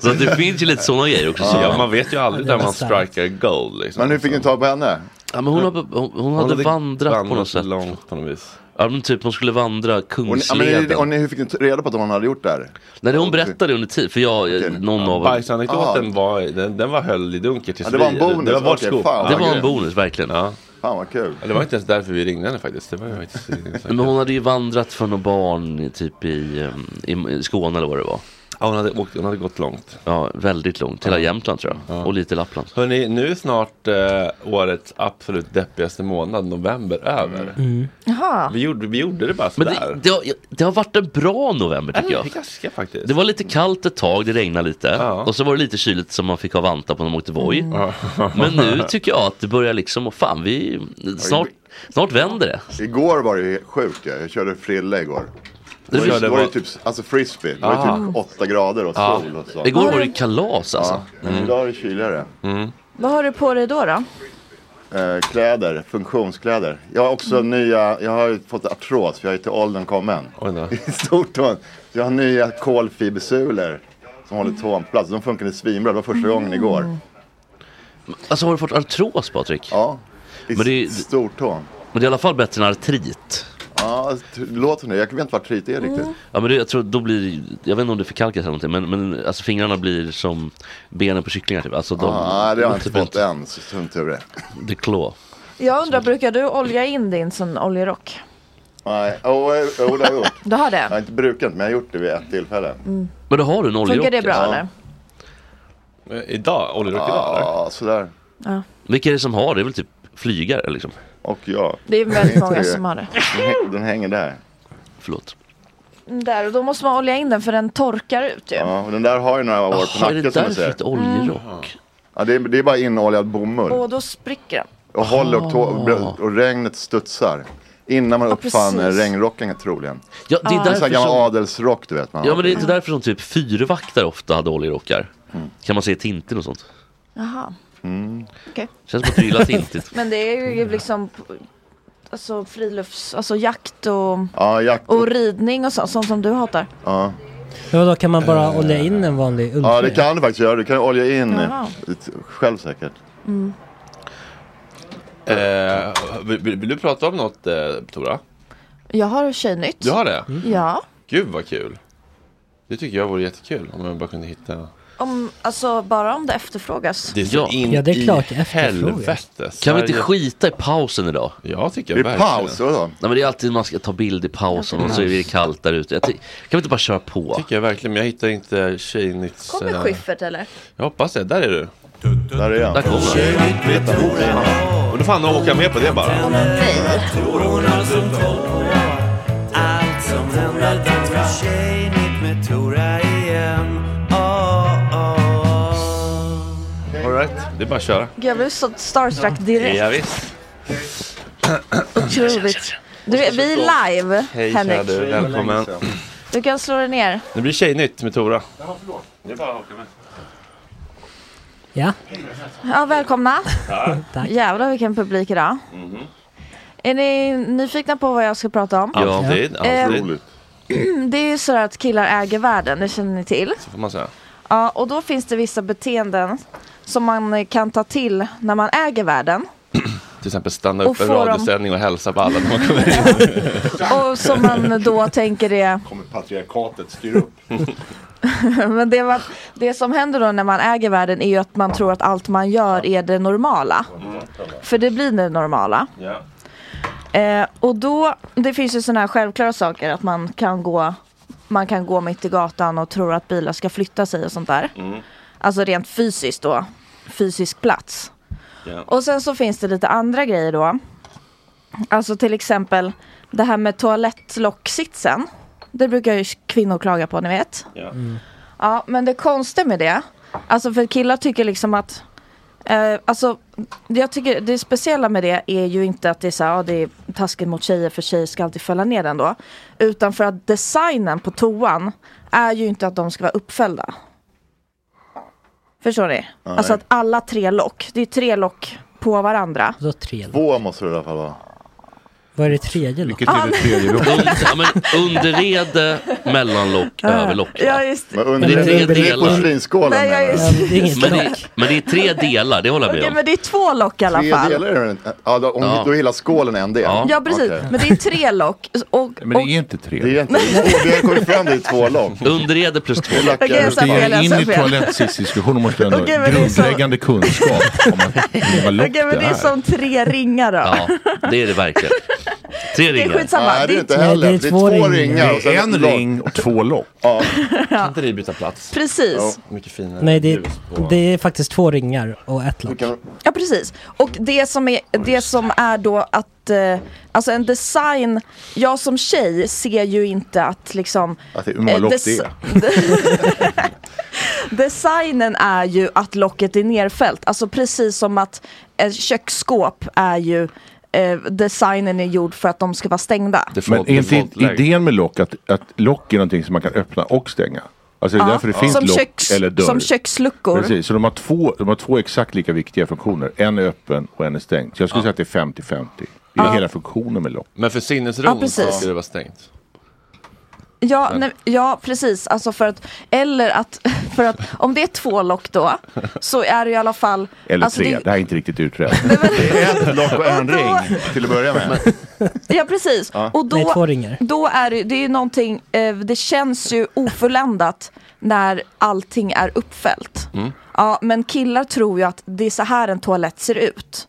D: så att det finns ju lite sådana grejer också.
A: Ja,
D: såklart.
A: man vet ju aldrig där man strikar gold liksom.
L: Men hur fick ni tag på henne?
D: Ja, men hon, har, hon, hon hade vandrat på något sätt.
A: långt på något vis.
D: Ja, men typ hon skulle vandra
L: Och ni, ja, men,
D: Kungsleden.
L: ni- och ni, hur fick ni t- reda på att hon hade gjort det här?
D: Nej, det hon berättade under tid, för jag, eh, någon av...
A: Bajsanekdoten var, den, den var höll i dunkel tills
D: Ah. Ja, det var en
A: vi-
D: bonus.
A: Det var vårt
D: Okej,
A: scoop.
D: fan, vad Det var en grymt. bonus, verkligen.
A: Ja.
L: Fan vad kul.
A: Ja, Det var inte ens därför vi ringde henne faktiskt. Det var ju faktiskt
D: Men hon hade ju vandrat från några barn i- typ i, ehm, i, i Skåne eller vad det var.
A: Ja, hon hade, åkt, hon hade gått långt.
D: Ja, väldigt långt. Hela
A: Ja.
D: Jämtland tror jag.
A: Ja.
D: Och lite Lappland.
A: Hörrni, nu är snart eh, årets absolut deppigaste månad, november, över.
E: Jaha.
A: Vi, gjorde, vi gjorde det bara
D: Mm. Men
A: sådär.
D: det, det, har, det har varit en bra november tycker
A: Ja,
D: jag.
A: det är ganska faktiskt.
D: Det var lite kallt ett tag, det regnade lite. Och så var det lite kyligt som man fick ha vantar på när man åkte Voi.
A: Mm.
D: Men nu tycker jag att det börjar liksom, och fan vi, snart, snart vänder det.
L: Igår var det ju sjukt ja. jag körde frilla igår.
D: Det
L: Det var,
D: var-
L: ju- det var ju
D: var-
L: typ, alltså frisbee, det var ju
D: Ah.
L: typ 8 grader och
D: Ja.
L: sol och så.
D: Igår var det ju kalas alltså. Mm.
L: Ja. Idag är det kyligare.
E: Vad har du på dig då? då?
L: Eh, kläder, funktionskläder. Jag har också nya, jag har ju fått artros för jag är till åldern kommen. (laughs) I stort då. Jag har nya kolfibersulor som håller tån på plats. De funkade svinbra, det var första gången igår.
D: Alltså har du fått artros Patrik?
L: Ja, i
D: Men det är,
L: stortån.
D: Men det är i alla fall bättre än artrit.
L: Ja, t- låt som det. Jag vet inte vad artrit är riktigt.
D: Ja men det, jag tror då blir, jag vet inte om det förkalkas eller någonting men, men alltså fingrarna blir som benen på kycklingar typ. Alltså de,
L: Ja, nej, Ah, det har jag
D: de
L: inte fått än, så som tur är.
D: Det klå.
E: Jag undrar, brukar du olja in din sån oljerock?
L: Nej, jo oh, oh, det har jag gjort.
E: Du har det?
L: Jag har inte brukat men jag har gjort det vid ett tillfälle.
E: Mm.
D: Men då har du en alltså.
E: Funkar det bra eller?
A: Idag? Oljerock
L: idag? Ja, sådär.
E: Ja.
D: Vilka är det som har det? Det är väl typ flygare liksom?
L: Och jag.
E: Det är
D: (laughs)
E: väldigt många som har det.
L: Den hänger där.
D: Förlåt.
E: Där, och då måste man olja in den för den torkar ut ju.
L: Ja, och den där har ju några år på
D: Jaha, är det
L: nacken som du
D: därför
L: ser.
D: ett oljerock?
L: Ja, det är, det är bara inoljad bomull.
E: Och då spricker den.
L: Och håller och, tå- och regnet studsar. Innan man uppfann
E: precis.
L: eh, regnrocken troligen.
D: Ja, det är
L: en sån
D: därför
L: här gammal
D: som-
L: adelsrock du vet. Man
D: Ja
L: har.
D: men det är inte därför som typ fyrvaktare ofta hade oljerockar?
L: Mm.
D: Kan man se Tintin och sånt?
E: Jaha,
D: Mm.
E: okej.
D: Känns som att du gillar Tintin.
E: Men det är ju liksom alltså, frilufts, alltså jakt och,
L: Ja, jakt.
E: och ridning och sånt, sånt som du hatar.
L: Ja.
G: Men då kan man bara olja in en vanlig ulltröja?
L: Eh, ja, det kan du faktiskt göra. Du kan olja in eh,
G: Jaha.
L: lite själv säkert.
E: Mm.
A: Eh, vill, vill vill du prata om något, eh, Tora?
E: Jag har tjejnytt.
A: Du har det?
E: Ja.
A: Gud vad kul. Det tycker jag vore jättekul om jag bara kunde hitta.
E: Om, alltså bara om det efterfrågas.
A: Det är så in
G: Ja, det är klart,
A: i
G: efterfrågas.
A: helvete.
D: Kan vi inte
A: Sverige-
D: skita i pausen idag?
A: Jag tycker
L: Det är verkligen. paus, vadå?
D: Nej men det är alltid man ska ta bild i pausen och så är det kallt där ute. Jag ty- Kan vi inte bara köra på?
A: Tycker jag verkligen, men jag hittar inte Tjejnytts...
E: Kommer
A: eh,
E: Schyffert eller?
A: Jag hoppas det, där är du.
L: Där är jag.
A: Där kom den. Och då fan åka med på det bara.
O: Allt som händer dags för Tjejnytt med Tora igen oh,
A: All right. Det är bara att köra.
E: Gud, jag blev så starstruck direkt. (clears throat)
A: Ja, visst.
E: Otroligt. Du, vet, vi är live,
A: Hej kära
E: Henrik.
A: du, välkommen. (clears throat)
E: Du kan slå dig ner.
A: Nu blir Tjejnytt med Tora.
O: Det är bara att åka med.
E: Ja, välkomna.
A: Tack.
E: Jävlar vilken publik idag. Är ni nyfikna på vad jag ska prata om?
A: Ja, alltid.
E: Eh,
A: Alltid.
E: (clears throat) Det är ju så att killar äger världen, det känner ni till.
A: Så (clears throat) får man säga.
E: Ja, och då finns det vissa beteenden som man eh, kan ta till när man äger världen.
A: Till exempel stanna
E: Och
A: upp en
E: får de-
A: radiosändning och hälsa på alla när man kommer in.
E: (laughs) Och som
A: (laughs)
E: man då tänker är
L: Kommer patriarkatet
D: (laughs)
L: styra upp?
E: (laughs) Men det, var, det som händer då när man äger världen är ju att man tror att allt man gör är det normala. För det blir det normala.
A: Ja.
E: Eh, och då, det finns ju sådana här självklara saker att man kan gå man kan gå mitt i gatan och tro att bilar ska flytta sig och sånt där. Alltså rent fysiskt då. Fysisk plats. Och sen så finns det lite andra grejer då. Alltså till exempel det här med toalettlocksitsen. Det brukar ju kvinnor klaga på, ni vet. Ja, men det konstiga med det, alltså för killar tycker liksom att Eh, alltså, jag tycker det speciella med det är ju inte att det är så här, ah, det är taskigt mot tjejer för tjejer ska alltid fälla ner den då. Utan för att designen på toan är ju inte att de ska vara uppfällda. Förstår ni?
L: Nej.
E: Alltså att alla tre lock, det är tre lock på varandra.
G: Då tre
L: Två måste det i alla fall vara.
G: Vad är det tredje då?
L: Vilket är det tredje då?
D: Ah. (laughs) ja, men underrede, mellanlock,
G: Ja.
D: överlock.
E: Ja, just
L: Men under- det är porslinsskålen, Nej, jag menar jag. det är inget
D: men, det,
L: lock.
D: men det är tre delar, det håller jag
E: Okej,
D: med om.
E: men det är två lock i alla
L: Tre
E: fall.
L: delar är det inte? Ja, då, om,
D: Ja.
L: då är hela skålen en del.
E: Ja, precis.
L: Okej.
E: Men det är tre lock. Och,
L: Men det är inte tre. Det är inte två. Vi har kommit
E: (laughs)
L: fram till två lag.
D: Underrede plus två.
E: Okej, jag sa fel, jag
P: in
E: sa
P: i
E: fel.
P: toalettsitsdiskussionen måste du ändå ha
E: Okej, men det är så-
P: grundläggande kunskap
E: (laughs)
P: om att vad lock
E: Okej, men det är som tre ringar då.
D: Ja, det är det verkligen. Tre
E: Det är
D: ringar.
E: skitsamma. Nej, det är Det är inte två- heller. det är Det är två två ringar. ringar och sen
P: Det är
E: ett
P: en
E: lock.
P: ring och två lock.
E: (laughs)
A: Kan inte ni byta plats?
E: Precis.
A: Ja, mycket finare
G: Nej, det,
A: ljus på-
G: det är faktiskt två ringar och ett lock.
E: Ja precis. Och det som är, det som är då att, eh, alltså en design, jag som tjej ser ju inte att liksom
L: Att det, hur många
E: eh,
L: lock det
E: des-
L: är.
E: (laughs) Designen är ju att locket är nerfällt, alltså precis som att ett köksskåp är ju eh, Designen är gjord för att de ska vara stängda.
P: Men är inte
E: default-läge.
P: idén med lock att, att lock är någonting som man kan öppna och stänga? Alltså det är
E: Ja.
P: därför det finns
E: som
P: lock
E: köks,
P: eller dörr.
E: Som köksluckor.
P: Precis, så de har, två, de har två exakt lika viktiga funktioner. En är öppen och en är stängd. Så jag skulle säga att det är 50-50. Det är
E: Ja.
P: hela funktionen med lock.
A: Men för sinnesron
E: Ja, precis.
A: så ska det vara stängt.
E: Ja,
A: Men-
E: nej, ja precis. Alltså för att, eller att, (laughs) för att om det är två lock då så är det i alla fall
P: Eller
E: alltså
P: tre,
E: det-
P: det, här är inte riktigt utrett. det är ett lock och en ring till att börja med.
E: Ja precis.
P: Ja.
E: Och då,
P: Nej, två ringar.
E: då är det, det är ju någonting, eh, det känns ju oförländat när allting är uppfällt.
P: Mm.
E: Ja, men killar tror ju att det är så här en toalett ser ut.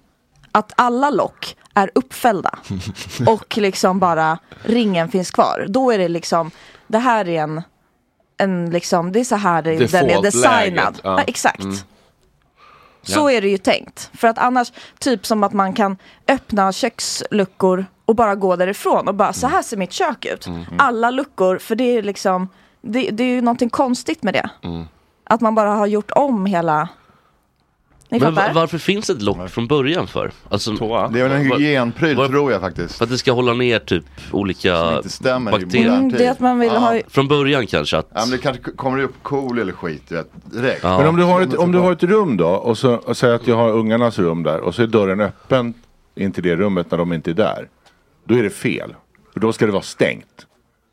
E: Att alla lock är uppfällda (laughs) och liksom bara ringen finns kvar. Då är det liksom, det här är en, en liksom, det är så här det, den är
A: Default-läget,
E: designad.
A: ja.
E: Ja. exakt.
A: Mm.
E: Så
A: Ja.
E: är det ju tänkt. För att annars, typ som att man kan öppna köksluckor och bara gå därifrån och bara så här ser mitt kök ut.
O: Mm.
E: Alla luckor, för det är liksom, det, det är ju någonting konstigt med det.
D: Mm.
E: Att man bara har gjort om hela, ni
D: Men va-
E: fattar?
D: varför finns ett lock från början för? Alltså,
L: Det är väl en hygienpryl tror jag faktiskt.
D: För att det ska hålla ner typ olika
L: i modern
D: bakterier.
L: Mm, det är tid. att man vill
D: Ja.
L: ha-
D: Från början kanske att...
L: Ja, men det kanske k- kommer upp cool eller skit du vet, direkt.
P: Men om du har ett, om du har ett rum då och, så, och säger att jag har ungarnas rum där och så är dörren öppen in till det rummet när de inte är där. Då är det fel. För då ska det vara stängt.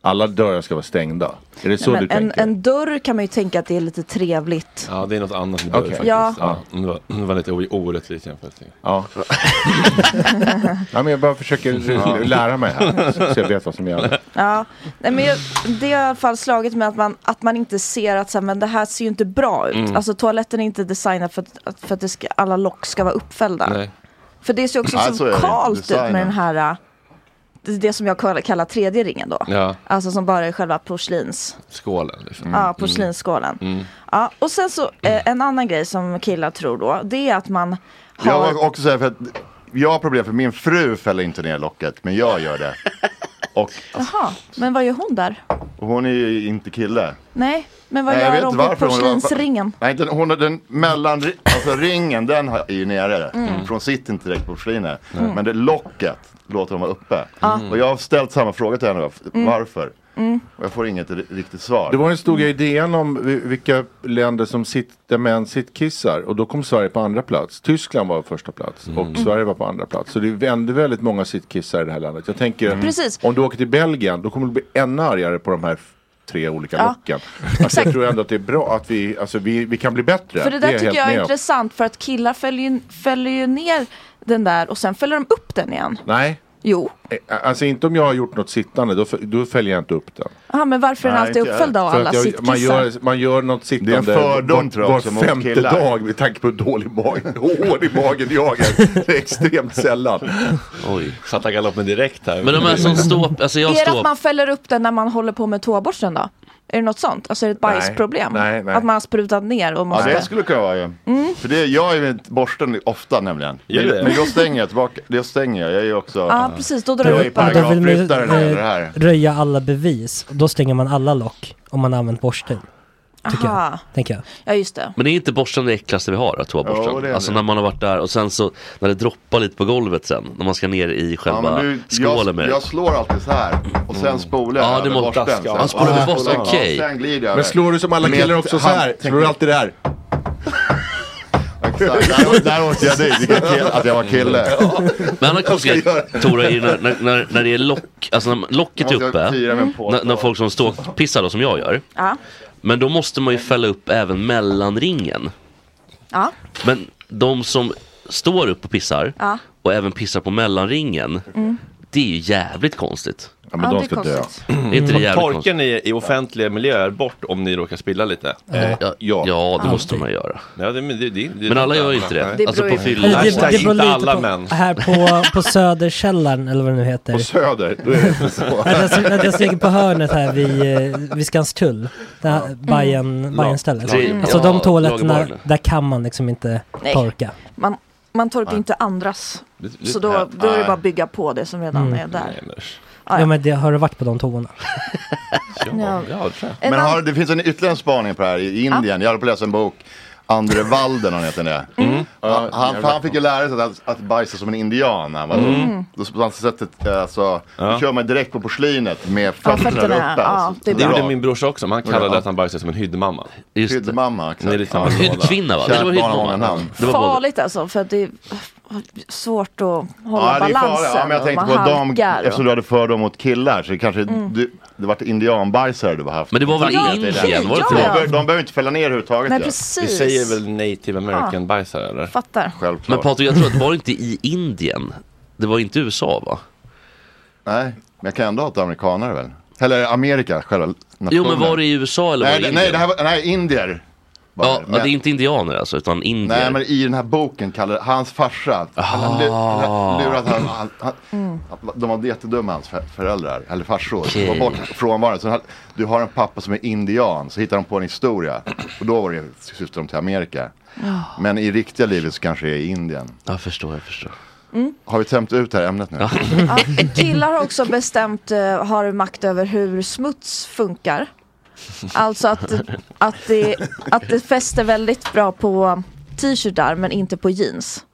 P: Alla dörrar ska vara stängda. Är det så
E: Nej,
P: du
E: men en,
P: tänker?
E: en dörr kan man ju tänka att det är lite trevligt.
A: Ja, det är något annat med dörr
P: Okej.
A: faktiskt.
E: Ja.
A: Det, var, det var lite o- orättvist jämfört.
P: Ja.
E: (laughs)
P: ja, men jag bara försöker
A: Ja.
P: lära mig här så jag vet vad som gäller.
E: Ja, Nej, men jag, det har i alla fall slagit mig att man, att man inte ser att så här, men det här ser ju inte bra ut.
P: Mm.
E: Alltså toaletten är inte designad för att, att- för att det ska, alla lock ska vara uppfällda. För det ser också
P: Nej, så är
E: så
P: det inte
E: kalt ut med
P: designat.
E: den här, äh, det, det som jag kallar, kallar tredje ringen då.
A: Ja,
E: Alltså som bara är själva porslins.
A: skålen. Liksom.
E: Ja, porslinsskålen.
A: Mm.
E: Ja, och sen så eh, en annan grej som killar tror då, det är att man
L: Jag
E: har...
L: var också så här för att jag har problem för min fru fäller inte ner locket, men jag
E: (laughs)
L: gör det. Och
E: Jaha, men vad gör hon där?
L: hon är ju inte kille.
E: Nej, men vad
L: Nej, jag
E: gör
L: vet
E: hon
L: inte
E: på
L: varför hon-
E: porslinsringen?
L: Nej, den, hon har den mellan, alltså ringen den har- är ju nere.
E: Mm.
L: För hon sitter inte direkt på porslinet.
E: Mm.
L: Men det locket låter hon vara uppe.
E: Ja. Mm.
L: Och jag har ställt samma fråga till henne, varf-
P: Mm.
L: varför?
E: Mm.
L: Och jag får inget ri- riktigt svar. Mm.
P: Det var en stor grej i DN om vi- vilka länder som sitt, där män sittkissar och då kom Sverige på andra plats. Tyskland var på första plats
E: Mm.
P: och Sverige var på andra plats. Så det vände väldigt många sittkissar i det här landet. Jag tänker
E: Mm. Precis.
P: om du åker till Belgien då kommer du bli ännu argare på de här f- tre olika
E: Ja, (laughs)
P: locken. Alltså, jag tror ändå att det är bra att vi, alltså, vi, vi kan bli bättre.
E: För det där
P: är
E: tycker
P: helt
E: jag
P: med
E: är
P: om.
E: intressant för att killar fäller ju, fäller ju ner den där och sen fäller de upp den igen.
P: Nej.
E: Jo.
P: Alltså inte om jag har gjort något sittande, då, f- då fäljer jag inte upp den.
E: Jaha, men varför är den alltid uppföljd av
P: För
E: alla
P: att jag- man gör,
E: sittkissar?
P: man gör något sittande
L: fördom,
P: var,
L: tror jag,
P: var
L: också mot
P: femte
L: killar.
P: dag med tanke på hur dålig magen, hur (laughs) hård i magen jag är. Det är extremt sällan.
D: Oj.
A: Satt han galoppen direkt här.
D: Men de här
A: (laughs)
D: som står, alltså jag
E: är det att
D: står,
E: man fäller upp den när man håller på med toaborsten då? Är det något sånt? Alltså är det ett
L: Nej,
E: bajsproblem?
L: nej, nej.
E: Att man har sprutat ner och
L: Ja,
E: måste... Mm.
L: det skulle kunna vara ju. För det, jag är med borsten ofta nämligen.
A: Gör du det?
L: Men, men då stänger jag tillbaka. Det stänger jag. Jag är ju också.
E: Ja, precis. Då drar
L: jag
E: du
L: är
E: upp alla.
G: Då vill man ju,
L: paragrafryttare när det gäller det
G: eh,
L: här.
G: röja alla bevis. Och Då stänger man alla lock om man har använt borsten. Tycker
E: Aha.
G: jag. Tänker jag.
E: Ah. Ja, just det.
D: men det är inte borsten det äckligaste vi har, att
L: Jo, det är
D: toaborsten.
L: det.
D: Alltså när man har varit där och sen så, när det droppar lite på golvet sen, när man ska ner i
L: Ja, men
D: själva
L: du,
D: skålen
L: jag,
D: med Mm.
L: jag slår alltid så här och sen spolar jag
D: Ja, du
L: över
D: måste-
L: borsten.
D: Ja,
L: sen.
D: spolar
L: Och
D: över
L: sen
D: borsten,
L: spolar jag-
D: okej.
L: ja, sen glider jag
P: Men
L: över.
P: slår du som alla
L: Med
P: killar också så här?
L: hand-
P: Slår du alltid det här?
L: Exakt. Där, där åkte jag dit, vilken kill, att jag var kille.
D: Men en annan konstig grej, Tora, är ju när, när, när, när det är lock, alltså när locket är
L: Jag måste
D: uppe,
L: fira med en påse.
D: när, när folk som står och pissar då som jag gör,
E: Ja.
D: men då måste man ju fälla upp även mellanringen.
E: Ja.
D: Men de som står upp och pissar
E: Ja.
D: och även pissar på mellanringen,
E: Mm.
D: det är ju jävligt konstigt.
E: men Ja, de det är ska dö. konstigt.
D: Är inte det
A: Och
D: jävligt konstigt?
A: Torkar ni Mm. i offentliga miljöer bort om ni råkar spilla lite?
D: Ja. Ja, det måste
A: Alltid.
D: man göra.
A: Ja, det, men det, det, det,
D: Men alla gör ju inte det.
A: Nej.
D: Alltså på fyllan.
G: Eller
A: Hashtag
G: beror
A: inte
G: lite
A: alla
G: på,
A: män.
G: Här på, på Söderkällaren eller vad det nu heter.
P: På Söder? Då är det inte så.
G: (laughs) Att jag, stod- att jag steg på hörnet här vid, eh, vid Skanstull. Där Bajen, Bajenstället.
D: Lag- Mm.
G: Alltså
D: Ja,
G: de toaletterna,
D: lagerbarn.
G: där kan man liksom inte
E: Nej.
G: torka.
E: Man, man torkar
G: Nej.
E: inte andras.
G: Det- det-
E: Så då, då är det
G: Nej.
E: bara att bygga på det som redan
G: Mm.
E: är där. Ja,
G: Ja men det, har du varit på de toorna?
E: (laughs) Ja. En
L: Men
E: annan-
L: har, det finns en ytterligare spaning på det här i Indien. Jag håller på att läsa en bok. Andre Walden, han heter det.
D: Mm.
L: Han, han, för han fick ju lära sig att, att bajsa som en indian när han var
A: Mm.
L: ung. Då, på hans sättet, alltså, då kör man direkt på porslinet med fötterna,
A: fötterna,
L: uppe.
A: ja,
L: alltså.
A: det är bra. Det gjorde min
L: brorsa också,
A: Man kallade det att han bajsade som en hyddmamma.
D: Just
L: Hyddmamma, exakt.
A: Det är liksom lite samma
L: Ja.
A: låda.
L: Hyddkvinna, va? Det Kärt var barn har hyddmamma. många namn.
A: Det
E: (laughs)
A: var både-
E: Farligt alltså, för att det är svårt att hålla
L: Ja, det är
E: balansen.
L: farligt. Ja, men jag
E: och
L: tänkte
E: man
L: på dam,
E: halkar och-
L: eftersom du hade fördom mot killar så det kanske
E: Mm.
L: du, det vart indianbajsare du har haft.
D: Men det var väl
L: Tack.
D: Indien,
L: Det är det.
D: var det
L: de,
D: inte det?
L: behöver- de behöver inte fälla ner överhuvudtaget.
E: Nej,
L: ja.
E: precis.
A: Vi säger väl native american
E: Ja.
A: bajsare eller?
E: Fattar.
D: Men Patrik, jag tror att det var inte i Indien. Det var inte USA va?
L: (laughs) Nej, men jag kan ändå hata amerikanare väl? Eller Amerika, själva
D: Jo
L: nationen.
D: men var det i USA eller var
L: nej,
D: det i
L: det- nej,
D: Indien?
L: det här var, nej, indier. var
D: ja,
L: men-
D: ja, det är inte indianer alltså, utan indier.
L: Nej, men i den här boken kallar hans farsa, han har lu-
D: Ah.
L: lu- lurat han, han, han, att de var jättedumma hans för- föräldrar, eller farsor.
D: Okej.
L: Okay. Var bort frånvarande. Så han, du har en pappa som är indian, så hittar de på en historia. Och då var det, syftar de till Amerika.
E: Ja.
L: Men i riktiga livet så kanske det är i Indien.
D: Jag förstår, jag förstår.
E: Mm.
L: Har vi tömt ut det här ämnet nu?
E: Ja, killar har också bestämt, eh, har makt över hur smuts funkar. Alltså att, att, det, att det fäster väldigt bra på t-shirtar men inte på jeans.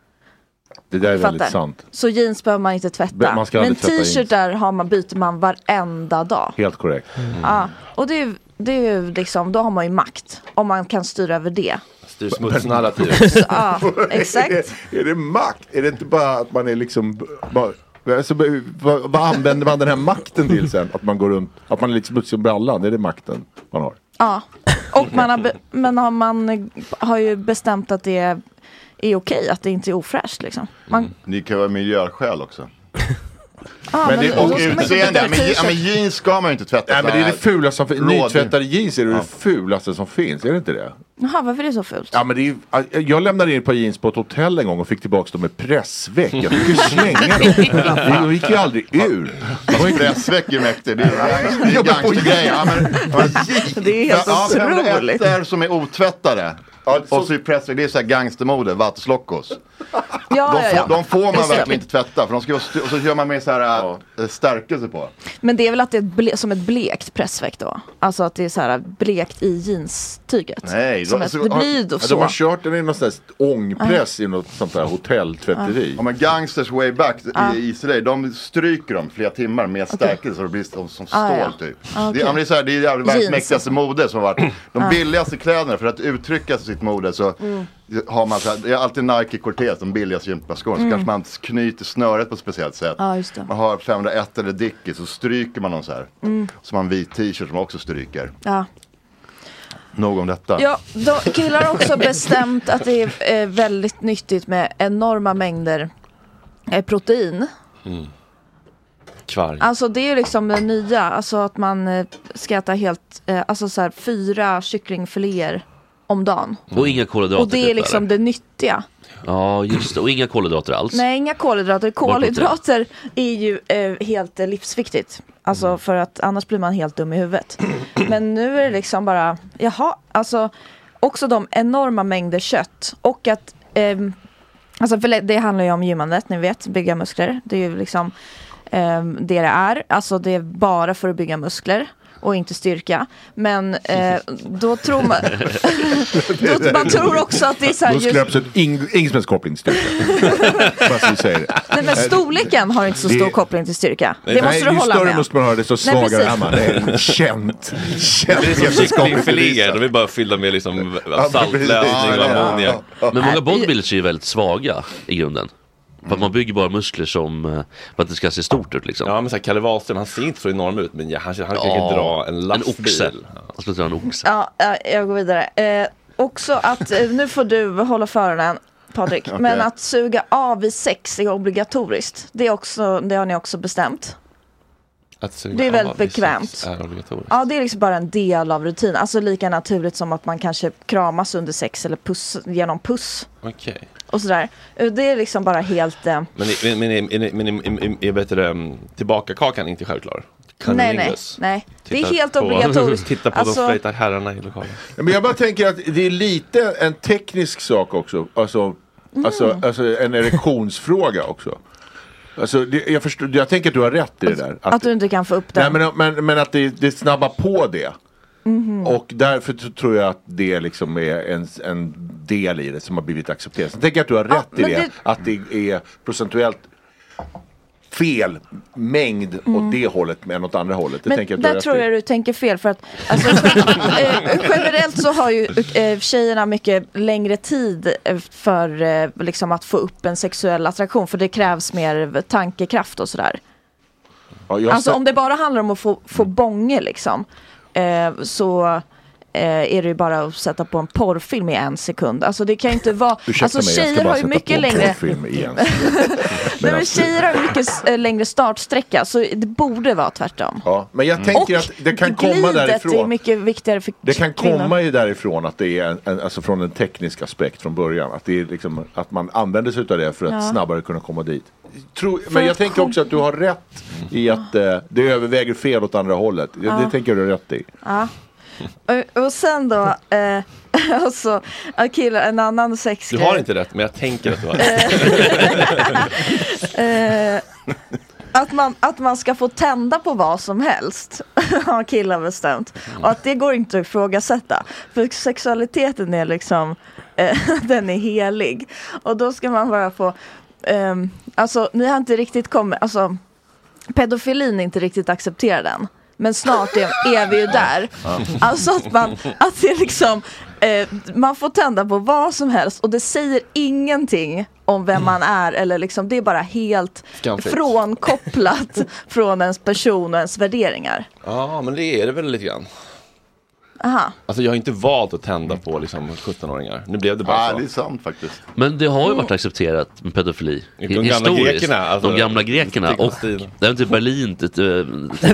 P: Det där är väldigt
E: Fattar?
P: sant.
E: Så jeans behöver man inte tvätta.
P: Man ska
E: men
P: aldrig tvätta jeans.
E: t-shirtar har man, byter man varenda dag.
P: Helt korrekt. Mm.
E: Ja, och det är, ju- det är ju liksom, då har man ju makt. Om man kan styra över det.
A: Styr
P: (laughs)
A: smutsnarrativet.
E: Ja, exakt.
P: är det makt? Är det inte bara att man är liksom b- bara Alltså, b- vad, vad använder man den här makten till sen? Att man går runt, att man är lite smutsig om brallan, är det makten man har?
E: Ja, och man har, be- men har man eh, har ju bestämt att det är, är okej, att det inte är ofräscht liksom. Man,
L: Det kan vara miljöskäl också.
E: Ja,
L: Mm. men
E: men
L: det, och
E: då ska man inte
L: utseende.
E: byta
L: Men, je-
E: t-shirt.
L: ja, men jeans ska man ju inte tvätta.
P: Nej men det är det fulaste som finns.
L: Rådig.
P: Nytvättade jeans är det, det fulaste som finns, är det inte det?
E: jaha, varför är det så fult?
P: Ja, men det är, jag lämnade in ett par jeans på ett hotell en gång och fick tillbaka dem med pressväck. Jag (laughs) fick ju slänga dem. De gick ju aldrig ur.
L: Pressväck är mäktig. Det är, det är gangstergrej. Ja, men,
E: det är helt otroligt.
L: Ettor som är otvättade. Och så är pressväck, det är så här gangstermode, vattenslockos.
E: Ja, ja,
L: De,
E: ja.
L: får- de får man
E: Just det.
L: verkligen inte tvätta för de ska, ju ha st- och så gör man med så här eh, stärkelse på.
E: Men det är väl att det är ett ble- som ett blekt pressväck då? Alltså att det är så här blekt i jeanstyget. som
L: alltså,
E: ett, det blir ju då så.
P: De alltså, har kört den i någon sån här ångpress i något sånt där hotelltvätteri.
L: Ja, men gangsters way back
E: Ja.
L: i Israel, de stryker dem flera timmar med stärkelse så det blir som, som stål
E: Ah, ja.
L: typ.
E: Ah,
L: Det,
E: okej.
L: ja, men det är, så här, det är jävligt
E: Jeans.
L: världens mäktigaste mode som har varit. De
E: Ah.
L: billigaste kläderna för att uttrycka sitt mode så
E: Mm.
L: har man så här, det är alltid Nike Cortez, de billigaste gympaskorna.
E: Mm.
L: Så kanske man knyter snöret på ett speciellt sätt.
E: Ja, just det.
L: Man har 501 eller Dickies så stryker man dem så här.
E: Mm.
L: Så man har en vit t-shirt som man också stryker.
E: Ja.
L: Nog om detta.
E: Ja, de, killar har också bestämt att det är eh, väldigt nyttigt med enorma mängder eh, protein.
A: Kvarg.
E: Alltså det är liksom det nya, alltså att man eh, ska äta helt, eh, alltså så här fyra kycklingfiléer om dagen.
D: Och inga kolhydrater.
E: Och det är
D: typ,
E: liksom
D: eller?
E: det nyttiga.
D: Ja, just det. Och inga kolhydrater alls.
E: Nej, inga kolhydrater.
D: Bortåt det.
E: Kolhydrater är ju eh, helt eh, livsviktigt. Alltså
P: Mm.
E: för att annars blir man helt dum i
P: (clears throat)
E: huvudet. Men nu är det liksom bara, jaha, alltså också de enorma mängder kött och att ehm, Alltså för det handlar ju om gymmandet, ni vet, bygga muskler. Det är ju liksom ehm, det det är. Alltså det är bara för att bygga muskler och inte styrka. Men eh, då tror
P: (laughs)
E: man... då, man tror också att det är så här
P: Då skulle jag absolut ing- ingen som helst koppling till styrka. Bara så vi säger det.
E: Nej men storleken har inte så stor
P: Det-
E: koppling till styrka. Det
P: Nej,
E: måste
P: nej,
E: du
P: ju
E: hålla
P: större
E: med om.
P: muskler man har desto
E: Nej,
P: svagare
E: precis.
P: är man. Det är känt.
A: Det
P: känt
A: är som
P: vetenskapligt bevisat.
A: kycklingfiléer, de är bara fyllda med liksom (laughs) saltlösning och ammoniak.
D: Men
E: Äh,
D: många bodybuilders är ju väldigt svaga i grunden. För att man bygger bara muskler som, eh, för att det ska se stort ut liksom.
A: Ja men såhär Kalle Wahlström, han ser inte så enorm ut men ja, han, han kan
D: Ja,
A: ju dra en lastbil.
D: oxe.
A: Han skulle dra en oxe.
E: Ja, ja, jag går vidare. Eh, också att, eh, nu får du hålla för öronen Patrik,
K: Okej.
E: men att suga av vid sex är obligatoriskt. Det, är också, det har ni också bestämt.
A: Att suga Äh,
E: Det är väldigt
A: av vid sex
E: bekvämt.
A: Är obligatoriskt.
E: Ja, det är liksom bara en del av rutin. Alltså lika naturligt som att man kanske kramas under sex eller puss, genom puss
A: Okej.
E: och sådär. Eh, Det är liksom bara helt... Eh,
A: Men, men, men, men, men, men, men är bättre um, tillbaka kakan inte självklar?
E: nej, nej, nej. Det är helt obligatoriskt.
A: Titta på
E: Alltså-
A: de flöjtar herrarna i lokalen.
P: Ja, Men jag bara tänker att det är lite en teknisk sak också. Alltså,
E: Mm.
P: alltså, alltså en erektionsfråga också. Alltså, det, jag, förstår, jag tänker att du har rätt i det där.
E: Att du inte kan få upp
P: nej,
E: den.
P: men, men, men att det, det snabbar på det.
E: Mhm.
P: Och därför t- tror jag att det liksom är en, en del i det som har blivit accepterat. Sen tänker jag att du har rätt i
E: men
P: det,
E: det-
P: Att det är procentuellt fel mängd åt det hållet än åt andra hållet. Det
E: Mm. Men
P: tänker jag att du har
E: där tror jag
P: rätt i.
E: du tänker fel för att alltså, eh, generellt så har ju eh, tjejerna mycket längre tid eh, för eh, liksom att få upp en sexuell attraktion för det krävs mer tankekraft och sådär.
P: Ja, jag
E: Alltså
P: sa-
E: om det bara handlar om att få, få bånge liksom eh, så eh, är det ju bara att sätta på en porrfilm i en sekund. Alltså det kan ju inte vara...
P: Ursäkta
E: Alltså
P: mig, jag
E: tjejer
P: ska bara
E: har ju
P: sätta
E: mycket
P: på en alltså-
E: längre...
P: porrfilm igen.
E: (laughs) Nej, men tjejer har ju mycket eh, längre startsträcka så det borde vara tvärtom. Mm.
P: Ja, men jag tänker att det kan komma
E: glidet är
P: därifrån.
E: mycket viktigare för
P: Det kan
E: kvinnor.
P: komma ju därifrån att det är en, en, alltså från en teknisk aspekt från början. Att, det är liksom, att man använder sig av det för att
E: Ja.
P: snabbare kunna komma dit. Tro, men jag tänker också att du har rätt i att eh, det överväger fel åt andra hållet. Det-
E: Ja.
P: Det tänker jag du har rätt i.
E: Ja. Och, och sen då, eh, (laughs) och så, ja, killar, en annan
A: Du
E: sexgrej.
A: har inte rätt men jag
E: (laughs)
A: tänker att du har rätt.
E: Eh, att, man, att man ska få tända på vad som helst (laughs) har killar bestämt. Och att det går inte att ifrågasätta. För sexualiteten är liksom, eh, (laughs) den är helig. Och då ska man bara få, ehm, alltså ni har inte riktigt kommit, alltså pedofilin är inte riktigt accepterad än. Men snart är, är vi ju där.
O: Ja.
E: Alltså att man, att det liksom Eh, man får tända på vad som helst och det säger ingenting om vem man är eller liksom det är bara helt
A: Skamfritt.
E: frånkopplat från ens person och ens värderingar.
A: Ja, men det är det väl lite grann.
E: Aha.
A: Alltså jag har inte valt att tända på liksom 17-åringar. Nu blev det bara
L: Ah,
A: så.
L: det är sant faktiskt.
D: Men det har ju varit accepterat med pedofili.
A: De gamla
D: historiskt.
A: grekerna, alltså.
D: de gamla grekerna och
A: Stigmastil.
D: det var typ Berlin, t- t-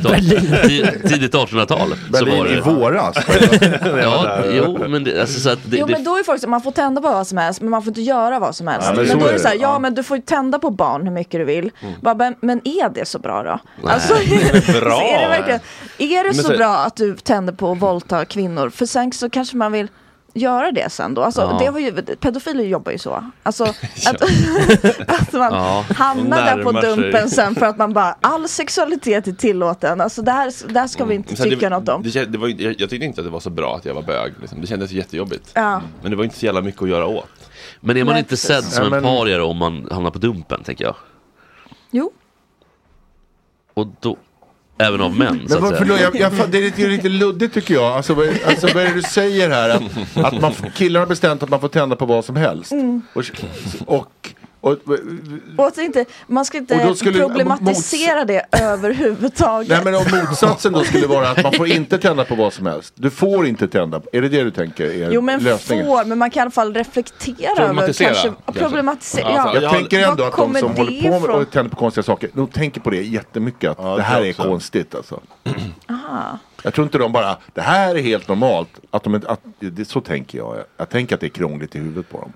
E: (laughs)
D: t- tidigt 1800-tal. så
L: Berlin
D: var det-
L: i våras.
D: (laughs) ja, jo, men det, alltså, så att det,
E: jo
D: det,
E: men då är folk så, man får tända på vad som helst men man får inte göra vad som helst.
D: Ja, men
E: men
D: så
E: då
D: är
E: är det
D: det.
E: så här, ja
D: Ja.
E: men du får ju tända på barn hur mycket du vill.
D: Mm.
E: Bara, men, men är det så bra då?
D: Nej.
E: Alltså,
D: Bra.
E: Är det, verkligen, är det
D: Men
E: så
D: så-
E: bra att du tänder på att våldta kvinnor? För sen så kanske man vill göra det sen då. Alltså,
D: Ja.
E: det var ju, pedofiler jobbar ju så.
D: (laughs)
E: Alltså att, (laughs) att man
D: Ja.
E: hamnar där på
D: Närmar sig.
E: dumpen sen för att man bara, all sexualitet är tillåten. Alltså det här, det här ska
D: Mm.
E: vi inte
A: Så
E: tycka
A: det,
E: något om.
A: Det, kän- det var, ju- jag, jag tyckte inte att det var så bra att jag var bög. Liksom. Det kändes jättejobbigt.
E: Ja.
A: Men det var inte så jävla mycket att göra åt.
D: men är man
E: Nej,
D: inte sedd
A: precis.
D: som
A: Ja, men-
D: en pariare om man hamnar på dumpen, tänker jag?
E: Jo.
D: Och då, även av män, så
P: Men
D: att
P: vad,
D: säga.
P: förlåt, jag, jag, fa- det är lite, det är lite luddigt tycker jag. Alltså, vad, alltså, vad är det du säger här? Att, att man, f- killar har bestämt att man får tända på vad som helst.
E: Mm.
P: Och, och, och,
E: Och att inte, man ska
P: Och
E: inte
P: då skulle-
E: problematisera det (laughs) överhuvudtaget.
P: nej, men om motsatsen då skulle vara att man får inte tända på vad som helst. Du får inte tända. Är det det du tänker är
E: Jo men
P: lösningen?
E: får, men man kan i alla fall reflektera över
P: Problematisera,
E: kanske,
P: kanske. alltså,
E: problematisera.
P: jag, tänker ändå att de
E: kommer
P: som
E: det
P: håller på med
E: ifrån?
P: och tänder på konstiga saker, de tänker på det jättemycket. Att det här
L: jag
P: är
L: också.
P: konstigt alltså.
E: Aha.
P: Jag tror inte de bara, det här är helt normalt. Att de, inte- att, det, så tänker jag. Jag tänker att det är krångligt i huvudet på dem.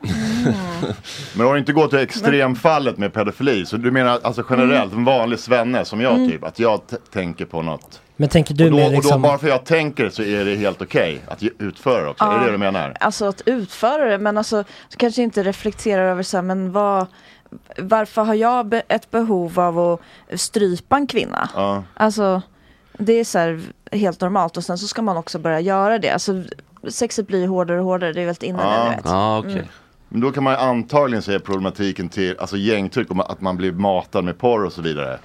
L: Men har du inte gått till extremfallet med pedofili? Så du menar alltså generellt, en vanlig svenne som jag
G: Mm.
L: typ, att jag t- tänker på något.
G: Men tänker du
L: och, då,
G: mer
L: och då
G: liksom...
L: bara för jag tänker så är det helt okej att ge- utföra också, är det det du menar?
E: Alltså att utföra det, men alltså så kanske inte reflekterar över så här, men vad, varför har jag be- ett behov av att strypa en kvinna?
L: Ja.
E: Alltså det är så här helt normalt och sen så ska man också börja göra det. Alltså sexet blir hårdare och hårdare, det är väl inne nu du vet. Mm.
L: Men då kan man ju antagligen säga problematiken till alltså gängtryck, om att man blir matad med porr och så vidare.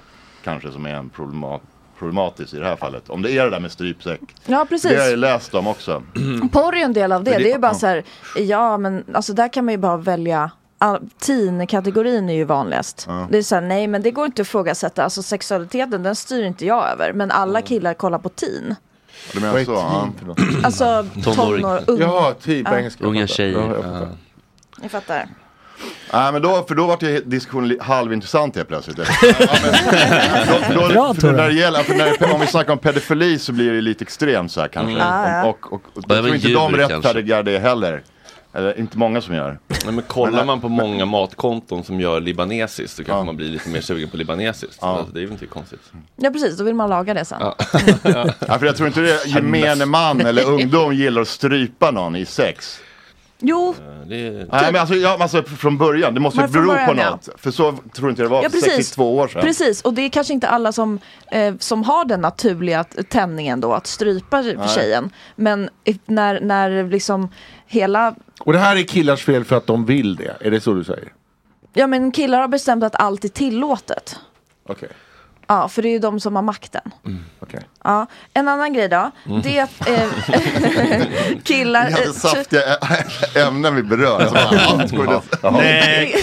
L: Kanske som är en problemat problematisk i det här fallet. Om det är det där med strypsäck.
E: Ja precis.
L: Det har jag ju läst om också.
D: Mm.
E: Porr är ju en del av det.
L: För det-
E: Det är ju bara
L: ja.
E: så här, ja men alltså där kan man ju bara välja all- Teen-kategorin är ju vanligast. Det är så här, nej men det går inte att ifrågasätta. Alltså sexualiteten den styr inte jag över. Men alla killar kollar på teen.
L: Du menar så? Ja.
E: Alltså tonår, ung. Ja.
D: Unga tjejer.
E: Ni fattar.
L: Nej men då, för då vart ju diskussionen li- halvintressant helt plötsligt. (laughs) Ja,
E: (laughs)
L: men- då, då,
D: Bra,
L: för
D: Tore.
L: när det gäller, för när, det- om vi snackar om pedofili så blir det lite extremt så här kanske.
A: Mm. Ja, ja.
L: Om- Och, och, och,
A: Och
L: jag
A: även
L: tror inte
A: djur
L: de
A: kanske.
L: rättfärdigar det heller. Eller inte många som gör.
A: Nej, men kollar man på många matkonton som gör libanesiskt så kanske man blir lite mer sugen på libanesiskt. Alltså, det är väl inte
L: (laughs)
A: konstigt.
E: Ja precis, då vill man laga det sen.
L: ja, för jag tror inte det är gemene man eller ungdom gillar att strypa någon i sex.
E: Jo,
L: Nej men alltså, ja, alltså från början, det måste ju
E: Men från
L: bero på
E: början, ja.
L: något. För så tror inte jag det var
E: Ja,
L: för
E: precis.
L: 62 år sedan.
E: precis. Och det är kanske inte alla som, eh, som har den naturliga t- tändningen då att strypa
P: Nej.
E: tjejen. Men i- när, när liksom hela
P: Och det här är killars fel för att de vill det. Är det så du säger?
E: Ja men killar har bestämt att allt är tillåtet.
P: Okej.
E: Ja, för det är ju de som har makten.
P: Mm.
E: Ja. En annan grej då,
L: Mm.
E: det är att
P: (laughs)
E: eh, killar...
L: Vi hade
E: eh,
L: saftiga ä- (laughs) ämnen vi berör. Alltså, allt går det-
P: Nej.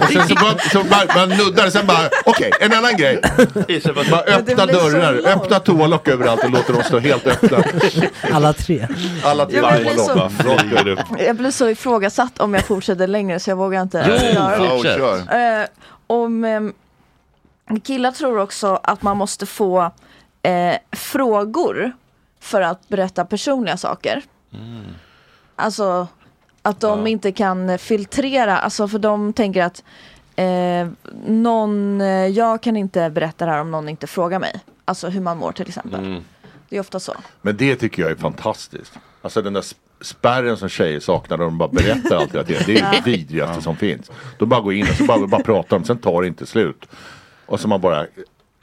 P: Och sen så, bara, så bara, man nuddar sen bara, okej, en annan grej. Bara öppna
E: blir så
P: dörrar,
E: långt.
P: öppna toalock överallt och låter dem stå helt öppna.
G: (laughs) Alla tre.
L: Alla
E: tre. Ja, men det blir så-
P: flyger upp.
E: Jag blir så ifrågasatt om jag fortsätter längre så jag vågar inte
P: Jo,
E: det.
P: fortsätt. Ja,
E: Eh, om, ehm, killar tror också att man måste få eh, frågor för att berätta personliga saker. Alltså att de inte kan filtrera, alltså för de tänker att eh, någon, eh, jag kan inte berätta det här om någon inte frågar mig. Alltså hur man mår till exempel. Det är ofta så.
P: Men det tycker jag är fantastiskt. Alltså den där sp- spärren som tjejer saknar där de bara berättar allt hela tiden. Det är
E: Ja.
P: det vidrigaste som finns. De bara går in och så bara, bara pratar de, sen tar det inte slut. Och så man bara,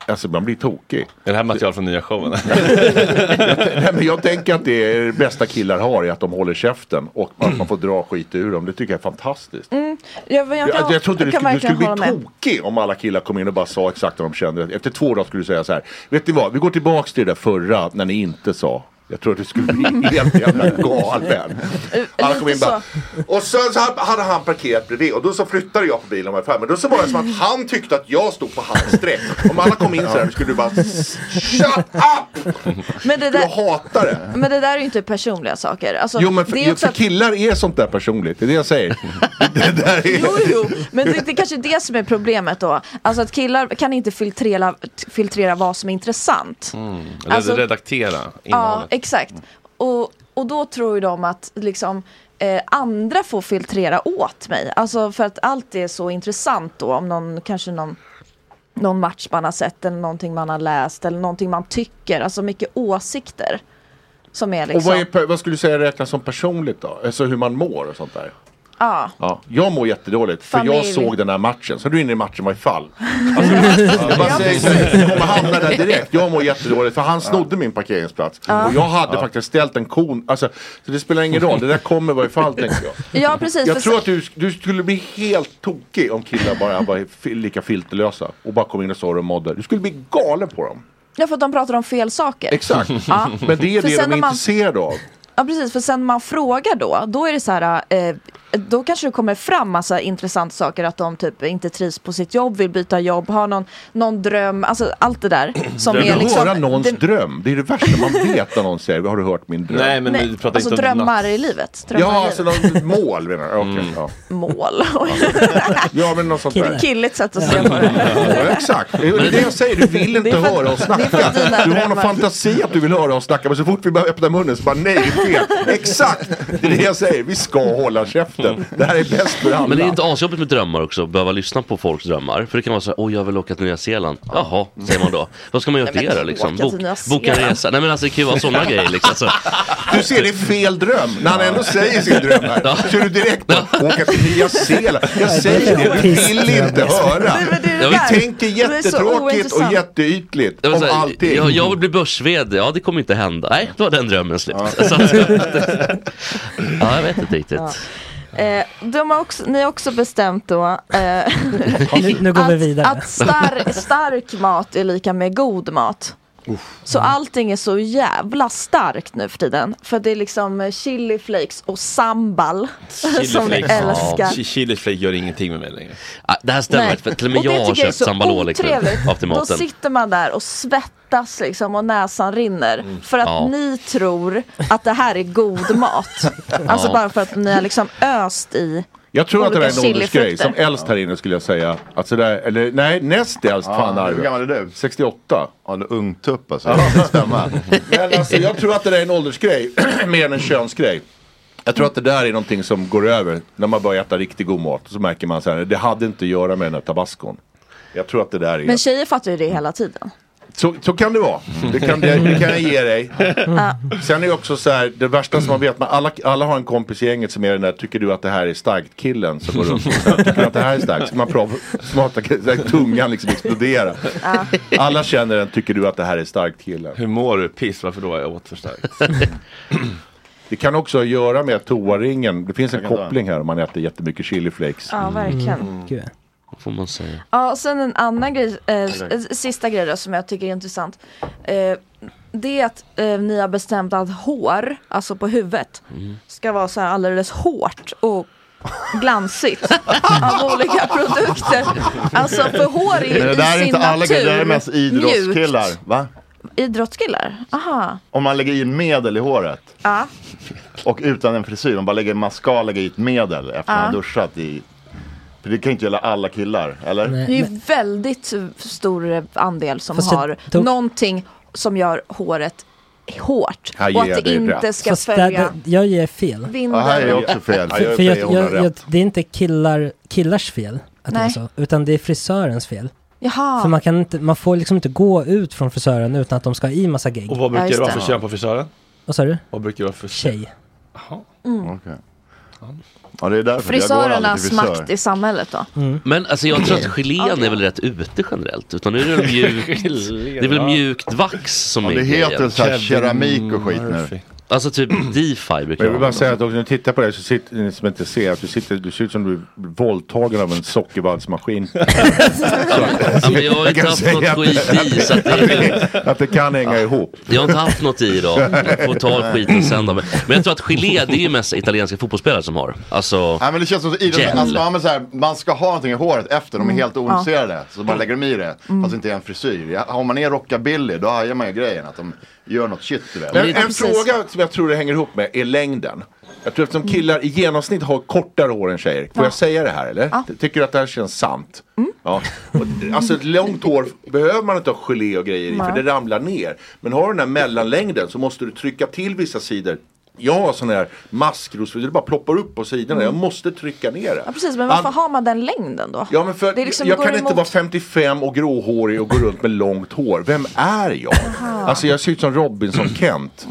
P: alltså man blir tokig.
A: Är det här material från nya showen?
P: (laughs) Nej, men jag tänker att det, är det bästa killar har är att de håller käften och att man får dra skit ur dem. Det tycker jag är fantastiskt.
E: Mm, jag, jag,
P: Jag,
E: kan,
P: alltså, jag, jag trodde du,
E: kan
P: skulle- du skulle
E: verkligen hålla
P: bli
E: med.
P: tokig om alla killar kom in och bara sa exakt vad de kände. Efter två dagar skulle du säga så här. Vet ni vad, vi går tillbaks till det där förra när ni inte sa. Jag tror att du
E: (laughs)
P: skulle bli helt jävla galen.
E: Eh,
Q: Han kom in bara, och sen så hade han parkerat bredvid och då så flyttade jag på bilen och var framme. Då så var det som att han tyckte att jag stod på hans streck. Om alla kom in så här skulle du bara Shut up!
E: Men det
Q: Jag
E: där,
Q: hatar det.
E: (laughs) men det där är ju inte personliga saker. Alltså,
P: Jo men för,
E: det är
P: ju,
E: också
P: för
E: att,
P: killar är sånt där personligt, det är det
E: (laughs)
P: jag säger. det där är...
E: men det, det är kanske är det som är problemet då. Alltså att killar kan inte filtrera, filtrera vad som är intressant.
A: Mm. Eller
E: Alltså-
A: redaktera
E: Ja,
A: innehållet.
E: exakt. Och, och då tror ju de att liksom, eh, andra får filtrera åt mig. Alltså för att allt är så intressant då. Om någon, kanske någon, någon match man har sett eller någonting man har läst eller någonting man tycker. Alltså mycket åsikter. Som är liksom...
P: Och vad, är, pe- vad skulle du säga räknas som personligt då? Alltså hur man mår och sånt där.
E: Ja.
P: Ja, jag mår jättedåligt för jag
E: Familj.
P: såg den här matchen. Så du är inne i matchen var
E: (laughs)
P: i fall. Alltså,
Q: Jag bara säger så här,
P: Jag kommer hamna där direkt. Jag mår jättedåligt för han snodde min parkeringsplats.
E: Ja.
P: Och jag hade
E: Ja.
P: faktiskt ställt en kon. Alltså, så det spelar ingen roll. Det där kommer vara i fall tänker jag.
E: Ja, precis.
P: Jag
E: för
P: tror
E: så-
P: att du, du skulle bli helt tokig om killar bara var fi- lika filterlösa. Och bara kom in och sa hur de mådde. Du skulle bli galen på dem.
E: Ja, för att de pratar om fel saker.
P: Exakt.
E: Ja.
P: Men det är
E: För
P: det
E: sen
P: de är
E: när man-
P: intresserade av.
E: Ja precis, för sen man frågar då, då är det så här, eh, då kanske det kommer fram massa intressanta saker att de typ inte trivs på sitt jobb, vill byta jobb, har någon, någon dröm, alltså allt det
P: (clears throat)
E: där. Som
P: Som du
E: är liksom,
P: höra någons
E: det-
P: dröm. Det är det värsta man vet när någon säger har du hört min dröm?
A: Nej,
E: Nej, alltså drömmar i livet. Drömmar
P: Ja,
E: i
P: alltså
E: livet.
P: någon mål menar du? Okej,
D: Mm.
P: ja.
E: Mål.
P: ja, men något sånt
E: Det är
P: där.
E: killigt sätt att se på det.
P: Ja, exakt, det är det jag säger. Du vill inte höra oss snacka. Du har någon fantasi att du vill höra oss snacka. Men så fort vi börjar öppna munnen så bara nej, det är fel. Exakt, det är det jag säger. Vi ska hålla käften. Det här är bäst för alla.
D: Men det är inte asjobbigt med drömmar också, att behöva lyssna på folks drömmar. För det kan vara så här, åh jag vill åka till Nya Zeeland. Jaha, säger man då. Vad ska man göra
P: Nej,
D: till
P: men
D: det liksom?
P: åka till
D: Bok,
P: Nya
D: boka en
P: Zeeland.
D: resa. Nej men alltså det kan ju vara sådana grejer liksom. Så.
P: Du ser, det är fel dröm. När han ändå säger sin dröm här. Så är du direkt på att åka till Nya Zeeland. Jag säger det, du vill inte höra. Vi tänker jättetråkigt och jätteytligt
D: Jag,
P: om
D: vill säga,
P: allting.
D: jag, jag vill bli börs-vd, ja det kommer inte hända. Nej, då var den drömmen slut. (laughs) Så, ja, jag vet inte riktigt.
E: Ja. Eh, de har också, ni har också bestämt då
G: (laughs)
E: eh,
G: Nu, nu går vi vidare.
E: att star, stark mat är lika med god mat. Så allting är så jävla starkt nu för tiden. För det är liksom eh, chili flakes och sambal. (laughs) (laughs) som ni älskar.
A: Chiliflake gör ingenting med mig längre.
D: det här stämmer faktiskt, för till och med jag
E: det
D: har
E: tycker
D: köpt sambalå liksom.
E: otrevligt.
D: Av till
E: Då
D: maten.
E: sitter man där och svettas liksom och näsan rinner. För att
D: Mm. Ja.
E: ni tror att det här är god
D: (laughs)
E: mat. Alltså
P: Ja.
E: bara för att ni har liksom öst i
P: Jag tror att det där är
E: olika
P: en åldersgrej. Som
E: chilifrukter.
P: äldst här inne skulle jag säga. Att sådär, eller nej, näst äldst. fan Arvid.
L: hur gammal är du?
P: 68.
L: Ja, du är ung tupp alltså. Det (laughs) kan inte stämma.
P: Men alltså, jag tror att det där är en åldersgrej (clears throat) mer än en könsgrej. Jag tror att det där är någonting som går över när man börjar äta riktigt god mat. Så märker man så här, det hade inte att göra med den här tabascon. Jag tror att det där är...
E: Men tjejer fattar ju det hela
D: (laughs)
E: tiden.
P: Så, så kan det vara. Det kan, det, det kan jag ge dig.
E: Ja.
P: Sen är det också så här, det värsta som man vet, man alla, alla har en kompis i gänget som är den där, tycker du att det här är starkt killen? Som (laughs) går runt och så här, tycker du att det här är starkt? Så man prov- smarta, så här, tungan liksom exploderar. Alla känner den, tycker du att det här är starkt killen? Hur mår du? Piss, varför då? Jag åt för starkt. (clears throat) Det kan också ha att göra med toaringen. Det finns en
E: Jag kan ta
P: koppling här om man äter jättemycket chiliflakes.
E: Ja, verkligen. Mm.
D: Får man säga.
E: Ja, och sen en annan grej, eh, s-
P: Eller?
E: eh, sista grej då, som jag tycker är intressant. Eh, det är att eh, ni har bestämt att hår, alltså på huvudet, ska vara så här alldeles hårt och glansigt av olika produkter. Alltså för hår är ju
L: Men det där
E: i
L: är
E: sin
L: inte alla grejer,
E: natur
L: det där är mest idrottskillar. Va?
E: mjukt. Idrottskillar? Aha.
L: Om man lägger in medel i håret
E: Ja.
L: och utan en frisyr, om man lägger mascara lägger i ett medel efter man
E: Ja.
L: har duschat i... För det kan ju inte gälla alla killar, eller?
E: Det är ju väldigt stor andel som
L: Fast jag
E: har
L: tog-
E: någonting som gör håret hårt.
L: Här
E: och
L: ger
E: att
L: jag
E: det
L: dig
E: inte
L: rätt.
E: ska
G: Fast där,
E: följa...
G: där, jag ger fel.
E: Vinden. Ja, här är jag också fel.
G: För,
E: Ja, jag
G: för jag,
E: är fel, hon har
G: jag, jag,
E: rätt.
G: det är inte killar, killars fel att det är
E: Nej.
G: så, utan det är frisörens fel.
E: Jaha.
G: För man, kan inte, man får liksom inte gå ut från frisören utan att de ska ha i massa gegg.
A: Och vad brukar det vara för kön på frisören?
G: Vad sa du?
A: Vad brukar det vara för
G: Tjej.
E: Mm.
L: Ja, det är därför. Jag går aldrig
E: Frisörernas
L: till frisör.
E: makt i samhället då?
D: Men alltså jag tror att gelén är väl rätt ute generellt. Utan nu är det mjukt, det är väl mjukt vax som
L: Ja,
D: är
L: det heter
D: grejen.
L: så här keramik och skit nu.
D: Alltså typ (clears throat) DeFi brukar
P: Men jag vill
D: jag
P: bara
D: använda.
P: säga att också när du tittar på det här så sitter ni som inte ser att du sitter, du ser ut som du är våldtagen av en sockervalsmaskin. Så-
D: Ja, men jag har inte
P: kan
D: haft
P: säga
D: något skit i, så att det är-
P: att det kan hänga ihop.
D: Jag har inte haft något i idag. Jag får ta skiten sen då. Men men jag tror att gelé, det är ju mest italienska fotbollsspelare som har. Alltså,
L: Nej men det känns som så idrotts-
D: gel.
L: alltså, man, så här, man ska ha någonting i håret efter, de är
D: Mm,
L: helt
D: ja.
L: ointresserade. Så bara lägger de i det,
D: Mm.
L: fast det inte är en frisyr. Ja, Om man är rockabilly, då hajar man ju grejen att de gör något shit du vet.
P: Men en fråga som jag tror det hänger ihop med är längden. Jag tror eftersom killar i genomsnitt har kortare hår än tjejer. Får jag säga det här eller? Tycker du att det här känns sant?
E: Mm.
P: Ja. Och, alltså ett långt hår behöver man inte ha gelé och grejer i för
Q: Nej.
P: det ramlar ner. Men har du den här mellanlängden så måste du trycka till vissa sidor. Jag har sån här maskrosor, det bara ploppar upp på sidorna. Jag måste trycka ner det.
E: Mm. Ja, precis, men varför
P: An-
E: har man den längden då?
P: Ja men för
E: Det liksom
P: jag
E: går
P: kan inte
E: emot-
P: vara 55 och gråhårig och gå runt med långt hår. Vem är jag?
E: Aha.
P: Alltså jag ser ut som Robinson-Kent.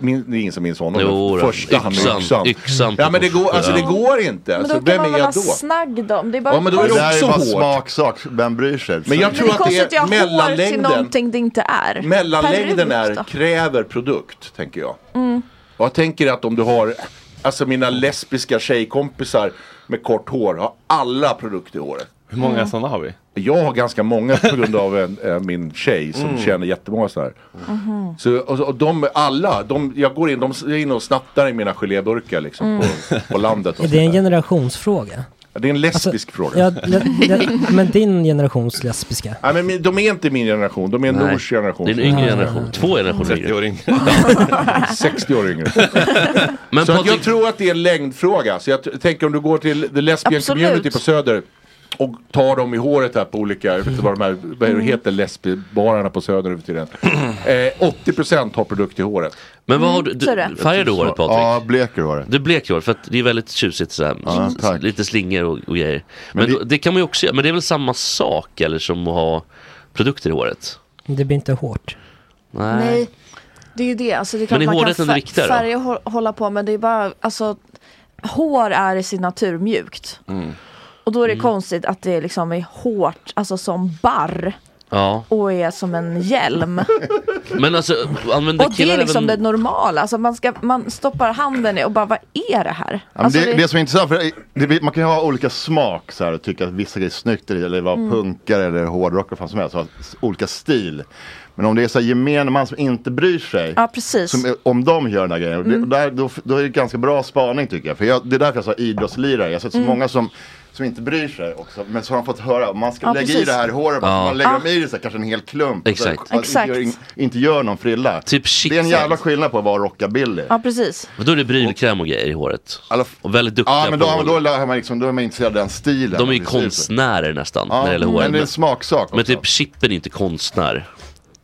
P: Min, det är ingen som minns honom.
D: Jo, då.
P: Första han med
D: Yxan.
P: yxan.
D: Yxan på
P: ja men det går, alltså, det
D: Ja.
P: går inte.
E: Men
P: Alltså,
E: då kan
P: vem
E: man
P: är
E: väl ha
P: jag då?
E: snagg då? Om Det är bara
P: Ja, men då är det
L: det här är
P: också
L: ju bara
P: hårt.
L: smaksak, vem bryr sig?
P: Men jag
E: Men
P: tror
E: det är
P: att det
E: konstigt att jag
P: är
E: har hår till
P: mellanlängden.
E: någonting det inte är.
P: Mellanlängden
E: Peruk
P: är,
E: då?
P: kräver produkt, tänker jag.
E: Mm.
P: Och jag tänker att om du har, alltså mina lesbiska tjejkompisar med kort hår har alla produkt i håret.
A: Hur många Mm. sådana har vi?
P: Jag har ganska många på grund
A: (laughs)
P: av en, eh, min tjej som
A: Mm.
P: känner jättemånga sådana här.
O: Mhm.
P: Så, och, och de, alla, de, jag går in, de jag är inne och snattar i mina geléburkar liksom
G: Mm.
P: på, på landet. Och
G: Är det en
P: sådär.
G: generationsfråga?
P: det är en lesbisk fråga.
G: Ja, le-
E: (laughs)
G: le- men din generations lesbiska?
P: Nej, men min- de är inte min generation, de är
G: Nej.
P: Nors generation.
G: Det är en yngre generation.
D: två generationer
P: 30 år
A: yngre.
P: (laughs) 60 år yngre.
D: Men
P: så att jag
D: Patrik-
P: tror att det är en längdfråga. Så jag t- tänker om du går till the lesbian
D: Absolut.
P: community på Söder och tar dem i håret här på olika, jag vet inte vad de här, vad
D: Mm.
P: heter lesbibarerna på Söder nu för tiden. (clears throat) Eh, 80% har produkt i håret.
D: Men
E: Mm,
D: vad har du, du
P: Mm, så är det.
D: färgar du håret Patrik?
P: Ja,
L: bleker håret.
D: Du bleker håret för att det är väldigt tjusigt sådär.
L: Ja,
D: S- lite slingor och, och grejer. Men, då, det kan man ju också göra, men det är väl samma sak eller som att ha produkter i håret?
G: Det blir inte hårt.
E: Nej, det är ju det. Alltså, det är
D: Men
E: klart
D: är
E: man
D: håret
E: kan
D: ändå viktigare då?
E: färga hår, hålla på men det är bara, alltså hår är i sin natur mjukt.
L: Mm.
E: Och då är det
D: Mm.
E: konstigt att det liksom är hårt, alltså som barr
D: Ja,
E: och är som en
D: (laughs)
E: hjälm.
D: men alltså använder
E: och det är
D: killar
E: liksom det
D: även...
E: normala, alltså man, ska, man stoppar handen i och bara vad är det här?
L: Ja, men
E: Alltså,
L: det, det...
E: det-
L: som är intressant, för eh, det, det, man kan ju ha olika smak så här, och tycka att vissa grejer är snyggt eller eller vara
E: Mm.
L: punkare eller hårdrock och fan som helst. och ha s- Olika stil. Men om det är så här, gemene man som inte bryr sig.
E: Ja, precis.
L: Som, är- om de gör den här grejen.
E: Mm.
L: Det, där, då, då är det ganska bra spaning tycker jag. För jag, det är därför jag sa idrottslirare. Jag har sett så
E: Mm.
L: många som som inte bryr sig också, men så har de fått höra, man ska
E: Ja,
L: lägga i
E: precis.
L: det här i håret, bara,
D: Ja.
L: man lägger
E: Ja.
L: dem i det så här, kanske en hel klump. och så-
D: Exakt.
L: och
E: Exakt.
L: Inte, gör, inte gör någon frilla. det är en jävla skillnad på att vara rockabilly.
E: ja, precis.
D: Men då är det brylkräm och grejer i håret. Och väldigt duktiga
L: Ja men då,
D: på
L: då, då, är man liksom, då är man intresserad av den stilen.
D: De är ju
L: Det ser ut så.
D: konstnärer nästan
L: Ja,
D: när det gäller
L: men
D: håret.
L: det är en smaksak
D: Men typ Chippen är inte konstnär.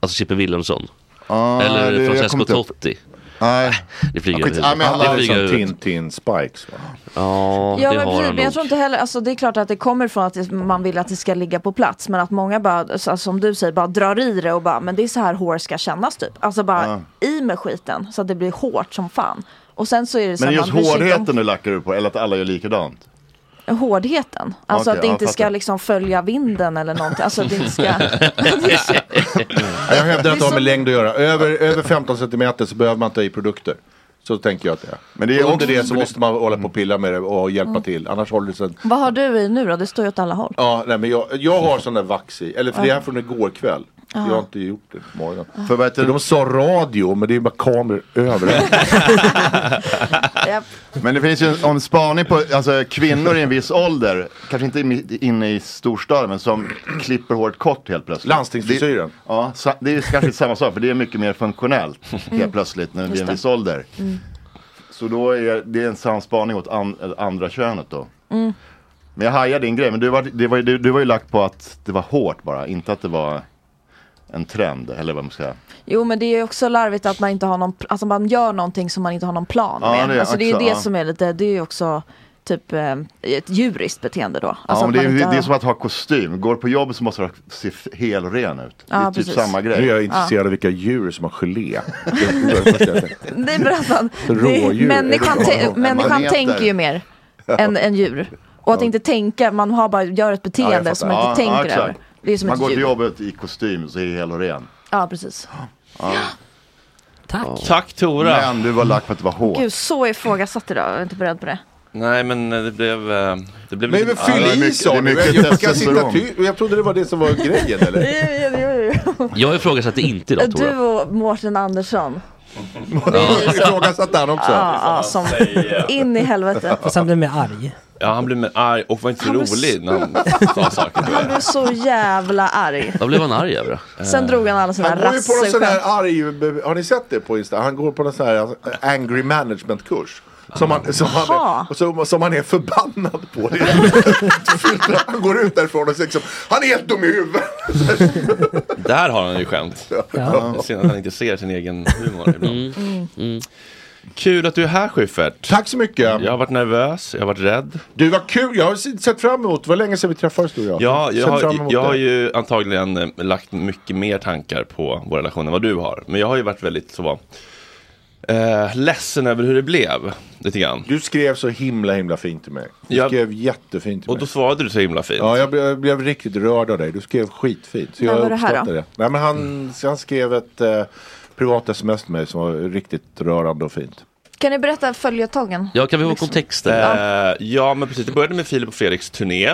D: Alltså Chippen Wilhelmsson.
L: Ah,
D: Eller
L: det- jag kommer
D: Francesco
L: inte ihop.
D: Totti.
L: Nej.
D: (laughs) Det flyger
P: Ja,
D: över
P: skit- ja, men han
D: huvudet.
P: har
D: Det flyger
P: liksom
D: över huvudet.
P: Tintin Spikes va?
D: Ja,
E: Ja
D: det
E: men
D: har
E: precis,
D: han
E: men jag
D: nog.
E: tror inte heller, alltså det är klart att det kommer från att det- man vill att det ska ligga på plats men att många bara, alltså, som du säger, bara drar i det och bara men det är så här hår ska kännas typ. Alltså bara i med skiten så att det blir hårt som fan. Och sen så är det så
L: Men det är
E: här,
L: just
E: man bryr sig inte om
L: hårdheten du lackar upp på, eller att alla gör likadant.
E: Hårdheten, alltså
L: Okej,
E: att det
L: ja,
E: inte ska
L: fattar.
E: liksom följa vinden eller någonting. Alltså att det inte
L: (laughs)
E: ska...
P: Ja, (laughs) jag hävdar att det har med längd att göra. Över, över 15 centimeter så behöver man inte ha i produkter. Så tänker jag att det är. Men
L: det är
P: Under
L: också-
P: det så måste man hålla på och pilla med det och hjälpa
E: Mm.
P: till. Annars håller det sig...
E: Vad har du i nu då? Det står ju åt alla håll.
P: Ja, nej, men jag, jag har sån där vax i. Eller för det är från igår kväll.
E: Ja.
P: Jag har inte gjort det på morgonen.
E: Ja.
L: För, vet
P: de sa radio, men det är bara kameror överallt.
A: (laughs)
L: Men det finns ju en, en spaning på alltså, kvinnor i en viss ålder, kanske inte i- inne i storstaden, men som klipper håret kort helt plötsligt.
P: Landstingsfrisyren.
L: Det- Ja, sa- det är ju kanske samma sak, för det är mycket mer funktionellt helt plötsligt när det
E: Mm. Just
L: blir en
E: det. Mm.
L: viss ålder. Så då är det en samspaning åt an, eller andra könet då.
E: Mm.
L: Men jag hajar din grej, men du var, det var, ju- du, du var ju lagt på att det var hårt bara, inte att det var en trend eller vad man ska säga.
E: Jo men det är ju också larvigt att man inte har någon, alltså man gör någonting som man inte har någon plan
L: Ja,
E: med.
L: det är
E: alltså det är ju
L: också,
E: det
L: ja.
E: som är lite, det är ju också typ eh, ett djuriskt beteende då. Alltså
L: ja, men
E: att
L: det,
E: man
L: är,
E: inte
L: det är
E: har-
L: som att ha kostym. Går du på jobbet så måste du ha- se f- helren ut. det
E: Ja,
L: är typ
E: precis.
L: samma grej.
P: Nu är jag intresserad av vilka djur som har
E: (laughs)
P: gelé. Det är först jag tänker.
E: Nej
P: (laughs)
E: berätta.
P: Rådjur,
E: Människan,
P: är det
E: te-
P: bra?
E: människan
P: Maneter.
E: tänker ju mer än, än djur. Och att inte tänka, man har bara, gör ett
L: Ja, jag
E: beteende
L: fattar.
E: som man inte
L: Ja, ja,
E: tänker
L: exakt.
E: över. Det är som
L: Man
E: ett
L: går
E: djur.
L: till jobbet i kostym så är helren.
E: Ja precis.
L: Ja.
F: Tack.
A: Tack Tora.
L: Men du var lack på att det var hårt.
E: Gud, så ifrågasatt idag. Jag är inte beredd på
P: (laughs)
E: det.
A: Nej men eh, det blev... eh, Det blev
P: Men
A: lite-
P: men
A: Ja,
P: fyll
A: det var
P: i
A: mycket-
P: sa
A: det var
P: du.
A: mycket
P: Jag, jag, kan sitta
A: testosteron.
P: ty- jag trodde det var det som var grejen eller?
D: Jag ifrågasätter inte idag
E: (laughs) Du
D: Tora.
E: och Mårten Andersson.
P: Ifrågasatt han också.
E: Ja, ja, som in i helvete.
G: Fast han blev mer arg.
A: Ja han blev mer arg och var inte så
E: Han blev
A: rolig när han sa saker.
E: Han blev så jävla
P: (laughs)
E: arg.
D: Vad blev han arg över
A: Eh,
E: Sen drog han alla sina
P: Han går ju på någon sån här
E: rasselskämt.
P: arg, har ni sett det på Insta? Han går på någon sån här angry management kurs. Som han, som, han
E: Jaha.
P: är, som, som han är förbannad på. Det är, han går ut därifrån och säger liksom, han är helt dum i huvudet.
A: Där har han ju skämt.
P: Ja.
A: Synd att han inte ser sin egen humor ibland. Kul att du är här Schyffert.
P: Tack så mycket.
A: Jag har varit nervös, jag har varit rädd.
P: Du var kul, jag har sett fram emot, det var länge sedan vi träffades du och jag.
A: Ja, jag
P: Sett fram
A: har,
P: emot
A: jag har
P: det.
A: ju antagligen eh, lagt mycket mer tankar på vår relation än vad du har. Men jag har ju varit väldigt så eh, ledsen över hur det blev. Lite grann.
P: Du skrev så himla himla fint till mig. Du skrev jättefint till
A: Och då svarade du så himla fint.
P: Ja, jag blev, jag blev riktigt rörd av dig. Du skrev skitfint. Så
A: När
P: jag
A: var det här
P: uppskattar
A: då?
P: det. Nej, men han, han skrev ett eh, privat sms till mig som var riktigt rörande och fint.
E: Kan ni berätta följetongen?
A: Ja, kan vi få kontexten? Eh, ja, men precis. Det började med Filip och Fredriks turné.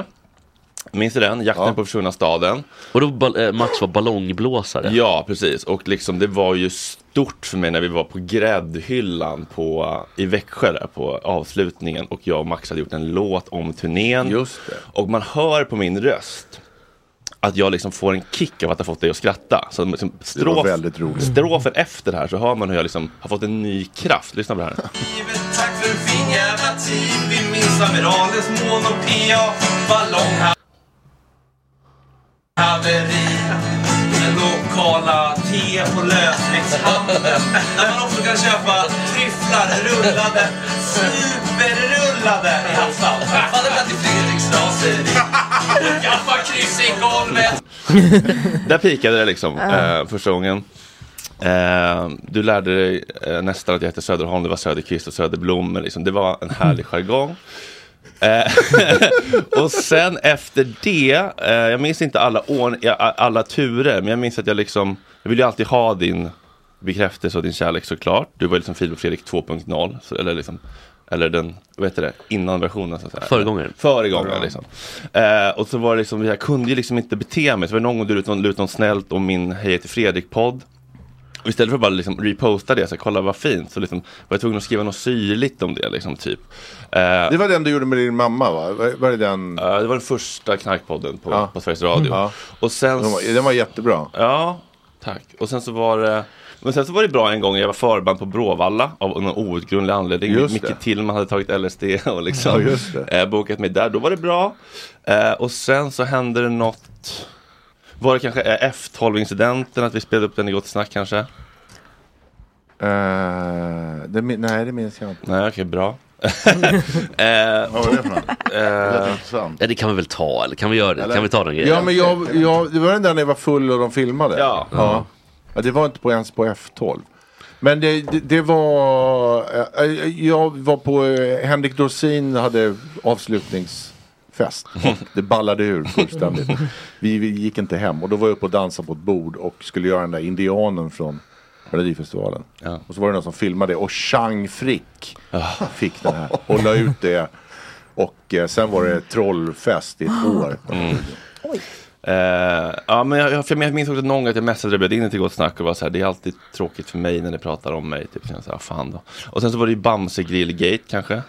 A: Minns du den? Jakten på försvunna staden. Och då Max var ballongblåsare. Ja, precis. Och liksom, det var ju stort för mig när vi var på gräddhyllan på, i Växjö där, på avslutningen. Och jag och Max hade gjort en låt om turnén. Just Och man hör på min röst att jag liksom får en kick av att ha fått dig att skratta. Så liksom
P: var
A: strof,
P: väldigt roligt.
A: strofen efter här så hör man hur jag liksom har fått en ny kraft. Lyssna på det här.
O: Tack för en fin jävla tid Vi minns amiralens monopea Ballong haveri Den lokala te på lösviktshandeln Där man också kan köpa tryfflar rullade Superrullade i havsfall Fattade att det är Fredriks raseri Gaffa kryss i golvet
A: (laughs) Där pikade det liksom
O: Ja.
A: eh, första gången. Eh, du lärde dig eh, nästan att jag hette Söderholm, det var Söderqvist och Söderblom. Men liksom, det var en härlig jargong. Eh, (laughs) och sen efter det, eh, jag minns inte alla, år, alla turer, men jag minns att jag liksom, jag ville ju alltid ha din bekräftelse och din kärlek såklart. Du var ju liksom Filip och Fredrik 2.0, så- eller liksom, eller den, vad heter det, innan-versionen så att säga.
D: Föregångaren.
A: Föregångaren liksom. Eh, och så var det liksom, jag kunde ju liksom inte bete mig. Så var det någon gång du lutade lut någon snällt om min Hej jag heter Fredrik-podd. Och istället för att bara liksom reposta det, så här, kolla vad fint, så liksom, var jag tvungen att skriva något syrligt om det. Liksom, typ.
P: Det var den du gjorde med din mamma va? Var, var det den?
A: det var den första knarkpodden på,
P: Ja. Mm.
A: på Sveriges Radio.
P: Ja.
A: Och sen...
P: Den var- den var jättebra.
A: Ja, tack. Och sen så var det... Men sen så var det bra en gång, jag var förband på Bråvalla av någon outgrundlig anledning.
P: Just
A: Micke
P: det.
A: Tillman hade tagit LSD (laughs) och liksom
P: Ja, just det.
A: eh, bokat mig där. Då var det bra. Eh, och sen så hände det något... Var det kanske eh, F12-incidenten, att vi spelade upp den i Gott Snack kanske?
P: Eh, det, min- nej, det minns jag inte.
A: Nej,
D: (laughs)
A: okej, bra. eh,
P: Vad var det för något? Det lät intressant.
D: eh, Ja, det kan vi väl ta, eller kan vi göra det? Kan vi ta den grejen?
P: Ja, men jag, jag, det var den där när jag var full och de filmade.
D: Ja.
P: ja. Ja, det var inte på, ens på F12. Men det, det, det var... eh, eh, Jag var på... eh, Henrik Dorsin hade avslutningsfest. Och det ballade ur fullständigt. Vi, vi gick inte hem. Och då var jag uppe och dansade på ett bord och skulle göra den där indianen från Melodifestivalen. Och så var det någon som filmade och Chang Frick fick den här. Och la ut det. Och eh, sen var det trollfest
A: (gasps)
P: i ett år.
A: Mm. Eh, ja, men jag, jag, för jag minns också någon gång att jag messade och bjöd in till Gott Snack och var så här, det är alltid tråkigt för mig när ni pratar om mig. Typ, så jag, så här, fan då. Och sen så var det ju Bamse Grillgate kanske.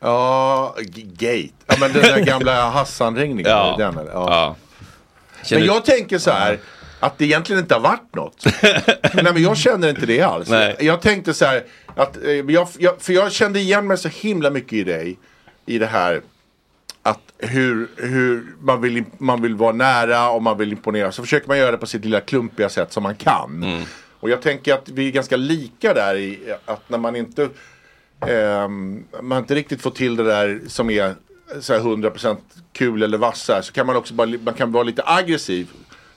P: Ja, g- gate. Ja,
A: (laughs)
P: men den där gamla Hassan-ringningen.
A: Ja.
P: Den, eller? ja.
A: Känner-
P: Men jag tänker så här. Att det egentligen inte har
A: (laughs)
P: varit något. Nej men jag känner inte det alls.
A: Nej.
P: Jag tänkte så här. Att, eh, jag, jag, för jag kände igen mig så himla mycket i dig. I det här. Att hur, hur man, vill, imp- man vill vara nära och man vill imponera. Så försöker man göra det på sitt lilla klumpiga sätt som man kan.
A: Mm.
P: Och jag tänker att vi är ganska lika där i att när man inte ehm, man inte riktigt får till det där som är så här 100% kul eller vass så här, så kan man också bara, li- man kan vara lite aggressiv.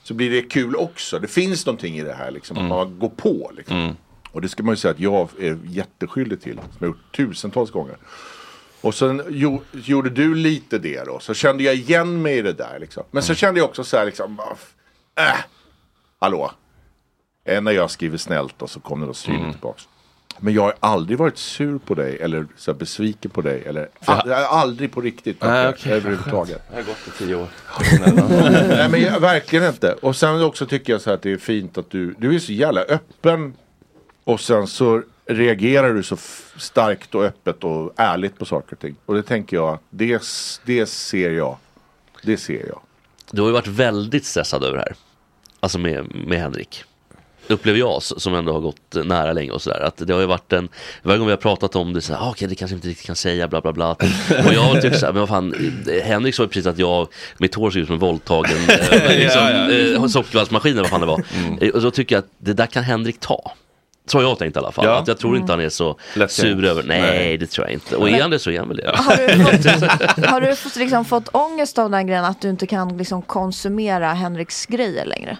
P: Så blir det kul också. Det finns någonting i det här liksom. Att man går på liksom. Och det ska man ju säga att jag är jätteskyldig till. Som jag har gjort tusentals gånger. Och sen jo, gjorde du lite det då. Så kände jag igen mig i det där liksom. Men så kände jag också så här liksom. Äh, "Ah, hallå. Eh, när jag skriver snällt och så kommer det något
A: Mm.
P: syrligt tillbaks. Men jag har aldrig varit sur på dig eller så här, besviken på dig. Eller,
A: För-
P: Ah, jag, aldrig på riktigt
A: Nej,
P: Patrik,
A: okej.
P: överhuvudtaget.
A: Det har gått i tio år.
P: (laughs) Nej men jag, verkligen inte. Och sen också tycker jag så här att det är fint att du, du är så jävla öppen. Och sen så reagerar du så f- starkt och öppet och ärligt på saker och ting. Och det tänker jag, att det, s- det ser jag. Det ser jag.
D: Du har ju varit väldigt stressad över det här. Alltså med, med Henrik. Upplever jag s- som ändå har gått nära länge och sådär. Att det har ju varit en, varje gång vi har pratat om det så här, ah, okej det kanske vi inte riktigt kan säga bla bla bla. Och jag har tyckt såhär, men vad fan, Henrik sa ju precis att jag, mitt hår ser ut som en våldtagen eh, liksom,
A: Ja, ja.
D: eh, sockervaddmaskin eller vad fan det var. Eh, Och då tycker jag att det där kan Henrik ta. Så har jag tänkt i alla fall.
A: Ja.
D: Att jag tror inte han är så sur över, nej,
A: Nej.
D: det tror jag inte. Och är
E: Men-
D: han det så är han väl det.
E: (laughs) Har du fått- liksom fått ångest av den grejen att du inte kan liksom konsumera Henriks grejer längre?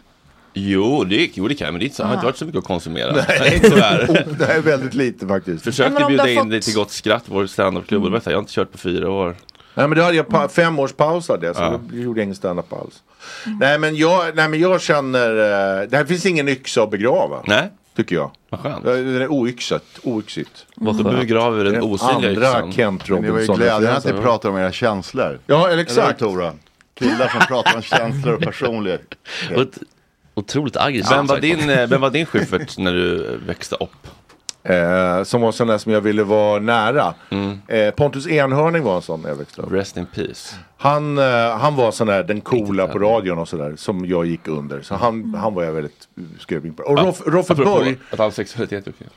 A: Jo, det, jo, det kan jag, men det är inte så, jag har inte varit så mycket att konsumera.
P: Nej. Oh,
A: Nej,
P: (laughs)
A: tyvärr.
P: Det är väldigt lite faktiskt.
A: Försökte bjuda in dig till Gott Skratt, vår standupklubb, och det var så här, jag har inte kört på fyra år.
P: Nej men då hade jag pa- fem års paus hade jag, så
A: Mm. Ja.
P: då gjorde jag ingen standup alls. Nej, men jag, nej men jag känner, eh, det här finns ingen yxa att begrava.
A: Nej.
P: Tycker jag.
A: Vad skönt.
P: Det är oyxat, oyxigt. Mm.
A: Vad skönt. Då begraver vi den osynliga
P: andra
A: yxan.
P: Kent
L: Men det var ju
P: Robinson.
L: glädjen att ni pratar om era känslor.
P: Ja, eller
L: Eller
P: exakt.
L: hur, Tora? Killar som pratar om känslor och personlighet.
D: Ot- otroligt aggressivt.
A: Vem var
D: sagt.
A: din, eh, vem var din Schyffert när du växte upp?
P: Eh, som var sån där som jag ville vara nära. Eh, Pontus Enhörning var en sån när jag växte upp.
A: Mm. Rest in peace.
P: Han, eh, han var sån där den coola på radion och sådär som jag gick under. Så han, han var jag väldigt skrubbing på. Och Roff, Roffe
A: apropå
P: Borg.
A: Att all sexualitet är okej.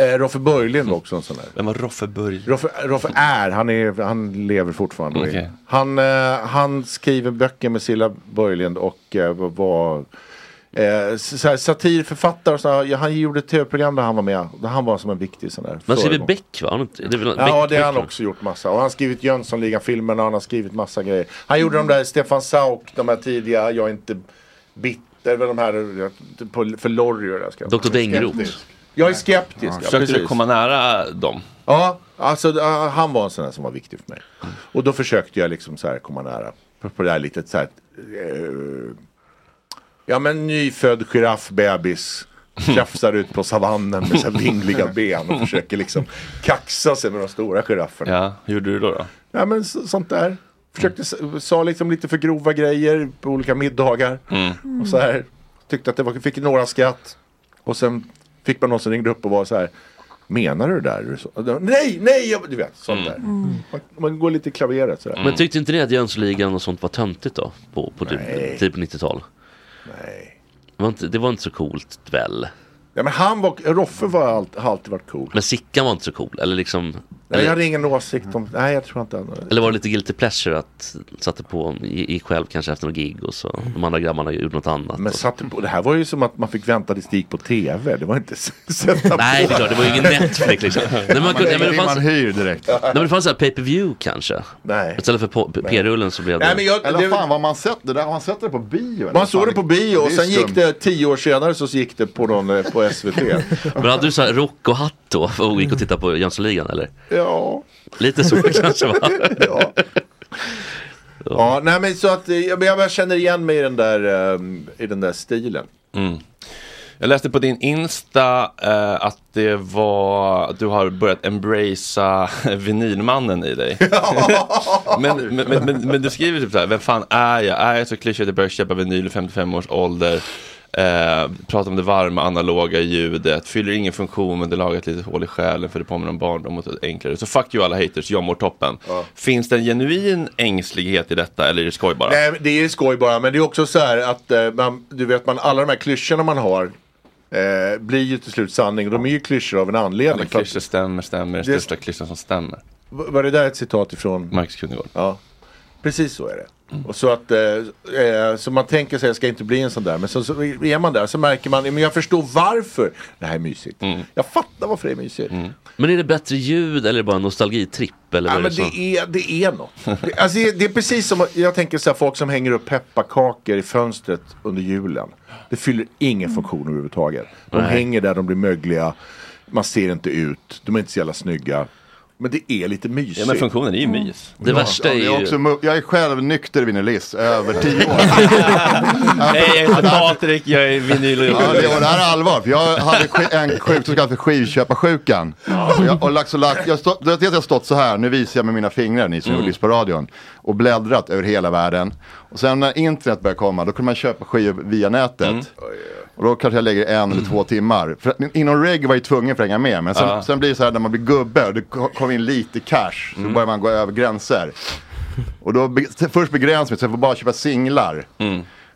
P: Eh, Roffe Börjlind var också en sån där.
A: Vem var Roffe Börjlind?
P: Roffe, Roffe är, han, är, han lever fortfarande.
A: Mm, okej.
P: Han, eh, han skriver böcker med Cilla Börjlind och eh, var eh, s- så här, satirförfattare. Och så här, Ja, han gjorde ett tv-program där han var med. Där han var som en viktig sån där.
D: Men skriver
P: (laughs) föregång-
D: Beck va? Har du inte- Det är väl
P: Ja,
D: Beck-
P: det har han
D: Beck-
P: också gjort massa. Och han har skrivit Jönssonligan-filmerna, han har skrivit massa grejer. Han gjorde de där Stefan Sauk, de här tidiga, jag är inte bitter, eller de här eh, på, för Lorry och det där ska jag-
A: Dr. Dängroth.
P: Skeptisk. Jag är skeptisk.
A: Ja,
P: Ja,
A: Försökte du
P: precis.
A: komma nära dem?
P: Ja, alltså eh, han var en sån där som var viktig för mig. Och då försökte jag liksom så här komma nära. På, på det här litet så här. eh, ja men nyfödd giraffbebis. Tjafsar ut på savannen med så här vingliga ben och försöker liksom kaxa sig med de stora girafferna.
A: Ja, hur gjorde du då? då?
P: Ja men så, sånt där. Försökte, s- sa liksom lite för grova grejer på olika middagar.
A: Mm.
P: Och så här, tyckte att det var, fick några skratt. Och sen fick man någon som ringde upp och var så här. Menar du det där? Är det så?" Och då, Nej, nej, jag, du vet sånt där. Man, man går lite i klaveret sådär.
D: Mm. Men tyckte inte ni att Jönssonligan och sånt var töntigt då? På, på
P: Nej.
D: typ, typ 90-tal?
P: Nej.
D: Det var, inte, det var inte så coolt väl?
P: Ja men han var, Roffe var, allt- har alltid varit cool.
D: Men Sickan var inte så cool? Eller liksom...
P: Nej, jag
D: eller,
P: hade ingen åsikt om, nej jag tror inte han.
D: eller var det lite guilty pleasure att satte på, gick själv kanske efter något gig och så de andra grabbarna gjorde något annat?
P: Men satte på, det här var ju som att man fick vänta tills det gick på tv. Det var inte s-
D: (laughs)
P: sätta
D: Nej,
P: på.
D: det är klart, det var ju ingen Netflix
P: (laughs)
D: liksom. Nej, men man kunde- nej, men det fanns-
P: hyr direkt.
D: Nej, men det fanns så här pay-per-view kanske?
P: Nej.
D: Istället för po- p- p-rullen så blev det...
L: Eller vad fan, vad man sett det där, har man sett det på bio? eller?
P: Man såg det på bio och
L: är
P: sen
L: skumt.
P: gick det tio år senare så gick det på någon eh, på SVT.
D: (laughs) Men hade du så här rock och hatt då och gick och tittade på Jönssonligan eller?
P: ja.
D: Lite
P: (laughs)
D: så kanske va?
P: ja. ja, nej men så att eh, jag, men jag bara känner igen mig i den där, eh, i den där stilen.
A: Mm. Jag läste på din Insta eh, att det var att du har börjat embracea (laughs) vinylmannen i
P: (laughs)
A: dig. men, men, men, men, men du skriver typ så här, vem fan är jag? Är jag så klyschig att jag börjar köpa vinyl i 55 års ålder? Eh, pratar om det varma analoga ljudet, fyller ingen funktion men det lagar ett litet hål i själen för det påminner om barndom och ett enklare. Så fuck you alla haters, jag mår toppen. Finns det en genuin ängslighet i detta eller är det skoj bara?
P: Nej, men det är skoj bara, men det är också så här att eh, man, du vet, man, alla de här klyschorna man har eh, blir ju till slut sanning. Och de är ju klyschor av en anledning.
A: Alla
P: för att-
A: klyschor stämmer, stämmer,
P: Det-
A: största klyschan som stämmer.
P: V- Var det där ett citat ifrån?
A: Marcus Krunegård.
P: Ja, precis så är det. Och så att, eh, eh, så man tänker sig, jag ska inte bli en sån där. Men så, så är man där, så märker man, men jag förstår varför det här är mysigt.
A: Mm.
P: Jag fattar varför det är mysigt.
D: Men är det bättre ljud eller bara en nostalgitripp? Eller
P: Ja,
D: vad
P: men
D: är det som-
P: det är, det är något. Det- Alltså, det det är precis som, jag tänker så här, folk som hänger upp pepparkakor i fönstret under julen. Det fyller
L: Mm.
P: ingen funktion överhuvudtaget. De
D: Nej.
P: hänger där, de blir mögliga. Man ser inte ut, de är inte så jävla snygga. Men det är lite mysigt.
A: Ja, men funktionen är ju
P: Mm.
A: mys.
P: Det värsta är
L: jag
P: ju-
L: Också,
A: (laughs)
L: mu- jag är själv nykter vinilist, över tio
P: (laughs)
L: år.
A: Nej, jag heter Patrik, jag är vinyl
L: Ja, det, och det här är allvar, för jag hade sk- en sjukdom som kallas för skivköparsjukan. Och jag, och lax och lax, jag, stå, du vet att jag har stått så här, nu visar jag med mina fingrar, ni som
J: Mm.
L: lyssnar på radion, och bläddrat över hela världen. Och sen när internet började komma, då kunde man köpa skivor via nätet.
P: Mm.
L: Och då kanske jag lägger en eller två timmar. För, att- men inom reggae var jag ju tvungen för att hänga med. Men sen,
J: Ja.
L: sen blir det så här när man blir gubbe och det ko- kommer in lite cash. Så börjar man gå över gränser. Och då be, först begränsar mig, sen får jag bara köpa singlar.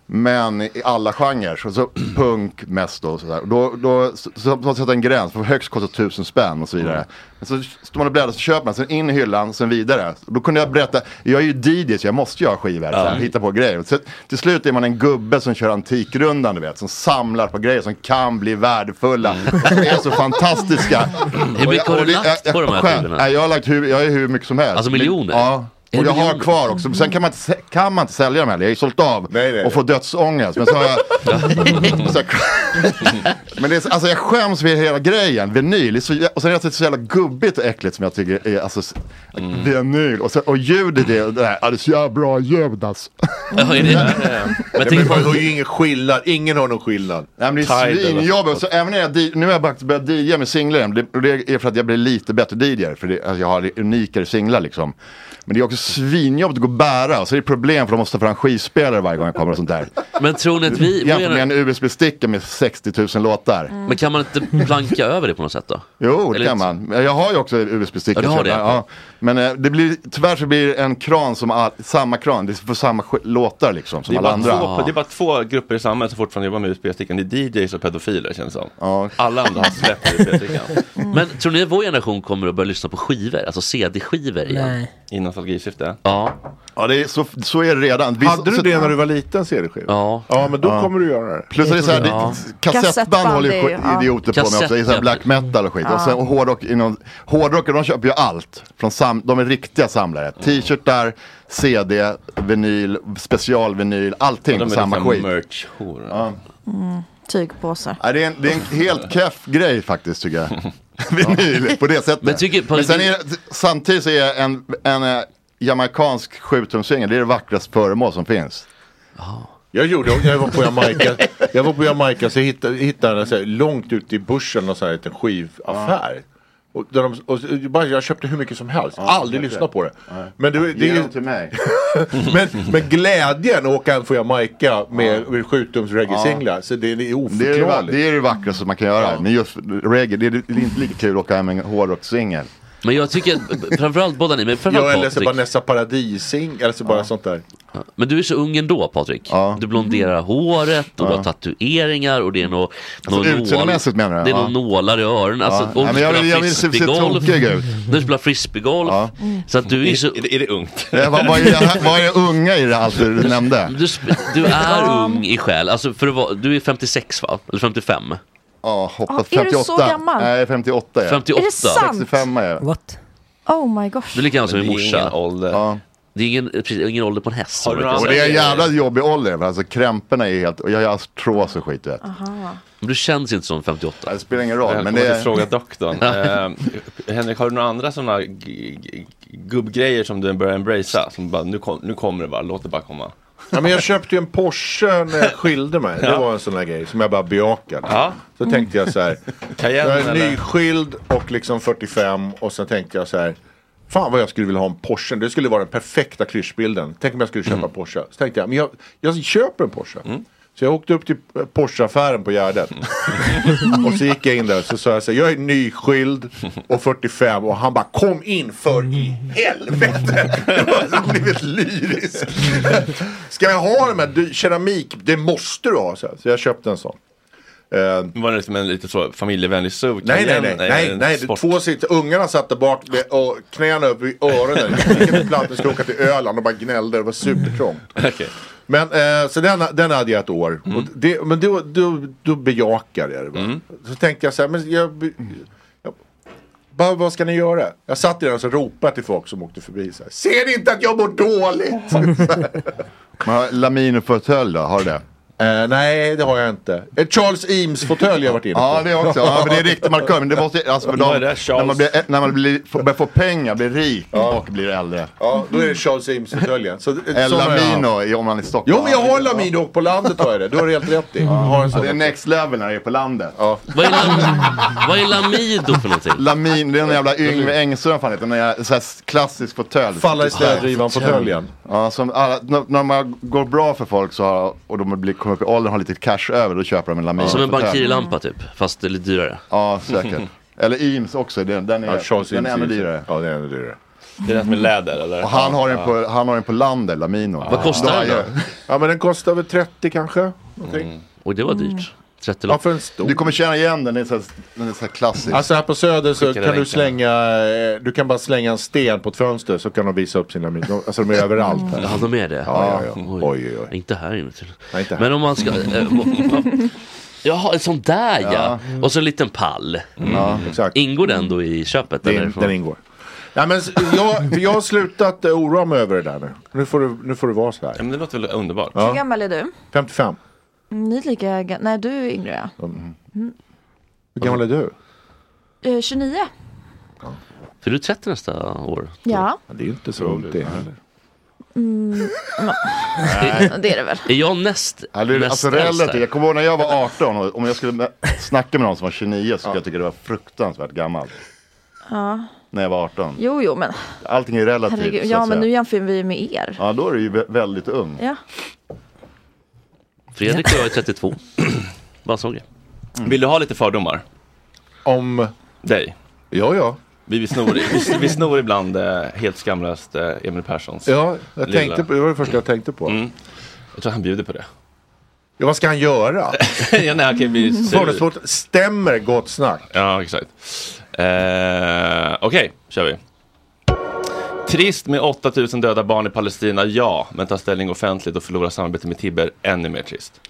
L: Men i alla genrer, så, så punk mest då. Så där. Och då, då så, så, så sätter jag en gräns, för högst kostar tusen spänn och så vidare. Men så står man och bläddrar, så köper man, sen in i hyllan, sen vidare. Då kunde jag berätta, jag är ju DJ så jag måste ju ha skivor, så här, hitta på grejer. Så, till slut är man en gubbe som kör Antikrundan, du vet, som samlar på grejer som kan bli värdefulla. Och som är så fantastiska.
D: Hur mycket har du lagt på de här skivorna?
L: Nej, jag har lagt hur, jag är hur mycket som helst.
D: Alltså miljoner?
L: Ja.
D: Är
L: Och
D: det
L: jag har
D: miljoner?
L: kvar också, sen kan man inte, sä- kan man inte sälja dem heller. Jag har ju sålt av och får dödsångest. Men, så
P: (laughs)
L: har jag, (laughs) så jag, men det är, så- alltså jag skäms för hela grejen. Vinyl, är så, jä- och sen är det så jävla gubbigt och äckligt som jag tycker är alltså, s-
D: Mm.
L: vinyl. Och, sen, och ljudet är, det här, ja, det är så jävla bra ljud alltså. (laughs)
P: Men, men man har ju ingen skillnad, ingen har någon skillnad.
L: Nej, men det är svinjobbigt. Så även när jag, di- nu har jag faktiskt börjat DJa med singlar igen. Det, och det är för att jag blir lite bättre DJ. För det, alltså jag har unikare singlar liksom. Men det är också svinjobbigt att gå och bära. Så det är problem för de måste ta fram skivspelare varje gång jag kommer och
D: (laughs)
L: sånt där.
D: Men tror ni att vi...
L: Jämfört med en USB-sticka med 60 000 låtar.
D: Men kan man inte planka över det Mm. på något sätt då?
L: Jo, det
D: Eller
L: kan
D: inte-
L: man. Men Jag har ju också USB-stickor.
D: Ja, du har
L: så jag-
D: det.
L: Ja. Men eh, det blir, tyvärr så blir det en kran som all, samma kran. Det är för samma sk- låtar liksom som
A: Det är,
L: alla
A: bara
L: andra.
A: två, det är bara två grupper i samhället som fortfarande jobbar med USB-stickan. Det är DJs och pedofiler känns det som. Alla andra har
L: (laughs)
A: släppt USB-stickan.
D: Men tror ni att vår generation kommer att börja lyssna på skivor? Alltså CD-skivor igen?
A: Nej. I nostalgisyfte?
D: Ja.
L: Ja, det är så, så är det redan. Vi-
P: Hade du
L: så-
P: det när du var liten CD-skiva?
D: Ja.
P: Ja men då
L: Ja.
P: kommer du göra det.
L: Plus att det är så här, det, kassettband håller ju skit- idioter på med också. Det är så här black metal och skit.
P: Ja.
L: Och sen och hårdrock, inom, hårdrockare de köper ju allt. Från sam, de är riktiga samlare. T-shirtar, CD, vinyl, specialvinyl, allting
A: De
L: på
A: är
L: samma
A: liksom
L: skit.
A: merch-horor.
L: Ja.
E: Mm, tygpåsar.
L: Ja, det, är en, det är en helt keff grej
P: (laughs)
L: faktiskt tycker jag. Vinyl på det sättet.
D: Men tycker-
L: Men sen är, samtidigt så är en, en eh, jamaicansk sjutumsvinge, det är det vackraste föremål som finns.
P: Jag gjorde, jag var på Jamaica, jag var på Jamaica så jag hittade, hittade en så här, långt ute i bushen och så här, en liten skivaffär. Och, där de, och, så- bara, jag köpte hur mycket som helst, aldrig lyssnat på det. Men, det, det
L: Ge
P: är ju,
L: dem till mig.
P: (laughs) men, men glädjen att åka hem från Jamaica med, med sjutums
L: Ja.
P: reggae-singlar, så det, det är
L: Det är, det, va-
P: oförklarligt.
L: det är det vackraste man kan göra. Men just reggae, det är, det är inte lika kul att åka hem med en hårdrockssingel.
D: Men jag tycker att framförallt båda ni, men framförallt
P: Jag eller så
D: Patrik.
P: bara nästa paradising, eller så bara sånt där.
D: Men du är så ung ändå Patrik. Du blonderar håret och du
L: Mm. Ja.
D: har tatueringar och det är nog
L: Alltså,
D: någon nål-
L: utseendemässigt menar du?
D: Det är
L: Ja.
D: nog nålar i öronen. Alltså,
L: Ja.
D: och du
L: Ja, men jag
D: spelar
L: vill- jag vill se- se
D: frisbeegolf. (laughs)
L: tråkig ut.
D: Du spelar frisbeegolf. Så att du är så... Är,
A: det ungt?
L: (laughs) Eh, Vad vad är, det här- vad är det unga i det allt du nämnde?
D: Du, sp- du är ung i själ. Alltså för att vara, du är 56 va? Eller 55?
L: Ja, hoppas
E: Ja, är du så 58. gammal?
L: Nej, 58 är jag.
D: 58.
E: Är det sant?
L: 65 är jag.
D: What?
E: Oh my gosh.
D: Du är lika gammal som
L: Men
D: min
L: det är
D: morsa.
L: ingen
D: Det är ingen, precis, ingen ålder på en häst. som
L: Och
D: man brukar
L: det är en
D: säga.
L: jävla jobbig ålder. för Alltså krämporna är helt... Och jag har artros och skit, du vet.
E: Aha.
D: Men du känns inte som 58.
L: Det spelar ingen roll.
A: Välkommen
L: Men det
A: till Fråga
L: (laughs)
A: doktorn.
D: Ja.
A: eh, Henrik, har du några andra sådana g- g- gubbgrejer som du börjar embracea? Som bara, nu, kom, nu kommer det bara, låt det bara komma.
P: Ja, men jag köpte ju en Porsche när
D: (laughs)
P: jag skilde mig. Det
A: Ja.
P: var en sån där grej som jag bara bejakade.
A: Ja.
P: Så tänkte jag
A: (laughs)
P: så här.
A: Cayenne,
P: jag är
A: eller?
P: nyskild och liksom 45 och sen tänkte jag så här. Fan vad jag skulle vilja ha en Porsche. Det skulle vara den perfekta klyschbilden. Tänk om jag skulle köpa
A: Mm.
P: en Porsche. Så tänkte jag, men jag, jag köper en Porsche. Så jag åkte upp till eh, Porscheaffären på Gärdet.
A: Mm.
P: (laughs) och så gick jag in där och så sa jag så här, jag är nyskild och 45 och han bara kom in för
A: Mm.
P: i helvete.
D: (laughs)
P: Jag har alltså blivit lyrisk. Ska jag ha den här dy- keramik? Det måste du ha. Så här. Så jag köpte en sån. Eh,
A: Var det liksom en lite så familjevänlig SUV?
P: Nej, nej,
A: Cayenne?
P: nej. nej,
A: en
P: nej.
A: sport-
P: Två sitter, ungarna satt där bak med och knäna upp i (laughs) öronen. Vilken platt vi skulle åka till Öland och bara gnällde. Det var supertrångt.
A: (laughs) Okej.
P: Men eh, så den, den hade jag ett år. Och det, men då, då, då bejakade jag det. va. Så tänkte jag så här, men jag, be- jag, bara, vad ska ni göra? Jag satt i den och så ropade jag till folk som åkte förbi. Så här, Ser ni inte att jag mår dåligt?
L: Men har- Laminofåtölj då, har du det?
P: Eh, nej, det har jag inte. Eh, Charles Eames-fåtölj har jag varit inne på.
L: Ja, det också. Ja, men det är riktigt markör. Men det måste, alltså, för
P: Vad är
L: de,
P: det,
L: när man,
P: Charles?
L: blir, när man blir, får, börjar få pengar, blir rik och blir äldre.
P: Ja, då är det Charles Eames-fåtöljen. Så-
L: (laughs) El
P: sån har jag haft.
L: Lamino i- om man är i Stockholm.
P: Jo, men jag har Lamino och på landet har jag det. Du har helt rätt i. Har en sån
L: Ja, det är next level när det är på landet.
D: Vad är, vad är Lamido för någonting?
L: Lamin, det är en jävla Yngve Engström fan heter. En jävla så här klassisk fåtölj.
P: Falla i städrivan-fåtöljen.
L: Ja, som alla, när, när man går bra för folk så har, och de blir, kommer upp i åldern och har lite cash över, då köper de en Lamin.
D: Som en
L: fåtölj.
D: bankirlampa typ, fast det är lite dyrare.
L: Ja, säkert. Eller Eames också, den, den är,
D: Ja, Charles
L: den är
D: Eames
L: ännu
D: Eames.
L: dyrare.
P: Ja, den är ännu dyrare.
A: Det är rätt med läder eller?
L: Och han har den
P: Ja.
L: på, han har den på landet, Lamino.
P: Vad kostar den då? Ja, men den kostar väl 30 kanske. någonting.
D: Och det var dyrt. 30
P: Ja, för en stor.
L: Mm. Du kommer känna igen den, den är så här, den är så här
D: Mm.
L: klassisk.
P: Alltså här på Söder så
L: Skicka
P: kan du
L: länken.
P: slänga, eh, du kan bara slänga en sten på ett fönster så kan de visa upp sina mynt. De- Alltså de är överallt här.
D: Ja, de är det. Mm.
P: Ja, ja, ja.
D: Oj,
P: oj, oj.
D: Inte här inne till.
P: Nej, inte här.
D: Men om man ska... eh, vad- (laughs) Jaha, en sån där ja.
P: Ja. Mm.
D: Och så en liten pall.
P: Ja,
D: Ingår den då i köpet?
P: Den-
D: eller?
P: den ingår. Nej, men s- jag, för jag har slutat eh, oroa mig över det där nu. Nu får du, nu får du vara så här.
A: Ja, men det låter väl underbart.
E: Hur gammal är du? Mm,
P: 55.
E: Ni är lika gamla. Nej, du är yngre ja. Mm.
P: Hur gammal är du?
E: Eh, 29.
D: För du är 30 nästa år.
E: Ja.
P: Det är ju inte så ont det heller.
E: Mm.
L: (laughs)
E: ja. Det är det väl.
D: Är jag näst
L: Eller,
D: näst
L: alltså
D: äldst här?
L: relativt, jag kommer ihåg när jag var 18 och om jag skulle med- snacka med någon som var 29 så skulle jag tycka det var fruktansvärt gammalt.
E: Ja.
L: När jag var 18.
E: Jo, jo, men
L: Allting är relativt
E: herregud.
L: typ, så
E: Ja,
L: att
E: men nu
L: säga.
E: jämför vi med er.
L: Ja, då är du ju vä- väldigt ung.
E: Ja.
D: Fredrik och jag är 32. Bara såg jag.
A: Vill du ha lite fördomar?
P: Om?
A: Dig?
P: Ja, ja.
A: Vi, vi, snor, vi, vi snor ibland eh, helt skamlöst eh, Emil Perssons
P: Ja, jag
A: lilla-
P: tänkte på, det var det första jag tänkte på.
A: Mm. Jag tror han bjuder på det.
P: Ja, vad ska han göra?
A: (laughs) ja, nej, han kan ju bli sur.
P: Fördomsfullt stämmer gott snack.
A: Ja, exakt. Eh, Okej, kör vi. Trist med 8000 döda barn i Palestina, ja. Men ta ställning offentligt och förlora samarbete med Tibber, ännu mer trist.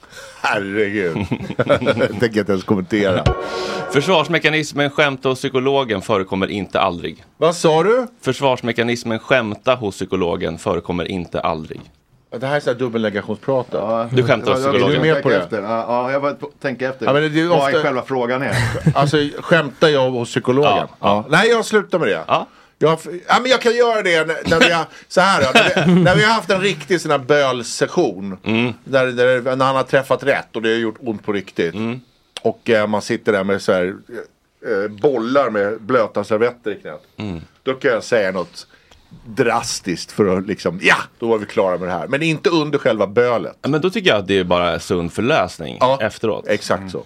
P: Herregud.
A: (laughs)
P: jag tänker inte ens kommentera.
A: Försvarsmekanismen skämta hos psykologen förekommer inte aldrig.
P: Vad sa du?
A: Försvarsmekanismen skämta hos psykologen förekommer inte aldrig.
P: Det här är så här dubbelnegationspratat.
A: Du skämtar,
P: Är
A: psykologen.
P: du med på det?
L: Efter. Ja, ja, jag var tänka efter.
P: Ja, men det är ju
L: Vad
P: ofta-
L: är själva frågan är.
P: Alltså skämtar jag hos psykologen? Ja, Nej, jag slutar med det. Ja. Jag, ja, men jag kan göra det när, när (laughs) vi har, så här, då, när, vi, när vi har haft en riktig sån här bölsession. Där, där, när han har träffat rätt och det har gjort ont på riktigt. Och eh, man sitter där med så här, eh, bollar med blöta servetter i knät. Då kan jag säga något drastiskt för att liksom, ja, då var vi klara med det här. Men inte under själva bölet.
A: Ja, Men då tycker jag att det är bara sund förlösning efteråt. Mm.
P: Exakt så.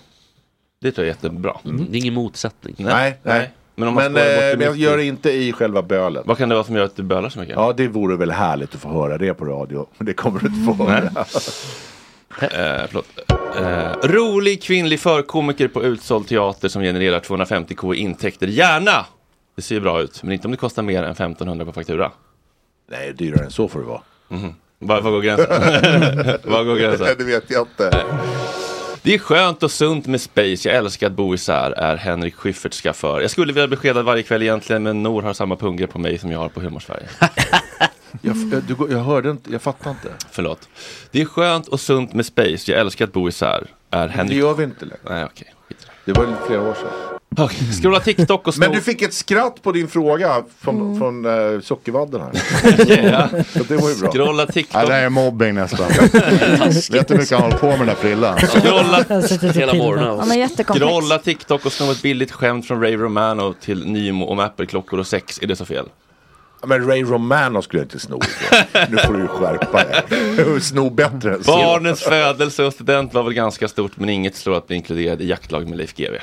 A: Det tror jag är jättebra.
D: Mm. Det är ingen motsättning.
A: Nej,
P: Nej, nej.
A: Men,
P: Men,
A: om man
P: eh,
A: skojar bort det
P: men jag
A: mitt i-
P: gör det inte i själva bölet.
A: Vad kan det vara som gör att du bölar så mycket?
P: Ja, det vore väl härligt att få höra det på radio. Men det kommer du inte få höra.
A: Eh, förlåt. Eh, rolig kvinnlig förkomiker på utsåld teater som genererar 250 k i intäkter. Gärna! Det ser ju bra ut, men inte om det kostar mer än 1500 på faktura.
P: Nej, dyrare än så får det vara.
A: Mhm. Var, var går
P: (laughs)
A: gränsen? var går gränsen?
P: Det vet jag inte.
A: Det är skönt och sunt med space. Jag älskar att bo isär, är Henrik Schyfferts chaufför. Jag skulle vilja bli skedad varje kväll egentligen, men Nor har samma pungre på mig som jag har på Humorsverige.
P: Jag, jag, du, går- jag hörde inte, jag fattar inte.
A: Förlåt. Det är skönt och sunt med space. Jag älskar att bo isär, är
P: Det
A: Henrik...
P: gör vi inte längre.
A: Nej, okej.
P: Det var ju flera år sedan.
A: Okej, Scrolla TikTok och sno...
P: Men du fick ett skratt på din fråga från, från eh, sockervadden här.
A: (laughs) Ja.
P: Så det var ju bra.
A: Scrolla TikTok.
L: Ja, det här är
A: (laughs)
L: mobbing nästan. Vet du hur mycket han håller på med den där prillan?
A: Scrolla hela morgonen.
E: Han är jättekomplex.
A: Scrolla TikTok och sno ett billigt skämt från Ray Romano till Nymo om Apple-klockor och sex. Är det så fel?
P: Ja, Men Ray Romano skulle jag inte sno. ifrån. Nu får du ju skärpa dig. (laughs) Sno bättre än så.
A: Barnens födelse och student var väl ganska stort men inget slår att bli inkluderad i jaktlag med Leif GW.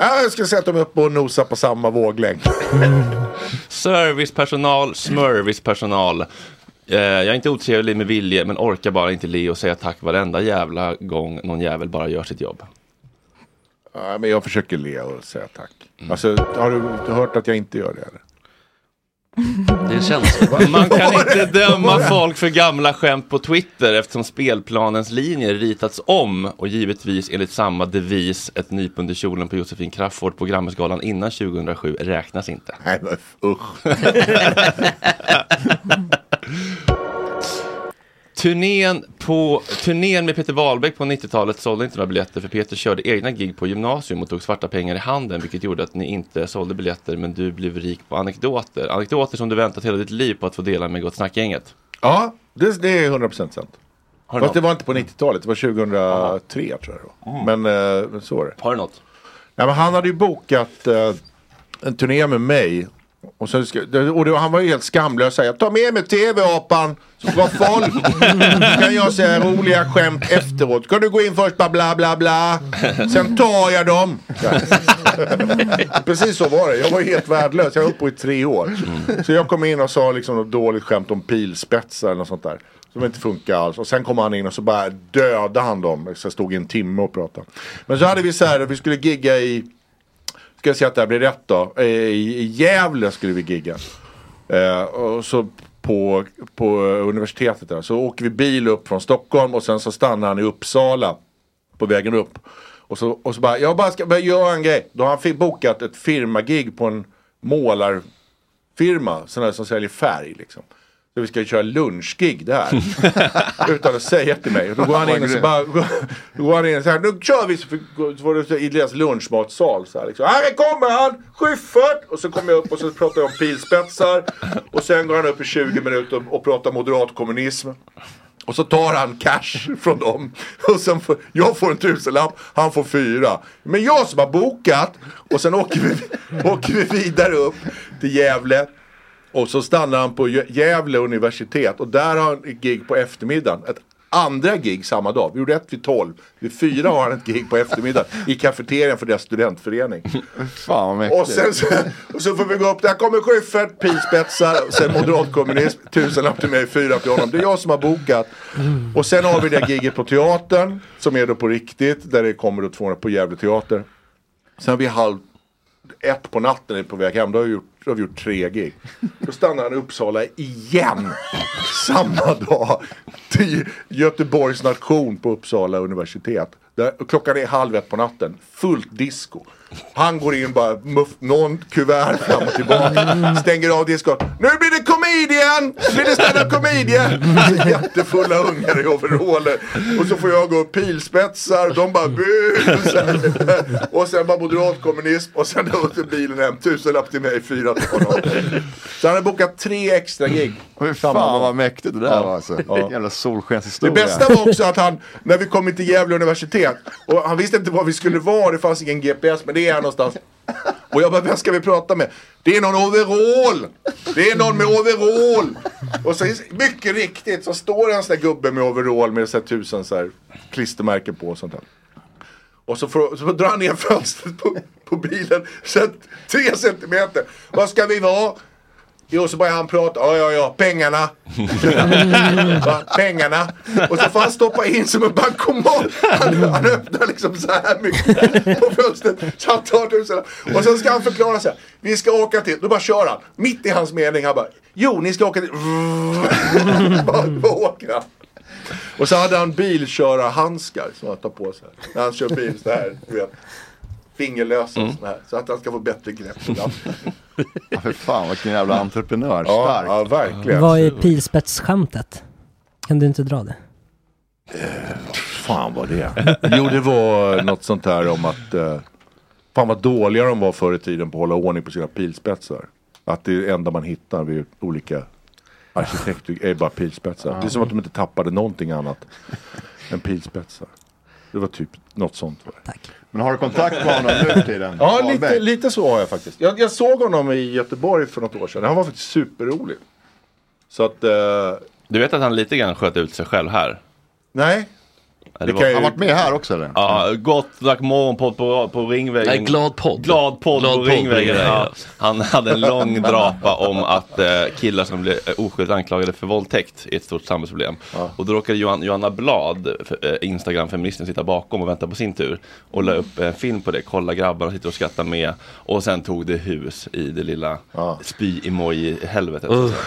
P: Ja, jag skulle säga att de är uppe och nosar på samma våglängd.
A: Servicepersonal, smörvispersonal. Eh, jag är inte otrevlig med vilje men orkar bara inte le och säga tack varenda jävla gång någon jävel bara gör sitt jobb.
P: Ja, men jag försöker le och säga tack.
A: Mm.
P: Alltså, har du hört att jag inte gör det? Eller?
D: Det är känsligt.
A: Man
P: (laughs)
A: kan inte döma folk för gamla skämt på Twitter eftersom spelplanens linjer ritats om och givetvis enligt samma devis ett nyp under kjolen på Josefin Crafoord på Grammisgalan innan 2007 räknas inte.
P: Nej men usch.
A: (laughs) Turnén, på, turnén med Peter Wahlbeck på 90-talet sålde inte några biljetter för Peter körde egna gig på gymnasium och tog svarta pengar i handen vilket gjorde att ni inte sålde biljetter men du blev rik på anekdoter. Anekdoter som du väntat hela ditt liv på att få dela med Gott Snack-gänget.
P: Ja, det, det är 100% sant.
A: Har du något? Mm.
P: Fast det var inte på 90-talet, det var 2003 tror jag det var. Men eh, så var det.
A: Har du något?
P: Nej, men han hade ju bokat eh, en turné med mig. Och, sen, ska- och det, han var ju helt skamlös. Så här, Jag tar med mig TV-apan så får folk. kan jag säga roliga skämt efteråt. Kan du gå in först bara bla bla bla. Sen tar
A: (laughs)
P: jag dem. (laughs) Precis så var det. Jag var helt värdelös. Jag var uppe i tre år. Så jag kom in och sa liksom något dåligt skämt om pilspetsar eller något sånt där. Som inte funkar alls. Och sen kom han in och så bara dödade han dem. Så jag stod i en timme och pratade. Men så hade vi så här, vi skulle gigga i Ska jag se att det här blir rätt då. Eh, I i Gävle skulle vi gigga. Eh, och så på, på universitetet där. Så åker vi bil upp från Stockholm och sen så stannar han i Uppsala. På vägen upp. Och så, och så bara, jag bara ska bara göra en grej. Då har han fi- bokat ett firmagig på en målarfirma. Sån där som säljer färg liksom. Så vi ska köra lunchgig där. Utan att säga till mig. Och Då går han in och så bara, (laughs) då går han in och så här, nu kör vi! Så så var det så i deras lunchmatsal så här liksom. Här kommer han! Schyffert! Och så kommer jag upp och så pratar jag om pilspetsar. Och sen går han upp i 20 minuter och, och pratar moderatkommunism. Och så tar han cash (laughs) från dem. Och sen får, jag får en tusenlapp, han får fyra. Men jag som har bokat! Och sen åker vi, (laughs) åker vi vidare upp till Gävle. Och så stannar han på Gä- Gävle universitet och där har han ett gig på eftermiddagen. Ett andra gig samma dag. Vi gjorde ett vid tolv. Vid fyra har han ett gig på eftermiddagen i kafeterian för deras studentförening.
L: Fan vad mäktigt.
P: Och sen så, och så får vi gå upp, där kommer Schyffert, pilspetsar, sen moderatkommunism, tusenlapp till mig, fyra till honom. Det är jag som har bokat. Och sen har vi det giget på teatern, som är då på riktigt, där det kommer då 200 på Gävle teater. Sen vid halv ett på natten är vi på väg hem, då har vi gjort, då har vi gjort tre gig. Då stannar han i Uppsala igen, samma dag, till Göteborgs nation på Uppsala universitet. Där, och klockan är halv ett på natten, fullt disco. Han går in bara, muff, någon kuvert fram och tillbaka, stänger av diskot. Nu blir det comedian! Nu blir det stand-up comedian! Jättefulla ungar i overaller. Och så får jag gå och pilspetsar, de bara bu! Så här. Och sen bara moderatkommunism och sen ut i bilen hem, tusenlapp till mig, fyra till honom. Så han har bokat tre extra gig.
L: Fan vad mäktigt det där
P: Ja.
L: var alltså.
P: Ja.
L: Jävla
P: Det
L: solskenshistoria.
P: bästa var också att han, när vi kom till Gävle universitet, och han visste inte var vi skulle vara, det fanns ingen GPS, men det är här någonstans. Och jag bara, vem ska vi prata med? Det är någon overall! Det är någon med overall! Och så mycket riktigt så står en sån där gubbe med overall med så här tusen så här klistermärken på och sånt där. Och så, får, så drar han ner fönstret på, på bilen, så att tre centimeter. Vad ska vi vara? Jo, så börjar han prata. Ja, ja, ja, pengarna. (laughs) Va? pengarna. Och så får han stoppa in som en bankomat. Han, han öppnar liksom så här mycket på fönstret. Så han tar tusen. Och sen ska han förklara så här. Vi ska åka till. Då bara kör han. Mitt i hans mening. Han bara. Jo, ni ska åka till. (laughs) Bara bara åker han. Och så hade han bilkörarhandskar som han tar på sig. När han kör bil så här. Du vet. Fingerlösa och sån här. Så att han ska få bättre grepp. ibland.
L: Ja, för fan vilken jävla entreprenör.
P: Ja,
L: Stark.
P: ja, verkligen.
G: Vad är pilspetsskämtet? Kan du inte dra det?
P: fan var det? (laughs) Jo, det var något sånt här om att eh, fan vad dåliga de var förr i tiden på att hålla ordning på sina pilspetsar. Att det enda man hittar vid olika arkitekter är bara pilspetsar. Det är som att de inte tappade någonting annat än pilspetsar. Det var typ något sånt. Var det.
L: Men har du kontakt med honom nu för tiden?
P: Ja,
L: Wahlbeck?
P: lite, lite så har jag faktiskt. Jag, jag såg honom i Göteborg för något år sedan. Han var faktiskt superrolig. Så att... eh,
A: Du vet att han lite grann sköt ut sig själv här?
P: nej.
A: Det
P: kan ju- Han varit med
L: här också eller?
A: Ja, gott snack morgonpodd på, på Ringvägen.
D: Nej, glad podd.
A: Glad podd
D: Glad
A: på
D: podd på
A: Ringvägen.
D: Ringvägen,
A: Ja.
D: ja.
A: Han hade en lång drapa om att eh, killar som blev eh, oskyldigt anklagade för våldtäkt är ett stort samhällsproblem. Och då råkade Johan, Johanna Blad, f- eh, Instagram-feministen, sitta bakom och vänta på sin tur. Och la upp en film på det. Kolla grabbarna sitter och skrattar med. Och sen tog det hus i det lilla spy-emoji-helvetet. så att säga.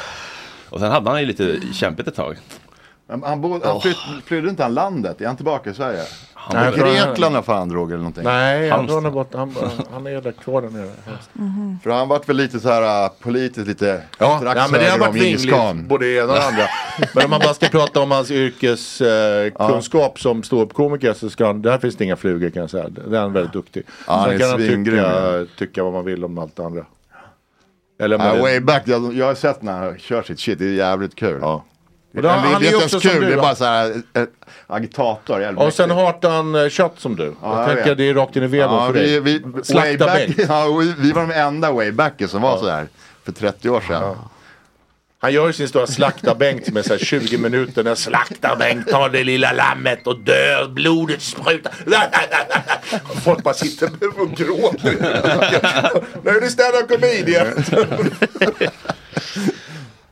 A: Och sen hade han ju lite kämpigt ett tag.
L: Men Han, bo, han flytt, flydde inte han landet? Är han tillbaka i Sverige?
P: Nej,
L: Nej,
P: jag tror han-
L: Grekland har fan droger eller någonting.
P: Nej, jag tror
L: Halmstad.
P: han har gått. Han, han är där kvar där nere.
L: För han vart väl lite så här äh, politiskt lite
P: Ja,
L: strax
P: ja men det har
L: söder om
P: varit
L: Djingis
P: vingligt
L: khan.
P: både det ena och det andra. Men om man bara ska prata om hans äh, yrkeskunskap som ståuppkomiker så ska han, där finns det inga flugor kan jag säga. Där är han väldigt duktig.
L: Ja, han är
P: Sen kan han
L: svingrym,
P: tycka, tycka vad man vill om allt det andra. Eller om
L: Ja,
P: man vill-
L: way back, jag, jag har sett när han kör sitt shit, det är jävligt kul. Ja. Det,
P: Och då-
L: det,
P: han är
L: det är
P: ju
L: inte
P: också
L: ens
P: som
L: kul,
P: du,
L: det är
P: va?
L: bara så här äh, agitator. jävligt
P: Och sen
L: mäktigt.
P: har han eh, kött som du.
L: Ja,
P: jag
L: jag
P: tänker
L: vet.
P: det är rakt in i veven
L: ja,
P: för
L: vi,
P: dig.
L: vi, way
P: Slakta
L: back,
P: bänk.
L: (laughs) ja, vi, vi var de enda waybackers som var så (laughs) här för 30 år sedan.
P: Han gör ju sin stora slaktarbänk som är så här 20 minuter. När slaktarbänk tar det lilla lammet och dör. Blodet sprutar. (laughs) Folk bara sitter och gråter. Nu är det stand-up comedian.
A: (laughs)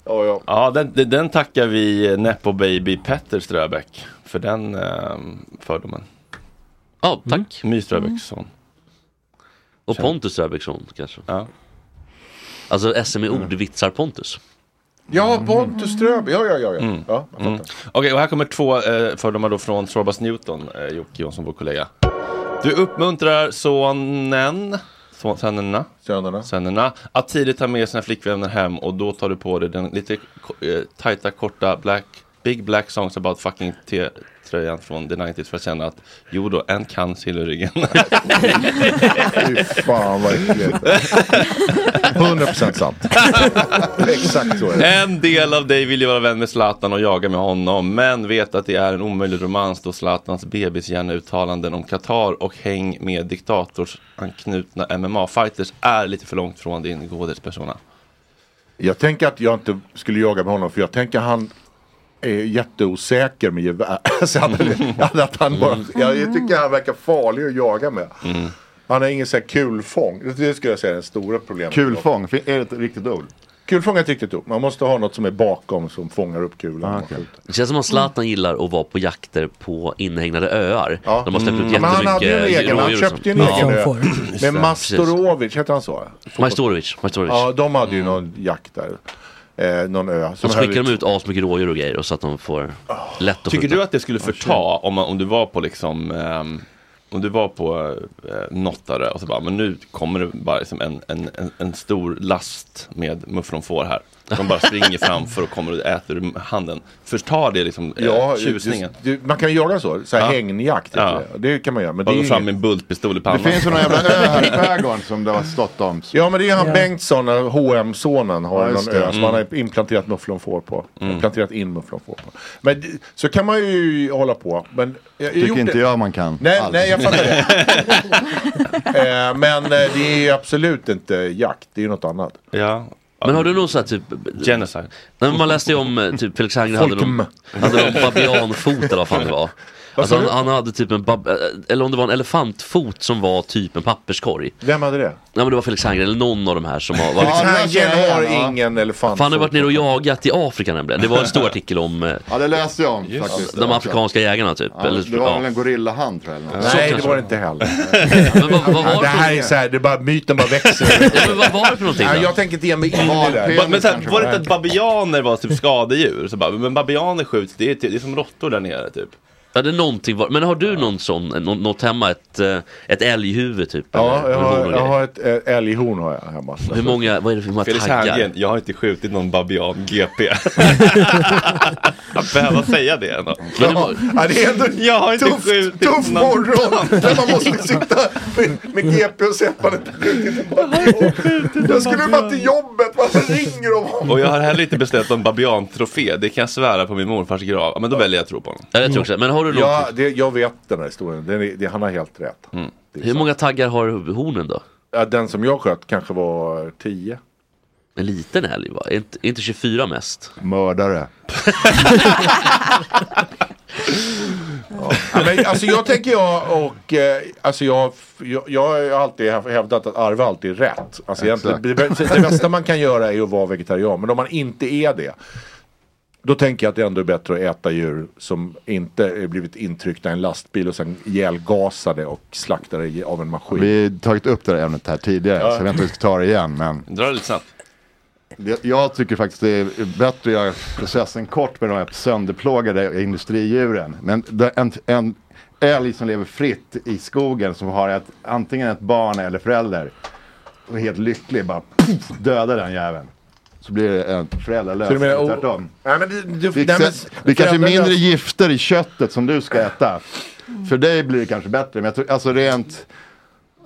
P: Ja, ja.
A: Ja, den, den- den tackar vi Nepo Baby Petter Ströbeck för den eh, fördomen. Mm.
D: Ja, tack. Mm.
A: My Ströbecks son.
D: Och Pontus Röbäcksson kanske. Alltså SM i ord vitsar Pontus.
P: Ja, Pontus Ströby. Ja, ja, ja. ja. ja.
A: Mm. Okej, och här kommer två eh, fördomar då från Sorbas Newton, eh, Jocke Jonsson, vår kollega. Du uppmuntrar sonen, son- sönerna,
P: sönerna.
A: sönerna att tidigt ta med sina flickvänner hem och då tar du på dig den lite ko- eh, tajta, korta black, Big Black Songs About Fucking T-tröjan från The 90s för att känna att jo då, en kan silverryggen.
P: (laughs) Fy fan
A: (laughs)
P: vad äckligt. 100% sant. Exakt så är det.
A: En del av dig vill ju vara vän med Zlatan och jaga med honom, men vet att det är en omöjlig romans då Zlatans bebishjärneuttalanden om Qatar och häng med diktatorsanknutna MMA-fighters är lite för långt från din godhetspersona.
P: Jag tänker att jag inte skulle jaga med honom för jag tänker han är jätteosäker med gevär. (laughs) Så han, att han bara, jag, jag tycker han verkar farlig att jaga med.
L: Mm.
P: Han har ingen så här kulfång. Det- Det skulle jag säga är det stora problemet.
L: Kulfång, fin- är det ett riktigt ord?
P: Kulfång är ett riktigt ord. Man måste ha något som är bakom som fångar upp kulan.
L: Ah,
D: Det känns som att Zlatan gillar att vara på jakter på inhägnade öar. Ja. De har släppt ut
L: Mm.
P: Ja, Mm. men han hade ju en
D: jättemycket
P: egen, han
D: rådjur och
P: köpte ju en
D: sånt. Ja.
P: egen ö.
D: Just det,
P: Med
D: precis.
P: Mastorovic, heter han så?
D: Majstorovic. Majstorovic.
P: Ja, de hade ju någon jakt där. Eh, någon ö.
D: Och så
P: höll
D: skickar Mm. de ut
P: ut-
D: asmycket rådjur och grejer och så att de får lätt att
A: Tycker
D: skjuta.
A: du att det skulle förta om, man, om du var på liksom ehm, om du var på eh, Nottare och så bara, men nu kommer det bara liksom en, en, en, en stor last med mufflonfår här. De
D: (laughs)
A: bara springer framför och kommer och äter ur handen. Förtar det liksom eh,
P: Ja,
A: tjusningen?
P: just- du- man kan ju jaga så, så här typ.
A: Ja.
P: hängjakt.
A: Ja.
P: heter Det. det kan man göra. Men
A: Bara
P: det
A: gå
P: är
A: fram
P: inget-
A: med en bultpistol i
L: Det
A: pannan.
L: finns ju någon jävla ö här i skärgården som det har stått om.
P: Ja men det är han Bengtsson, H&M-sonen har
L: Ja,
P: någon
L: just
P: ö
L: det.
P: som
L: Mm.
P: han har implanterat mufflonfår på. Planterat in mufflonfår på. Men d- så kan man ju hålla på. Men, jag, jag
L: Tycker
P: gjort
L: inte
P: det.
L: jag man kan.
P: Nej,
L: alls.
P: nej jag fattar (laughs) det. eh, men eh, det är ju absolut inte jakt, det är ju något annat.
A: Ja.
D: Men har du någon sån här typ...
A: Genocide.
D: Nej, men man läste ju om eh, typ Felix Hagen hade någon,
P: Folkm.
D: hade någon babianfot eller vad fan det var.
P: Vad
D: Alltså
P: sa
D: han,
P: du?
D: han hade typ en bab- eh, eller om det var en elefantfot som var typ en papperskorg.
P: Vem (laughs) hade det?
D: Ja men det var Felix Hagen eller någon av de här som har
P: Felix
D: liksom-
P: Hagen har ingen elefant.
D: Fan, han har varit nere och jagat i Afrika nämligen. Det var en stor artikel om eh,
L: Ja det läste jag om faktiskt.
D: de afrikanska jägarna typ.
L: Ja,
D: eller,
L: det var väl en gorillahand tror jag. eller något.
P: Nej det var det inte heller.
D: Men vad, vad var
P: det
D: det
P: här är så här, det är bara myten bara (laughs) växer.
D: men vad var det för någonting
P: Ja,
D: då?
P: jag tänker inte ge mig in i det där.
A: Men, men så här, var det inte att babianer var typ skadedjur? Så bara, men babianer skjuts, det är, typ- det är som råttor där nere typ.
D: Ja, det är någonting var... Men har du någon sån, eh, nå- något hemma, ett, eh, ett älghuvud typ?
P: Ja, jag
D: horn och
P: har, jag
D: grejer?
P: har ett eh, älghorn har jag hemma.
D: Hur många, vad är det för hur många
A: Felix
D: taggar?
A: Hagen, jag har inte skjutit någon babian GP. Att behöva säga det ändå.
P: Ja, ja, det är ändå
A: jag har inte
P: tufft,
A: skjutit
P: tuff
A: någon.
P: morgon där man måste sitta med, med GP och säga att man inte skjutit en babian. Jag skulle bara till jobbet, varför ringer de?
A: Och jag har heller inte beställt någon babiantrofé, det kan jag svära på min morfars grav. Ja, Men då väljer jag att tro på honom.
D: Ja, jag tror också det. Men har du något?
P: Ja, det, jag vet den här historien, den är, det, han har helt rätt.
D: Hur många taggar har hornen då?
P: Ja, Den som jag sköt kanske var 10.
D: En liten älg va? Är inte, är inte 24 mest? (laughs)
L: Mördare.
P: Ja, men, alltså jag tänker jag och eh, alltså jag, jag, jag har ju alltid hävdat att arva alltid är rätt. Alltså egentligen, det, bä- det bästa man kan göra är att vara vegetarian. Men om man inte är det. Då tänker jag att det ändå är bättre att äta djur som inte är blivit intryckta i en lastbil och sen ihjälgasade och slaktade i- av en maskin.
L: Vi har tagit upp det här ämnet här tidigare
P: Ja.
L: så jag vet inte om vi ska ta det igen. Men
A: Dra det lite snabbt.
L: det- jag tycker faktiskt det är bättre att göra processen kort med de här sönderplågade industridjuren. Men det- en, en, älg som lever fritt i skogen som har ett, antingen ett barn eller förälder. Och är helt lycklig, bara pff, dödar den jäveln. Så blir det en föräldralös.
P: Så du menar,
L: eller
P: oh,
L: tvärtom.
P: nej, men du- du-
L: Vi-
P: nej, men-
L: det kanske är mindre
P: föräldralös-
L: gifter i köttet som du ska äta. För dig blir det kanske bättre, men jag tror, alltså rent...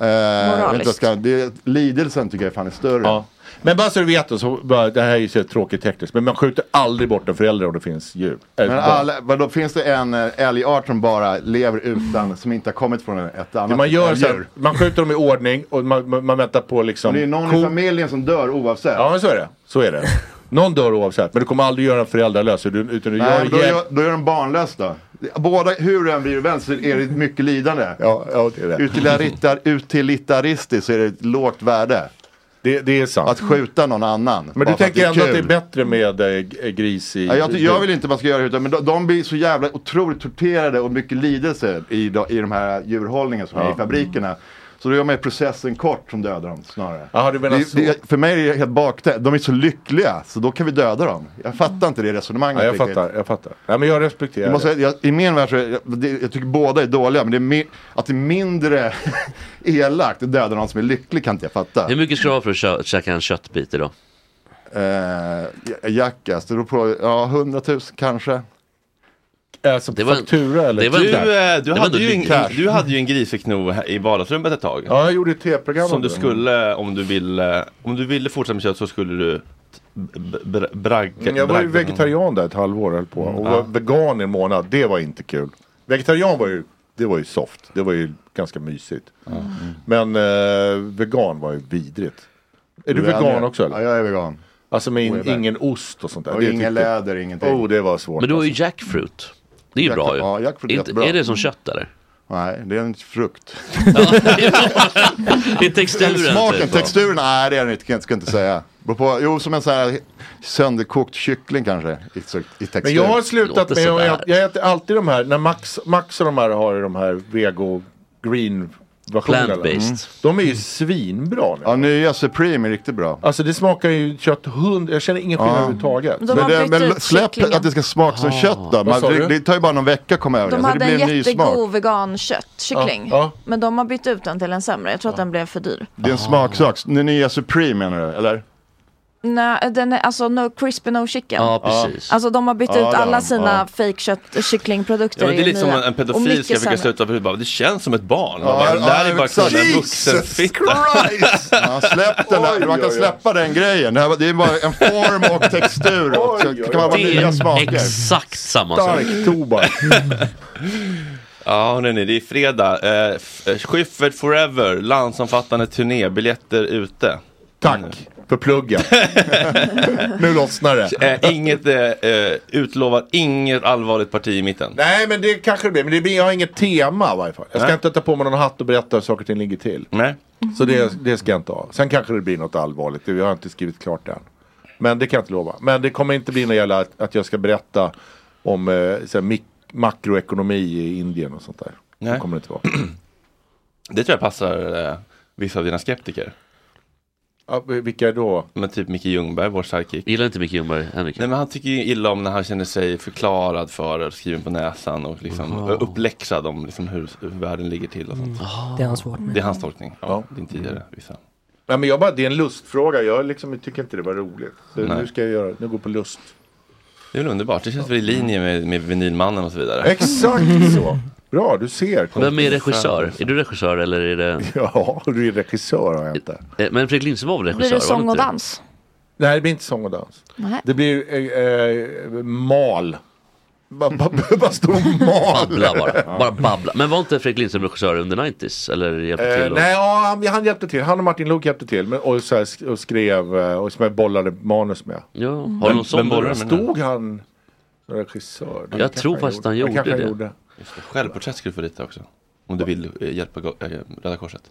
L: Eh, jag vet inte vad jag ska, det, lidelsen tycker jag fan är större.
P: Ja. Men bara så du vet, då, så bara, det här är ju så tråkigt tekniskt, men man skjuter aldrig bort en förälder om det finns djur. Äh,
L: Men
P: barn.
L: alla, vadå, finns det en eh, älgart som bara lever utan, som inte har kommit från ett annat
P: Mm. det man, gör
L: eh,
P: så här,
L: djur?
P: man skjuter dem i ordning och man, man, man väntar på liksom...
L: Men det är ju någon i familjen som dör oavsett.
P: Ja men så är det. Så är det. Någon dör oavsett, men du kommer aldrig göra en föräldralös. Utan du
L: Nej,
P: gör
L: men då,
P: jäv-
L: gör, då är de barnlös då. Båda, hur den blir vän så är det mycket lidande.
P: Ja, ja det är det.
L: Utilitar, utilitaristiskt så är det ett lågt värde.
P: Det, är sant.
L: Att skjuta någon annan.
P: Men
L: bara
P: du
L: för
P: tänker ändå att det är
L: kul.
P: bättre med eh, g- gris i...
L: Ja, jag, ty- jag vill inte man ska göra det, utan- men de, de blir så jävla otroligt torterade och mycket lidelse i, de- i de här djurhållningen som är i
P: Ja.
L: fabrikerna. Så då gör man ju processen kort som dödar dem snarare.
P: Jaha, du menar
L: det,
P: så.
L: Det, för mig är det helt baktänt. De är så lyckliga så då kan vi döda dem. Jag fattar inte det resonemanget
P: Ja, jag
L: riktigt.
P: fattar, jag fattar. Ja, men jag respekterar
L: Jag måste,
P: det.
L: säga, jag, I min värld så är, jag, det, jag tycker båda är dåliga men det är mi- att det är mindre (laughs) elakt att döda någon som är lycklig kan inte jag fatta.
D: Hur mycket ska du ha för att kö- käka en köttbit
P: (laughs)
D: idag?
L: Eh, Jackass, det beror på, ja 100 000 kanske.
P: Alltså
L: Det var- faktura eller det var-
A: Du,
P: typ.
L: cash?
A: eh,
L: Det
A: du,
L: var
A: hade
L: ändå
A: ju
L: din
A: en,
L: cash.
A: du hade ju en grisekno här i vardagsrummet ett tag.
P: Ja, jag gjorde ett tv-program
A: Som
P: om
A: du
P: det.
A: skulle, eh, om du ville, om du ville fortsätta med kött så skulle du b- b- bragga.
P: Mm, Jag var ju
A: bragga-
P: vegetarian där ett halvår höll på
L: Mm.
P: och
A: Ja.
P: var vegan i en månad. Det var inte kul. Vegetarian var ju, det var ju soft. Det var ju ganska mysigt. Men eh, vegan var ju vidrigt. Är du,
L: Du är
P: vegan
L: aldrig-
P: också? Eller?
L: Ja, jag är vegan.
P: Alltså med in,
L: Och jag är
P: ingen ost och sånt där.
L: Och
P: Det
L: ingen
P: tyckte-
L: läder, ingenting.
P: Oh, det var svårt.
D: Men du har ju
P: alltså.
D: jackfruit. Det är ju bra ju.
L: Ja, jackfruit är
D: Inte-
L: jättebra.
D: Är det som kött eller?
L: Nej, det är en frukt. (laughs)
D: Det är texturen.
L: Smaken,
D: typ, va?
L: texturen, nej det är den inte, jag ska inte säga. Beror På, jo, som en sån här sönderkokt kyckling kanske i, i textur.
P: Men jag har slutat med att äta, jag äter alltid de här, när Max, Max och de här har de här vego green versionerna.
L: Plant-based.
P: Mm. De är ju svinbra nu.
L: Ja, nya Supreme är riktigt bå- bra.
P: Alltså det smakar ju kött hund, jag känner ingen skillnad
L: Ja.
P: överhuvudtaget.
L: Men, det, men släpp att det ska smaka som
P: Ah.
L: kött då.
P: Vad
L: Man,
P: sa du?
L: det, det tar ju bara någon vecka att komma över
E: De
L: alltså, det. Så det
E: hade
L: blir en
E: en
L: ny smak.
E: jättegod veganköttkyckling.
L: Ja, ja.
E: Men de har bytt ut den till en sämre. Jag tror att den blev för dyr.
L: Det är en smaksak. Den nya Supreme menar du, eller?
E: Nej, den är alltså no crispy no chicken.
L: Ja, precis.
E: Alltså de har bytt
A: Ja,
E: ut
A: det har
E: alla
A: de.
E: sina
A: Ja.
E: fejkkött kycklingprodukter.
A: Ja, men det är lite som
E: nya.
A: en, en
E: Och
A: pedofil
E: mycket
A: ska
E: sämre.
A: försöka sluta med bara, det känns som ett barn. Man
L: Ja,
A: bara,
L: ja,
A: det där
L: ja,
A: är bara
L: exakt.
A: knulla en
L: Jesus
A: vuxenfitta.
L: Ja, släpp den där. Man kan släppa den grejen. Det, här, var- det är bara en form och textur. Och så kan man vara
D: Det
L: nya
D: är
L: smaker.
D: exakt samma sak.
P: Stark tobak.
A: (laughs) Ja, hörni, det är fredag. Eh, F- eh, Schyffert Forever, landsomfattande turné, biljetter ute. Mm.
P: Tack för pluggen. (laughs) nu lossnar det.
A: (laughs) Eh, inget, eh, eh, utlovar inget allvarligt parti i mitten.
P: Nej men det kanske det blir, men det blir, jag har inget tema i varje fall. Jag ska
A: Nej.
P: inte ta på mig någon hatt och berätta hur saker och ting ligger till.
A: Nej.
P: Så det, det ska jag inte ha. Sen kanske det blir något allvarligt, det har jag inte skrivit klart än. Men det kan jag inte lova. Men det kommer inte bli något jävla att, att jag ska berätta om eh, så här, mik- makroekonomi i Indien och sånt där. Det
A: Nej.
P: kommer det inte vara.
A: (clears throat) Det tror jag passar eh, vissa av dina skeptiker.
P: Ja, vi- vilka då?
A: Men typ Micke Ljungberg, vår sidekick.
D: Gillar inte Micke Ljungberg, Henrik?
A: Nej men han tycker ju illa om när han känner sig förklarad för, och skriven på näsan och liksom
G: Aha.
A: uppläxad om liksom hur, hur världen ligger till och sånt.
G: Det är han svårt med.
A: Det är hans tolkning, ja, din tidigare vissa.
P: Nej, men jag bara, det är en lustfråga, jag liksom, tycker inte det var roligt. Så
A: Nej.
P: nu ska jag göra, nu går på lust.
A: Det är väl underbart, det känns väl i linje med, med Vinylmannen och så vidare.
P: Exakt
D: (laughs)
P: så. Bra, du ser.
D: Vem är regissör? Är du regissör eller är det...
P: Ja, du är regissör har jag inte.
D: Eh, Men Fredrik Lindström var väl regissör?
E: Blir det
D: var
E: sång
D: inte
A: typ.
E: och dans?
P: Nej, det blir inte sång och dans.
E: Nej.
P: Det blir eh, eh, mal. Bara ba, (laughs) ba, bara stor mal.
D: Babbla bara, bara babbla. Men var inte Fredrik Lindström regissör under 90s? Eller hjälpte
P: Eh,
D: till? och-
P: nej, ja, han, han hjälpte till. Han och Martin Lok hjälpte till. Men, och, så här, sk- och skrev eh, och som jag bollade manus med.
D: Ja, har du någon sån
P: bollade
D: med den här?
P: Stod han som regissör? Det
D: Jag
P: kanske
D: tror faktiskt han gjorde
P: kanske
D: det.
A: Just det. Självporträtt ska du få rita också. Om du vill eh, hjälpa Go- eh, Röda Korset.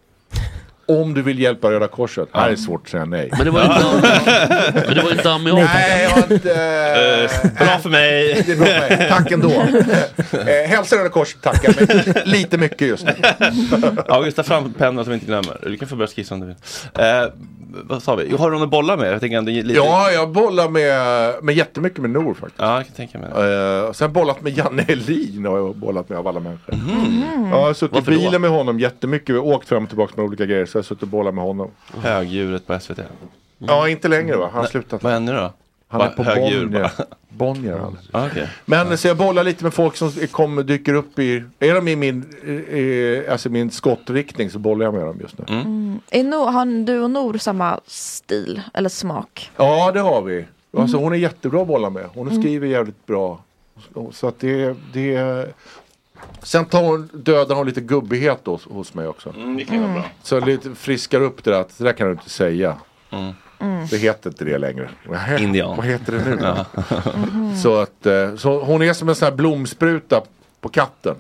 P: Om du vill hjälpa Röda Korset. Det här är svårt att säga nej.
D: Men det var ju inte- men det var ju inte Ami Ahlberg.
P: Nej, jag har inte...
A: Eh, bra för mig.
P: (laughs) Det är bra för mig.
A: (laughs)
P: Tack ändå. Eh, hälsa Röda Korset tackar, men (laughs)
A: (laughs)
P: lite mycket just nu.
A: August, ta fram pennan som vi inte glömmer. Du kan få börja skissa om du vill. Eh, vad sa vi? Har du några bollar med? Jag tänker ändå lite...
P: Ja, jag bollar med, med jättemycket med Nor faktiskt.
A: Ja, jag kan tänka mig
P: det. Eh, sen bollat med Janne Elin har jag bollat med av alla människor.
A: Mhm.
P: Mm. Ja, jag har suttit
A: Varför
P: i
A: då?
P: bilen med honom jättemycket. Vi har åkt fram och tillbaka med olika grejer. Så jag har suttit och bollat med honom.
A: Högdjuret på SVT.
P: Ja, inte längre va? Han har
A: Nej,
P: slutat.
A: Vad händer då?
P: Han
A: Bara
P: är på
A: högdjur
P: Bonnier.
A: bara. (laughs)
P: Bonnier är
E: alltså.
P: han.
A: Ja, okej.
P: Mm. Men så jag bollar lite med folk som kommer, dyker upp i... Är de i min, eh, eh, alltså min skottriktning så bollar jag med dem just nu.
E: Mm. Är no, har du och Nor samma stil eller smak?
P: Ja, det har vi. Alltså,
E: Mm.
P: Hon är jättebra att bolla med. Hon
E: Mm.
P: skriver jävligt bra. Så- Så att det, det... Sen tar hon, dödar hon lite gubbighet hos, hos mig också.
A: Mm, det kan ju vara Mm. bra.
P: Så lite friskar upp det där att det där kan du inte säga.
D: Mm.
P: Det heter inte det längre. (laughs)
A: Indian.
P: Vad heter det nu då?
A: Mhm.
P: så att, eh, så hon är som en sån här blomspruta på katten.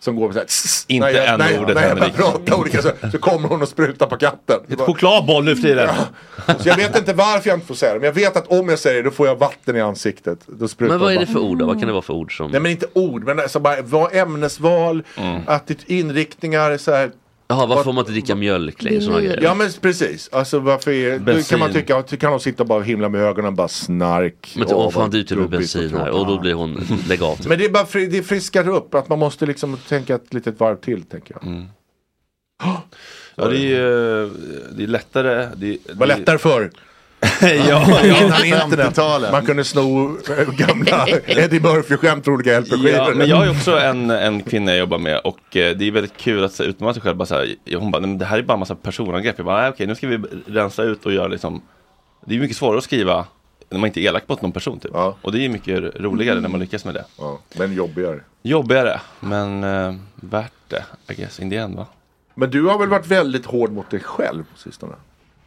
P: Som går så här. tss,
A: Inte
P: när jag,
A: en
P: när jag,
A: ordet,
P: när jag börjar
A: Henrik.
P: prata olika så, så kommer hon och sprutar på katten.
A: Ett chokladboll nu för tiden.
P: Så jag vet inte varför jag inte får säga det. Men jag vet att om jag säger det då får jag vatten i ansiktet. Då sprutar
D: Men vad är det för
P: vatten.
D: ord då? Vad kan det vara för ord som... Mm.
P: Nej men inte ord, men alltså bara, vad ämnesval, attityd, inriktningar så här.
D: Jaha, varför får man inte dricka mjölk längre? Såna grejer.
P: Mm, Ja men precis, alltså varför är, då
D: Bensin.
P: kan man tycka att kan de sitta och bara himla med ögonen och bara snark.
D: Men typ, åh,
P: Åh,
D: fan
P: vad
D: du till med
P: jobbigt och
D: bensin här
P: tråkigt.
D: och då blir hon, lägg av typ.
L: (laughs)
P: Men det är bara fri, det friskar upp, att man måste liksom tänka ett litet varv till tänker jag.
A: Mm. Ja, det är ju eh, det är lättare. Det,
P: var lättare förr.
A: ja,
P: Innan internet. Man kunde sno eh,
A: (laughs)
P: gamla Eddie Murphy-skämt från olika LP-skivor.
A: Ja, men jag är också en, en kvinna jag jobbar med och eh, det är väldigt kul att så här utmana sig själv. Bara så här, hon bara, "Nej, men det här är bara en massa personangrepp. Jag bara, "Nej, okej, nu ska vi rensa ut och göra liksom. Det är mycket svårare att skriva när man inte är elak mot någon person typ. Och det är mycket roligare när man lyckas med det.
P: men jobbigare.
A: Jobbigare, men eh, värt det. I guess, in the end va?
P: Men du har väl varit väldigt hård mot dig själv på sistone?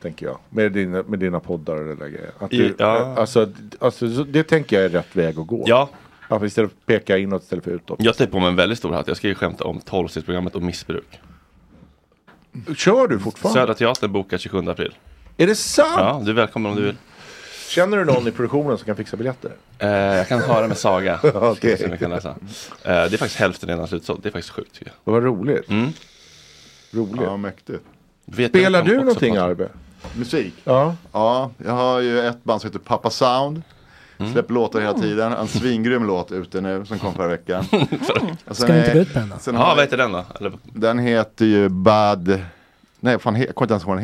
P: Tänker jag. Med dina, med dina poddar och det där grejer. Att du,
A: Ja.
P: alltså, alltså, så det tänker jag är rätt väg att gå.
A: Ja.
P: Att istället för att peka inåt istället för utåt.
A: Jag tar på mig en väldigt stor hatt. Jag ska ju skämta om 12-stegsprogrammet och missbruk.
P: Kör du fortfarande?
A: Södra Teatern bokar 27 april.
P: Är det sant?
A: Ja, du är välkommen om du vill.
P: Känner du någon i produktionen som kan fixa biljetter?
A: Eh, jag kan höra med
L: (laughs)
A: Saga. Ska
P: Okej.
A: se om jag kan läsa. Eh, det är faktiskt hälften redan slutsålt. Det är faktiskt sjukt tycker jag.
P: Vad roligt. Roligt.
L: Ja, mäktigt.
A: Vet Spelar jag om du också någonting, pratar.
P: Arbe?
L: Musik?
P: Ja.
L: ja, jag har ju ett band som heter Papa Sound. Släpper låtar hela tiden. En svingrym låt ute nu som kom förra veckan. Och sen
A: Ska vi inte
L: är-
A: gå ut med den då?
L: sen
A: Ja,
L: har
A: vad
L: jag-
A: heter den då? Eller-
L: Den heter ju Bad... Nej, fan, he- jag kommer inte ens ihåg vad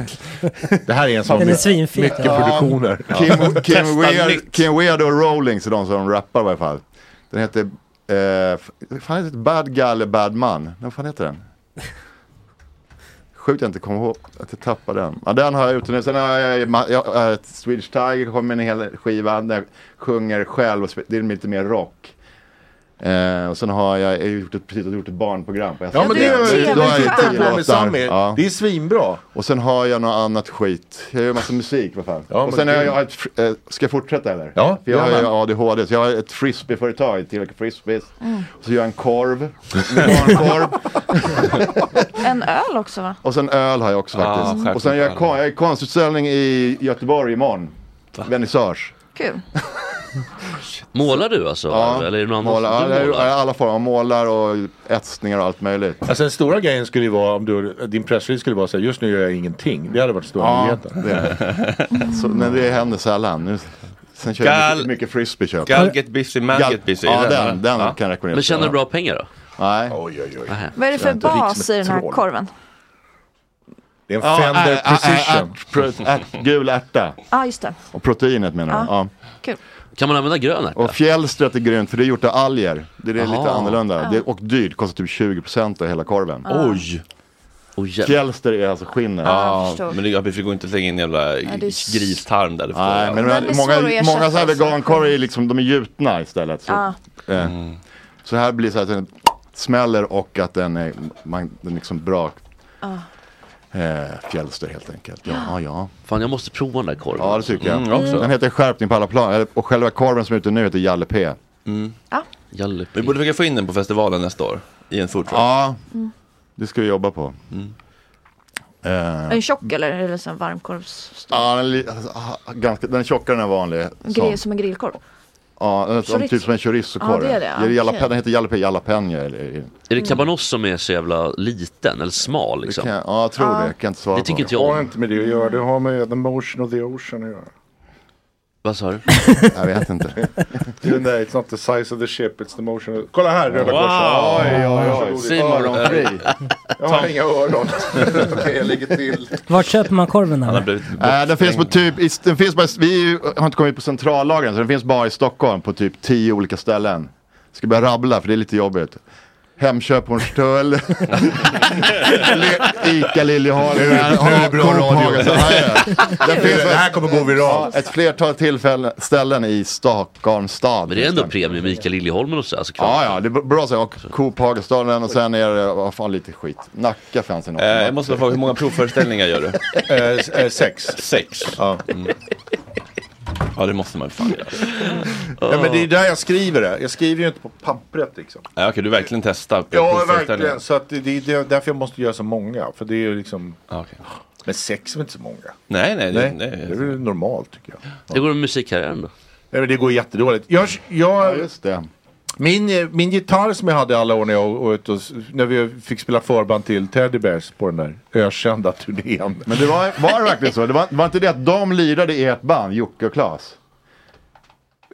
L: den heter.
P: Det här är en
G: sån Den är med svinfet. mycket produktioner.
L: Kim, Kim,
G: Testa
L: Weird,
G: nytt.
L: Kim Weird och Rollings är de som rappar i varje fall. Den heter... Eh, f- fan heter det? Bad Guy eller Bad Man? Vad fan heter den? Sjukt jag inte kommer ihåg att jag tappade den. Ja, den har jag ute nu. Sen har jag, jag, jag, eh, Swedish Tiger kom med en hel skiva där jag sjunger själv. Och sp- det är lite mer rock. Eh, och sen har jag, jag har gjort ett, precis gjort ett barnprogram på SVT.
P: Ja, men det
L: Då-
P: är-
L: då har jag
P: det är
L: gjort tio
P: bra med
L: låtar.
P: Samir. Det är svinbra.
L: Och sen har jag något annat skit. Jag gör massa musik vad fan.
P: Ja,
L: och
P: men
L: sen har
P: kul.
L: jag, ett, fr- eh, ska jag fortsätta eller?
P: Ja,
L: För jag har ju
P: gärna.
L: ADHD. Så jag har ett frisbeeföretag, tillverkar frisbees.
P: Mm.
A: Mm.
L: Och så gör jag
P: (laughs)
L: en korv. Barnkorv.
E: En öl också va?
L: Och sen öl har jag också faktiskt.
E: självklart
L: och sen gör
E: öl.
L: jag, kon- jag är konstutställning i Göteborg imorgon. Vernissage.
E: Kul.
D: Målar du alltså?
L: Ja,
D: Eller är det någon annan
L: målar,
D: som du
L: alla,
D: målar?
L: alla former. av Målar och etsningar och allt möjligt.
P: Alltså den stora grejen skulle ju vara om du, din pressrelease skulle vara så här, just nu gör jag ingenting. Det hade varit stora
L: Ja,
P: nyheten.
L: det är det. Så, men det händer sällan. Nu, sen kör jag
A: Gal-
L: mycket, mycket frisbee köper
A: Gal get busy, man
L: Gal-
A: get busy.
L: Ja,
A: Är det
L: den,
A: den?
L: den
A: Ja.
L: kan jag rekommendera.
D: Men tjänar du bra pengar då?
L: Nej.
P: Oj, oj, oj.
E: Vad är det för bas i den här korven?
P: Det är en
L: Ja,
P: Fender
L: ä- ä- ä-
P: Precision.
L: ärt- pro- ärt- Gul ärta.
E: Ja ah, just det.
L: Och proteinet menar
E: Ja.
L: du? Ja.
E: Kul.
D: Kan man använda grön ärta?
L: Och fjällstret är grönt för det är gjort av alger. Det är det
D: Jaha.
L: lite annorlunda.
D: Ja.
L: Det är, och dyrt, kostar typ 20% av hela korven.
D: Ja. Oj. jävlar.
L: Fjällster är alltså skinnet.
A: Ja, men det, vi går inte slänga in jävla
L: är s-
A: gristarm där. det får
L: Nej,
A: jag.
L: men, men många, många så här vegankorvar är liksom, de är gjutna istället. Så,
E: Ja.
L: eh, så här blir så att den smäller och att den är, man, den är liksom bra
E: Ah.
L: eh, fjällster helt enkelt. Ja, ja, ja.
D: Fan jag måste prova den där korven.
L: Ja, det tycker jag.
D: Mm, jag också.
L: Den heter Skärpning på alla plan. eller- Och själva korven som är ute nu heter Jalle P.
D: Mm.
A: Vi borde försöka få in den på festivalen nästa år. I en food truck. Mm.
L: Ja,
E: Mm.
L: det ska vi jobba på.
E: Är
L: Eh,
E: den tjock eller är det en varmkorvs...
L: ja, den, är li- alltså, ah, ganska, den är tjockare än en vanlig.
E: Grej
L: sån.
E: som en grillkorv?
L: Ja, Ja, som,
E: Chorizo.
L: typ som en chorizo-korv.
E: Ja, det är det. Ja,
L: jalape-
E: okej.
L: Den heter jalape, jalapeno. eller-
D: Är det cabanos som är så jävla liten eller smal liksom?
L: kan jag- ja, jag tror det. Jag kan inte svara
D: Det
L: på.
D: tycker inte
P: Det
D: jag
P: har
D: om.
P: inte med det att göra. Det har med the motion of the ocean att göra.
D: Vad sa du?
L: Jag
E: (laughs)
L: vet inte.
P: you know, it's not the size of the ship, it's the motion of... Kolla här, Röda
L: Wow.
P: Korset. Oj, oj, oj.
L: Simon,
P: Öronfri.
L: eh,
P: (laughs) Jag har inga öron. (laughs) Okej, jag ligger till.
G: Vart köper man korven här?
L: Äh, den finns på typ, i, den finns bara, vi har inte kommit på centrallagren så den finns bara i Stockholm på typ tio olika ställen. Ska börja rabbla för det är lite jobbigt.
D: (laughs)
L: Hemköp Hornstull, Le- Ica Liljeholmen.
P: Nu- nu är det bra radio. (laughs)
L: Det
P: Det här kommer gå viralt.
L: Ett flertal tillfällen, ställen i Stockholms stad.
D: Men det är ändå premium, Mikael Liljeholmen och så. Alltså, kvar.
L: Ja, ja, det är bra så. Och Coop Hagastaden och sen är det, vad fan lite skit. Nacka fanns det något.
A: Eh, jag måste fråga, hur många provföreställningar
L: (laughs)
A: gör du?
L: Eh,
P: sex.
A: Sex?
P: Ja.
A: Mm. ja, det måste man ju fan göra.
P: Ja, men det är där jag skriver det. Jag skriver ju inte på pappret liksom.
A: Ja, Okej, du verkligen testar på
P: Ja,
A: provföreställningar.
P: verkligen. Så att det, det, det är därför jag måste göra så många. För det är ju liksom... Men sex är väl inte så många?
A: Nej, nej, det-
P: det,
A: nej.
P: är väl normalt tycker jag.
D: Det går med musikkarriären då?
P: Nej, men det går jättedåligt. Jag, jag, Min, eh, min gitarr som jag hade i alla år när, jag, var ute och, s- när vi fick spela förband till Teddy Bears på den där ökända turnén.
L: Men det var, var det verkligen så? Det var, var inte det att de lirade i ert band, Jocke och Claes?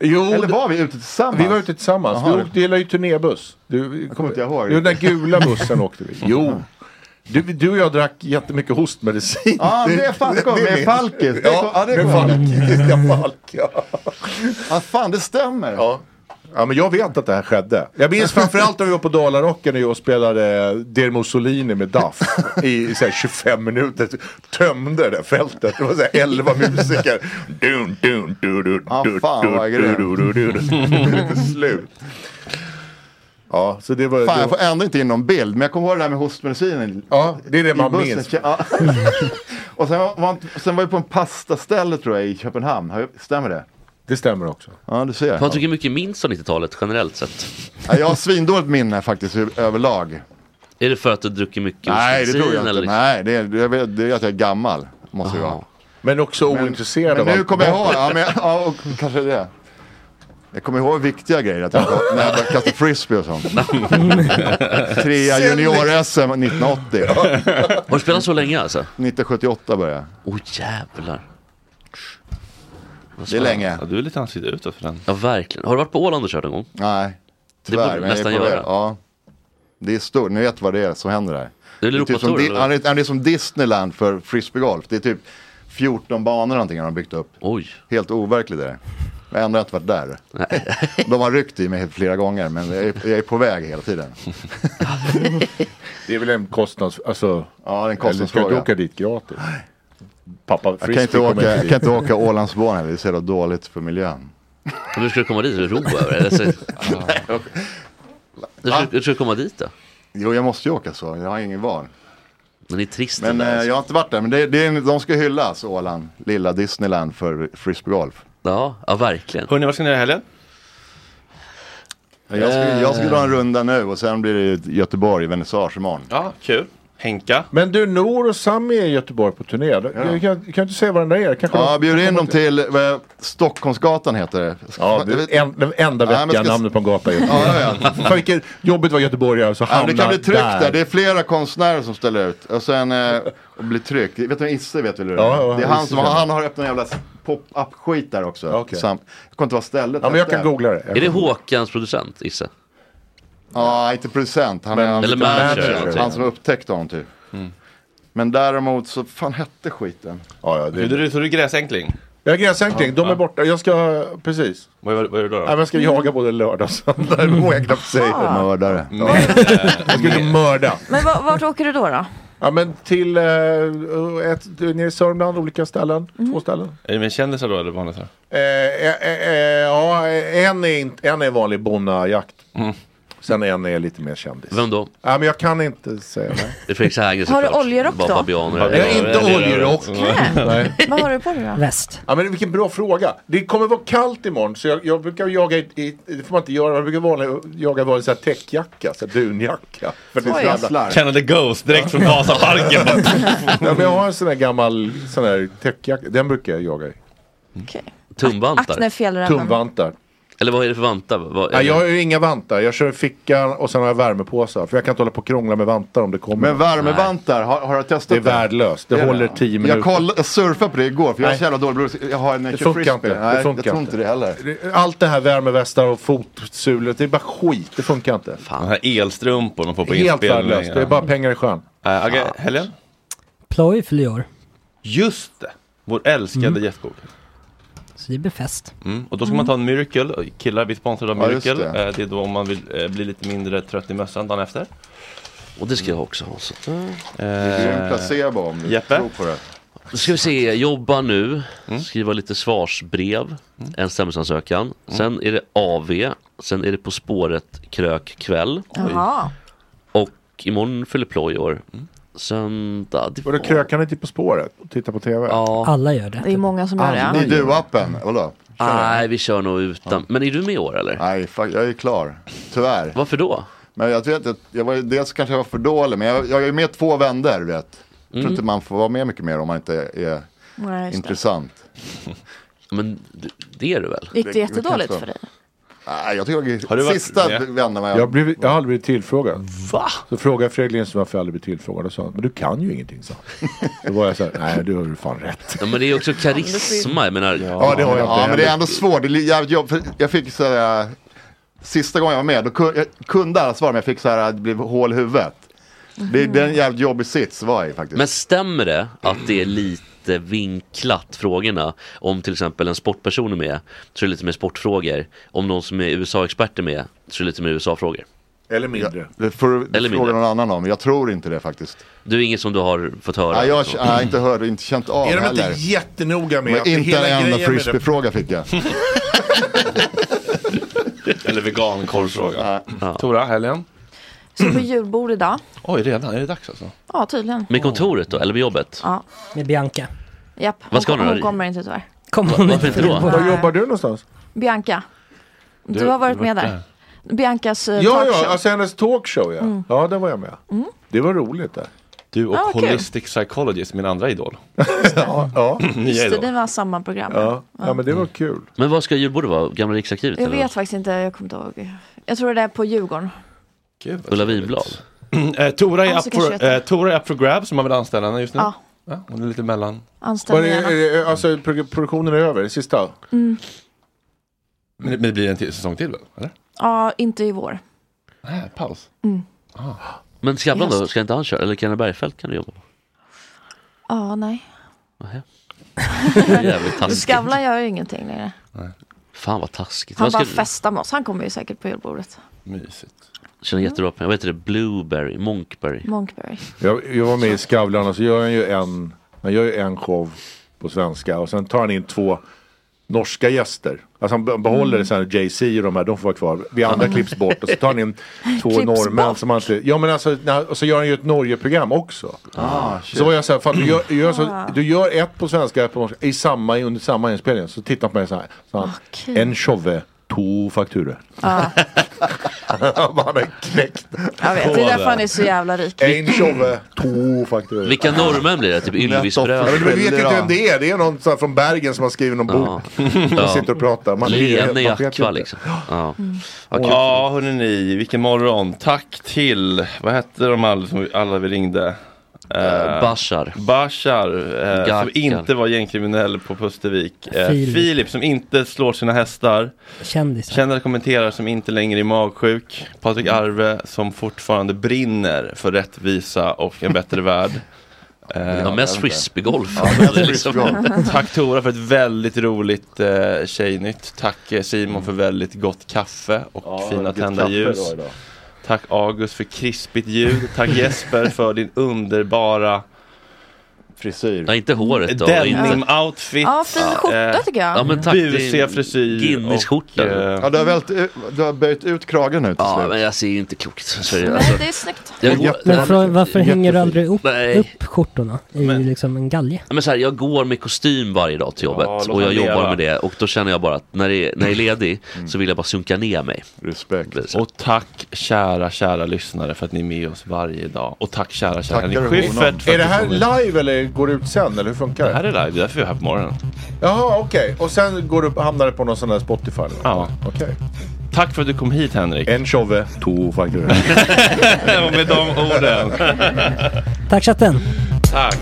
P: Jo,
L: Eller var vi ute tillsammans?
P: Vi var ute tillsammans.
L: Jaha.
P: vi åkte, gillar ju turnébuss. Du, jag kommer inte
L: ihåg.
P: Jo, den gula bussen åkte vi. Jo. Du, du och jag drack jättemycket hostmedicin.
L: Ja, det är fan- kom, med
P: minns-
L: Falkis. Det kom-
P: Ja,
L: ja, det
P: med
L: kom.
P: Falkis. Ja, Falk, ja.
L: Ja, (laughs) fan det stämmer.
P: Ja. Ja, men jag vet att det här skedde. Jag
L: (laughs)
P: minns framförallt när vi var på Dalarocken och spelade Der Mussolini med Duff i, i så här 25 minuter. Tömde det där fältet. Det var så här
L: (laughs)
P: 11 musiker. Dun, dun, du, du,
L: Ja,
P: du,
L: Ah, fan,
P: du,
L: vad
P: du,
L: grymt.
P: du, du, du.
L: (laughs)
P: Slut. Ja, så det var...
L: Fan,
P: det
L: jag
P: var...
L: får ändå inte in någon bild, men jag kommer ihåg det där med hostmedicinen.
P: Ja, det är det
L: i
P: man
L: bussen.
P: minns.
L: Ja. (laughs) och sen var, var, inte- sen var vi på en pastaställe tror jag i Köpenhamn, Har jag- stämmer det?
P: Det stämmer också.
L: Ja, du ser.
D: Patrik, hur mycket minns om 90-talet generellt sett?
L: Ja, jag har svindåligt minne faktiskt ö- överlag.
D: Är det för att du dricker mycket
L: Nej, det
D: hostmedicin,
L: tror jag
D: eller
L: inte.
D: liksom?
L: Nej, det är, det är, det är att jag är gammal. Måste jag
D: Aha.
L: vara.
P: Men också ointresserad
L: Men
P: av
L: nu
P: allt
L: kommer jag
P: (laughs)
L: ihåg,
P: bakåt.
L: ja, men, ja och, kanske det. Jag kommer ihåg viktiga grejer, att jag, när jag började kasta frisbee och sånt. Trea junior-SM (laughs) 1980.
D: Har du spelat så länge alltså?
L: 1978 började jag.
D: Åh oh, jävlar.
L: Det är länge.
A: Ja, du är lite ansiktet utåt för den.
D: Ja, verkligen. Har du varit på Åland och kört någon gång?
L: Nej,
D: Det
L: tyvärr.
D: borde du
L: men jag är
D: nästan
L: på väg.
D: göra.
L: Ja. Det är stort, ni vet vad det är som händer där.
D: Det är
L: typ
D: Europator,
L: som, Di-
D: eller?
L: ja, det är- ja, det är som Disneyland för frisbeegolf. Det är typ 14 banor eller någonting har de byggt upp.
D: Oj.
L: Helt overkligt är det. Jag har ändå inte varit där. De har ryckt i mig flera gånger men jag är, jag är på väg hela tiden.
P: Det är väl en kostnads... Alltså,
L: ja, en
P: Eller ska
L: kostnadsfråga.
P: du åka dit gratis? Pappa
L: Jag kan inte
P: Frisbee kommer
L: åka, jag
P: dit.
L: kan inte åka Ålandsbanan, heller. det är så jävla dåligt för miljön.
D: Men du skulle komma dit och ro över eller
L: (laughs)
D: så... Du skulle, du skulle komma dit då?
L: Jo, jag måste ju åka så, jag har ingen val.
D: Men det är trist.
L: Men
D: det där,
L: eh,
D: alltså.
L: jag har inte varit där, men det, det är, de ska hyllas, Åland, lilla Disneyland för frisbeegolf.
D: Ja, ja verkligen.
A: Hörni, vad ska ni göra i helgen?
L: Jag skulle, jag skulle dra en runda nu och sen blir det Göteborg, vernissage imorgon.
A: Ja, kul. Henka.
P: Men du, Nor och Sami är i Göteborg på turné. Jag Kan, kan du inte säga vad den där är? Kanske
L: Ja, bjud in dem till vad, Stockholmsgatan heter det.
P: Ja, det är en, den enda
L: Nej, men
P: vettiga
L: ska-
P: namnet på en gata. i Göteborg.
L: Ja, ja, ja.
P: Fan, vilket jobbigt var göteborgare så
L: Ja,
P: hamna
L: det kan bli tryck där.
P: där.
L: det är flera konstnärer som ställer ut. Och sen eh, och blir tryck. Vet du vem Isse vet väl hur det är?
P: Ja, ja,
L: Det är han
P: Isse
L: som
P: känner jag.
L: han har öppnat en jävla pop-up skit där också.
D: Okej.
L: Sam, jag kommer inte vad stället
D: Ja, men jag
L: hette.
D: kan googla det. Jag Är det kan- Håkans producent, Isse?
L: Ja, inte producent. Han är
D: Men-
L: han-
D: Eller manager eller någonting.
L: Han som upptäckte honom typ.
P: Mm.
L: Men däremot så, fan hette skiten?
P: Ja, ja,
A: Hur är du, så du är gräsänkling?
P: Jag är gräsänkling, de är borta. Jag ska, precis.
A: Vad gör, vad gör du då?
P: Nej, men jag ska jaga både lördag och söndag. Det vågar jag knappt säga.
E: Ah.
L: Mördare.
A: Mm.
P: Ja. Jag ska inte mörda.
E: Men va-
A: (laughs)
E: vart åker du då? då?
P: Ja, men till eh, ett, nere i Sörmland, olika ställen. Två ställen.
A: Är det med kändisar då eller vanligt?
P: Eh, eh, eh, eh, ja, en är, inte, en är vanlig bonnajakt.
A: Mm.
P: Sen en är lite mer kändis.
D: Vem då?
P: Ja, men jag kan inte säga det.
D: Det är Fredrik Sager
E: Har du
D: såklart.
E: oljerock
D: Bara
E: då?
D: babianer.
P: Jag har inte oljerock. Nej.
E: Vad har du på dig då?
P: Väst. Ja, men vilken bra fråga. Det kommer vara kallt imorgon så jag, jag brukar jaga, i, i, det får man inte göra, jag brukar vanliga, jaga vanlig så här täckjacka, så här dunjacka. För det är så
A: Oj.
P: jävla...
A: Canada Ghost direkt från Vasaparken.
P: (laughs) ja, men jag har en sån här gammal sån här täckjacka, den brukar jag jaga i.
E: Okej.
D: Tumvantar.
E: Akne fjällräven.
P: Tumvantar.
D: Eller vad är det för vantar? Vad är
P: Nej,
D: det?
P: jag har ju inga vantar. Jag kör fickan och sen har jag värmepåsar. För jag kan inte hålla på och krångla med vantar om det kommer.
L: Men värmevantar, har, har du testat
P: Det är värdelöst. Det håller tio minuter.
L: Jag, koll, jag surfade på det igår för jag är
P: Nej.
L: så jävla dålig bror. Jag har en
P: Det
L: nature
P: funkar inte.
L: frisbee. Nej,
P: Det funkar
L: jag tror inte det heller.
P: Det- Allt det här värmevästar och fotsulor, det är bara skit. Det funkar inte.
A: Den här elstrumporna de får på
P: Helt
A: inspelningen.
P: värdelöst. Det är bara pengar i sjön.
A: Uh, Helgen?
G: Ploy fyller år,
A: Just det! Vår älskade
G: Mm.
A: Jeff Cook.
G: så det blir fest.
A: Mm. Och då ska man ta en Miracle. Killar blir sponsrade av
G: Ja, just
A: Miracle.
G: det.
A: Eh, det är då om man vill eh, bli lite mindre trött i mössan dagen efter.
D: Och det ska jag också ha. Så. äh.
L: Det är en placebo om du
D: Jeppe?
L: tror på det.
D: Då ska vi se, jobba nu, skriva lite svarsbrev, en stämningsansökan. Sen är det AV, sen är det På spåret krök kväll.
E: Jaha.
D: Och imorgon fyller Ploy år. Söndag. Det
P: Och då krökar ni typ På spåret och tittar på TV.
G: Alla gör det.
E: Det är många som gör det. ja.
L: du-appen, vadå?
D: Nej, vi kör nog utan. Men är du med i år eller?
L: Nej, fuck, jag är klar. Tyvärr.
D: Varför då?
L: Men jag vet att jag var, ju- dels kanske jag var för dålig, men jag, jag är ju med två vändor, du vet. Jag tror
D: Mm.
L: inte man får vara med mycket mer om man inte är
E: Nej, just det.
L: intressant.
D: (laughs) Men det är du väl?
E: Gick det jättedåligt för dig?
L: Nej, jag tycker jag, sista vändan var
P: jag...
L: jag...
P: blev, jag har aldrig blivit tillfrågad.
D: Va?
P: Så frågade jag Fredrik Lindström varför jag aldrig blivit tillfrågad och sa han, men du kan ju ingenting sa han. Då var jag så här, nej du har ju fan rätt.
D: Ja, men det är också karisma, jag menar.
L: Ja, det har jag ja, men det är ändå svårt. Det är jävligt jobb. För jag fick så här, äh, sista gången jag var med, då kunde, jag kunde alla svar, men jag fick så här, äh, det blev hål i huvudet. Det, det är
E: Mhm.
L: en jävligt jobbig sits var jag i faktiskt.
D: Men stämmer det att det är lite vinklat frågorna? Om till exempel en sportperson är med så är det lite mer sportfrågor. Om någon som är USA-expert är med så är det lite mer USA-frågor.
P: Eller mindre.
L: Det får du
D: Eller
L: fråga
D: mindre.
L: någon annan om. Jag tror inte det faktiskt.
D: Du är inget som du har fått höra?
L: Nej, jag har
D: Så.
L: nej, inte hört och inte känt av
P: Är de inte
L: heller.
P: jättenoga med
L: Men
P: att det
L: inte
P: hela
L: en enda
P: grejen med det-
L: frisbeefråga fick jag.
A: Eller vegankorvfråga. Tora, helgen?
E: Så på julbord idag?
A: Oj, redan? Är det dags alltså?
E: Ja, tydligen.
D: Med kontoret då, eller med jobbet?
E: Ja.
G: Med Bianca.
E: Japp.
D: Vad ska
E: hon,
D: hon
E: hon
D: göra?
E: kommer inte tyvärr.
G: Kommer
D: hon Varför inte då?
P: Var jobbar du någonstans?
E: Bianca, du,
P: Du-
E: har varit
P: du
E: med
P: var
E: där. Biankas eh,
P: Ja,
E: talkshow.
P: ja, alltså hennes talkshow ja.
E: Mm.
P: Ja, där var jag med.
E: Mm.
P: Det var roligt där.
A: Du och
E: Ah, vad kul.
A: Holistic Psychologist, min andra idol.
P: (laughs) ja, ja.
A: (laughs) Nya
E: Just det,
A: idol. Mm.
E: det var samma program.
P: men det var kul.
D: Men vad ska julbordet vara? Gamla Riksarkivet?
E: Jag
D: eller?
E: vet faktiskt inte, jag kommer inte ihåg. Jag tror det är på Djurgården.
D: Ulla Wivblad?
A: (clears throat) Eh, Tora, är
E: Ja,
A: up
E: så kanske
A: for,
E: jag
A: eh, Tora är up for grabs om man vill anställa henne just nu.
E: Ja.
A: Ja, hon är lite mellan.
E: Anställ mig
P: Var det-
E: gärna.
P: är det- Alltså pro- produktionen är över, det sista?
E: Mm.
A: Men, men det blir en till, säsong till väl? Eller?
E: Ja, inte i vår.
P: Äh,
A: Nej, paus.
E: Mm.
D: Men Skavlan då,
E: Just.
D: ska inte han köra? Eller Kenneth Bergfeldt kan du
E: (laughs)
D: jobba på?
E: Ja, nej.
D: Nähä. Det är Jävligt taskigt.
E: Skavlan gör ju ingenting längre.
D: Fan vad taskigt.
E: Han
D: Vad
E: bara
D: ska-
E: festar med oss. Han kommer ju säkert på julbordet.
A: Mysigt.
D: Känner jättebra på mig. Vad heter det? Blueberry? Monkberry?
E: Monkberg.
P: Jag, jag var med i Skavlan och så gör han ju en, han gör ju en show på svenska och sen tar han in två norska gäster. Alltså han be- behåller
E: Mm.
P: så här Jay-Z och de här, de får vara kvar. Vi andra
E: Mm.
P: klipps bort och så tar
E: (laughs)
P: han in två
E: Klipps
P: norrmän som han inte... Ja men alltså, na- och så gör han ju ett Norge-program också.
L: Ah, shit.
P: så var jag så här, fan, du, gör, du, gör så,
E: Ah.
P: du gör ett på svenska ett på norska i samma, under samma inspelning. Så tittar han på mig så här, så han,
E: Okej.
P: en showe, två fakturer.
E: Ja,
P: (laughs) han är knäckt.
E: jag vet. Det är därför han är så jävla rik.
P: En tjove, två fakturor.
D: Vilka norrmän blir det? Typ
P: Ja,
D: Ylvisbröder?
P: men du vet ju inte vem det är. Det är någon så här från Bergen som har skrivit någon
D: Ja.
P: bok. (laughs) Som sitter och pratar. Man blir ju- man
D: Lena
P: vet ju
D: Jakva
P: inte.
D: liksom. Ja.
A: Ja,
D: kul.
A: ja hörrni, vilken morgon. Tack till, vad hette de alla som vi, alla vi ringde? Eh,
D: Bashar.
A: Bashar, eh, som
D: Gakkal.
A: inte var gängkriminell på Pustervik. Eh,
G: Filip.
A: Filip som inte slår sina hästar.
G: Kändis.
A: Kändare kommenterar som inte längre är magsjuk. Patrik
D: Mm.
A: Arve som fortfarande brinner för rättvisa och en bättre (laughs) värld. Eh,
D: Ja, mest frisbeegolf.
A: Ja,
D: (laughs) Det är
A: mest
D: liksom-
A: frisbeegolf. Tack Tora för ett väldigt roligt eh, tjejnytt. Tack eh, Simon för väldigt gott kaffe och
P: Mm. Ja,
A: fina
P: gott
A: tända
P: kaffe
A: ljus.
P: då idag.
A: Tack August för krispigt ljud. Tack Jesper för din underbara
L: frisyr.
D: Ja, inte håret då.
A: Denim-outfit.
E: Ja, fin skjorta tycker jag.
D: Ja, men tack.
A: Busiga frisyr. eh,
D: Guinness-skjorta.
L: Ja, du har, vält, du har böjt ut kragen nu till
D: Ja,
L: slut.
D: men jag ser ju inte klokt. Så är det,
E: Nej,
D: alltså.
E: det är snyggt.
D: jag, går,
G: Men från, varför hänger du aldrig upp,
D: Nej.
G: upp skjortorna i liksom en galge?
D: Ja, men så här, jag går med kostym varje dag till jobbet
A: låt
D: och jag
A: han leva. Mm.
D: jobbar med det och då känner jag bara att när, det är, när jag är ledig så vill jag bara sunka ner mig.
L: Respekt.
A: Och tack kära, kära lyssnare för att ni är med oss varje dag. Och tack kära, kära
P: Tackar
A: Henrik
P: honom.
A: Schyffert. för
P: Är
A: att
P: det
A: du
P: här
A: kom hit.
P: live eller går ut sen eller hur funkar det?
A: Det här är live, det är därför jag är här på
P: (laughs)
A: morgonen. (laughs)
P: Jaha, okej. Och sen går du, hamnar det på någon sån där Spotify? eller något?
A: Ja.
P: Okej.
A: Tack för att du kom hit Henrik.
P: En tjove, två (laughs) fakturor.
A: Och med de
P: (laughs)
A: orden.
G: Tack chatten!
A: Tack.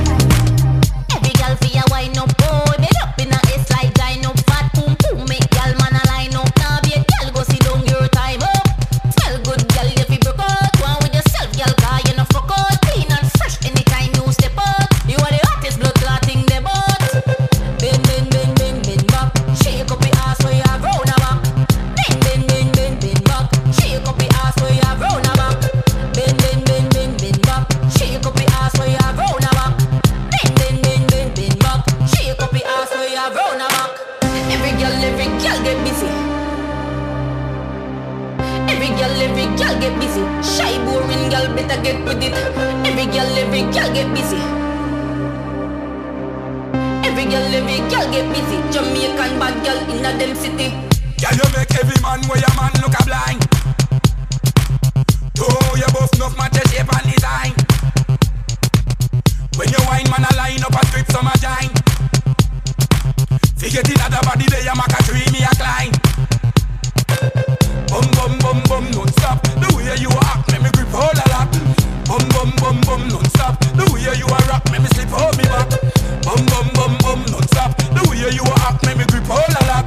J: Every girl fi a wine up, boy. Bend up in a S like dine up, fat pum pum. Make girl man a line up. Now be a girl, go sit down your time up. Smell good, girl, you fi broke out. Go on with yourself, girl, 'cause you no fuck out. Clean and fresh anytime you step out. You are the hottest blood clotting them out. Bend, bend, bend, bend, bend back. Shake up your ass where you have round a back. Bend, bend, bend, bend, bend back. Shake up your ass where you have round a back. Bend, bend, bend, bend, bend back. Shake up your ass where you have round a back. Bend, bend, bend, bend, bend back. Shake up your ass where you have round a back. Every girl, every girl get busy. Every girl, every girl get busy. Shy boring girl better get with it. Every girl, every girl get busy. Every girl, every girl get busy. Jamaican bad girl in a them city.
R: Can you make every man where your man look a blind? Oh, you both enough match your shape and design. When you wine man a line up a strip some a joint. Forget it other body day, you make a tree me a climb. Bum bum bum bum non-stop. The way you act make me grip all a lot. Bum bum bum bum non-stop. The way you a rock make me slip all me back. Bum bum bum bum non-stop. The way you a act make me grip all a lot.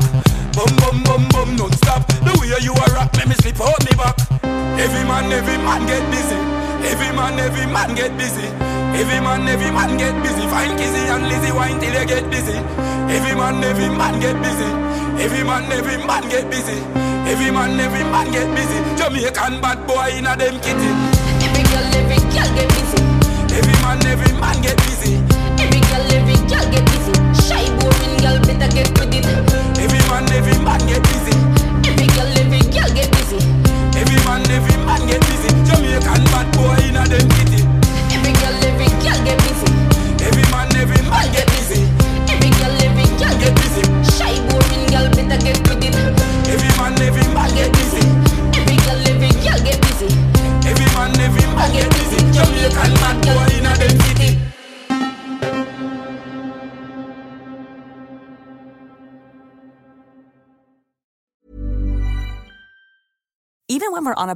R: Bum bum bum bum non-stop. The way you a rock make me slip all me back. Every man, every man get busy. Every man, every man get busy. Every man, every man get busy. Find Kizzy and Lizzy wine till you get busy. Every man, every man get busy. Every man, every man get busy. Every man, every man get busy. Jamaican bad boy in a them kitty.
J: Every girl, every girl get busy.
R: Every man, every man get busy.
J: Every girl, every girl get busy. Shy boring girl better get with it.
R: Every man, every man get busy.
J: Every girl, every girl get busy.
R: Every man, every man get busy. Jamaican bad boy in a them kitty.
J: Every girl, every girl get busy.
R: Every man, every man get busy.
J: Every girl, every girl get busy. Shy boring girl better get with it.
R: Every man, every man get busy.
J: Every girl, every girl get busy.
R: Every man, every man get busy. Jamaican bad boy in a them kitty.
S: Even when we're on a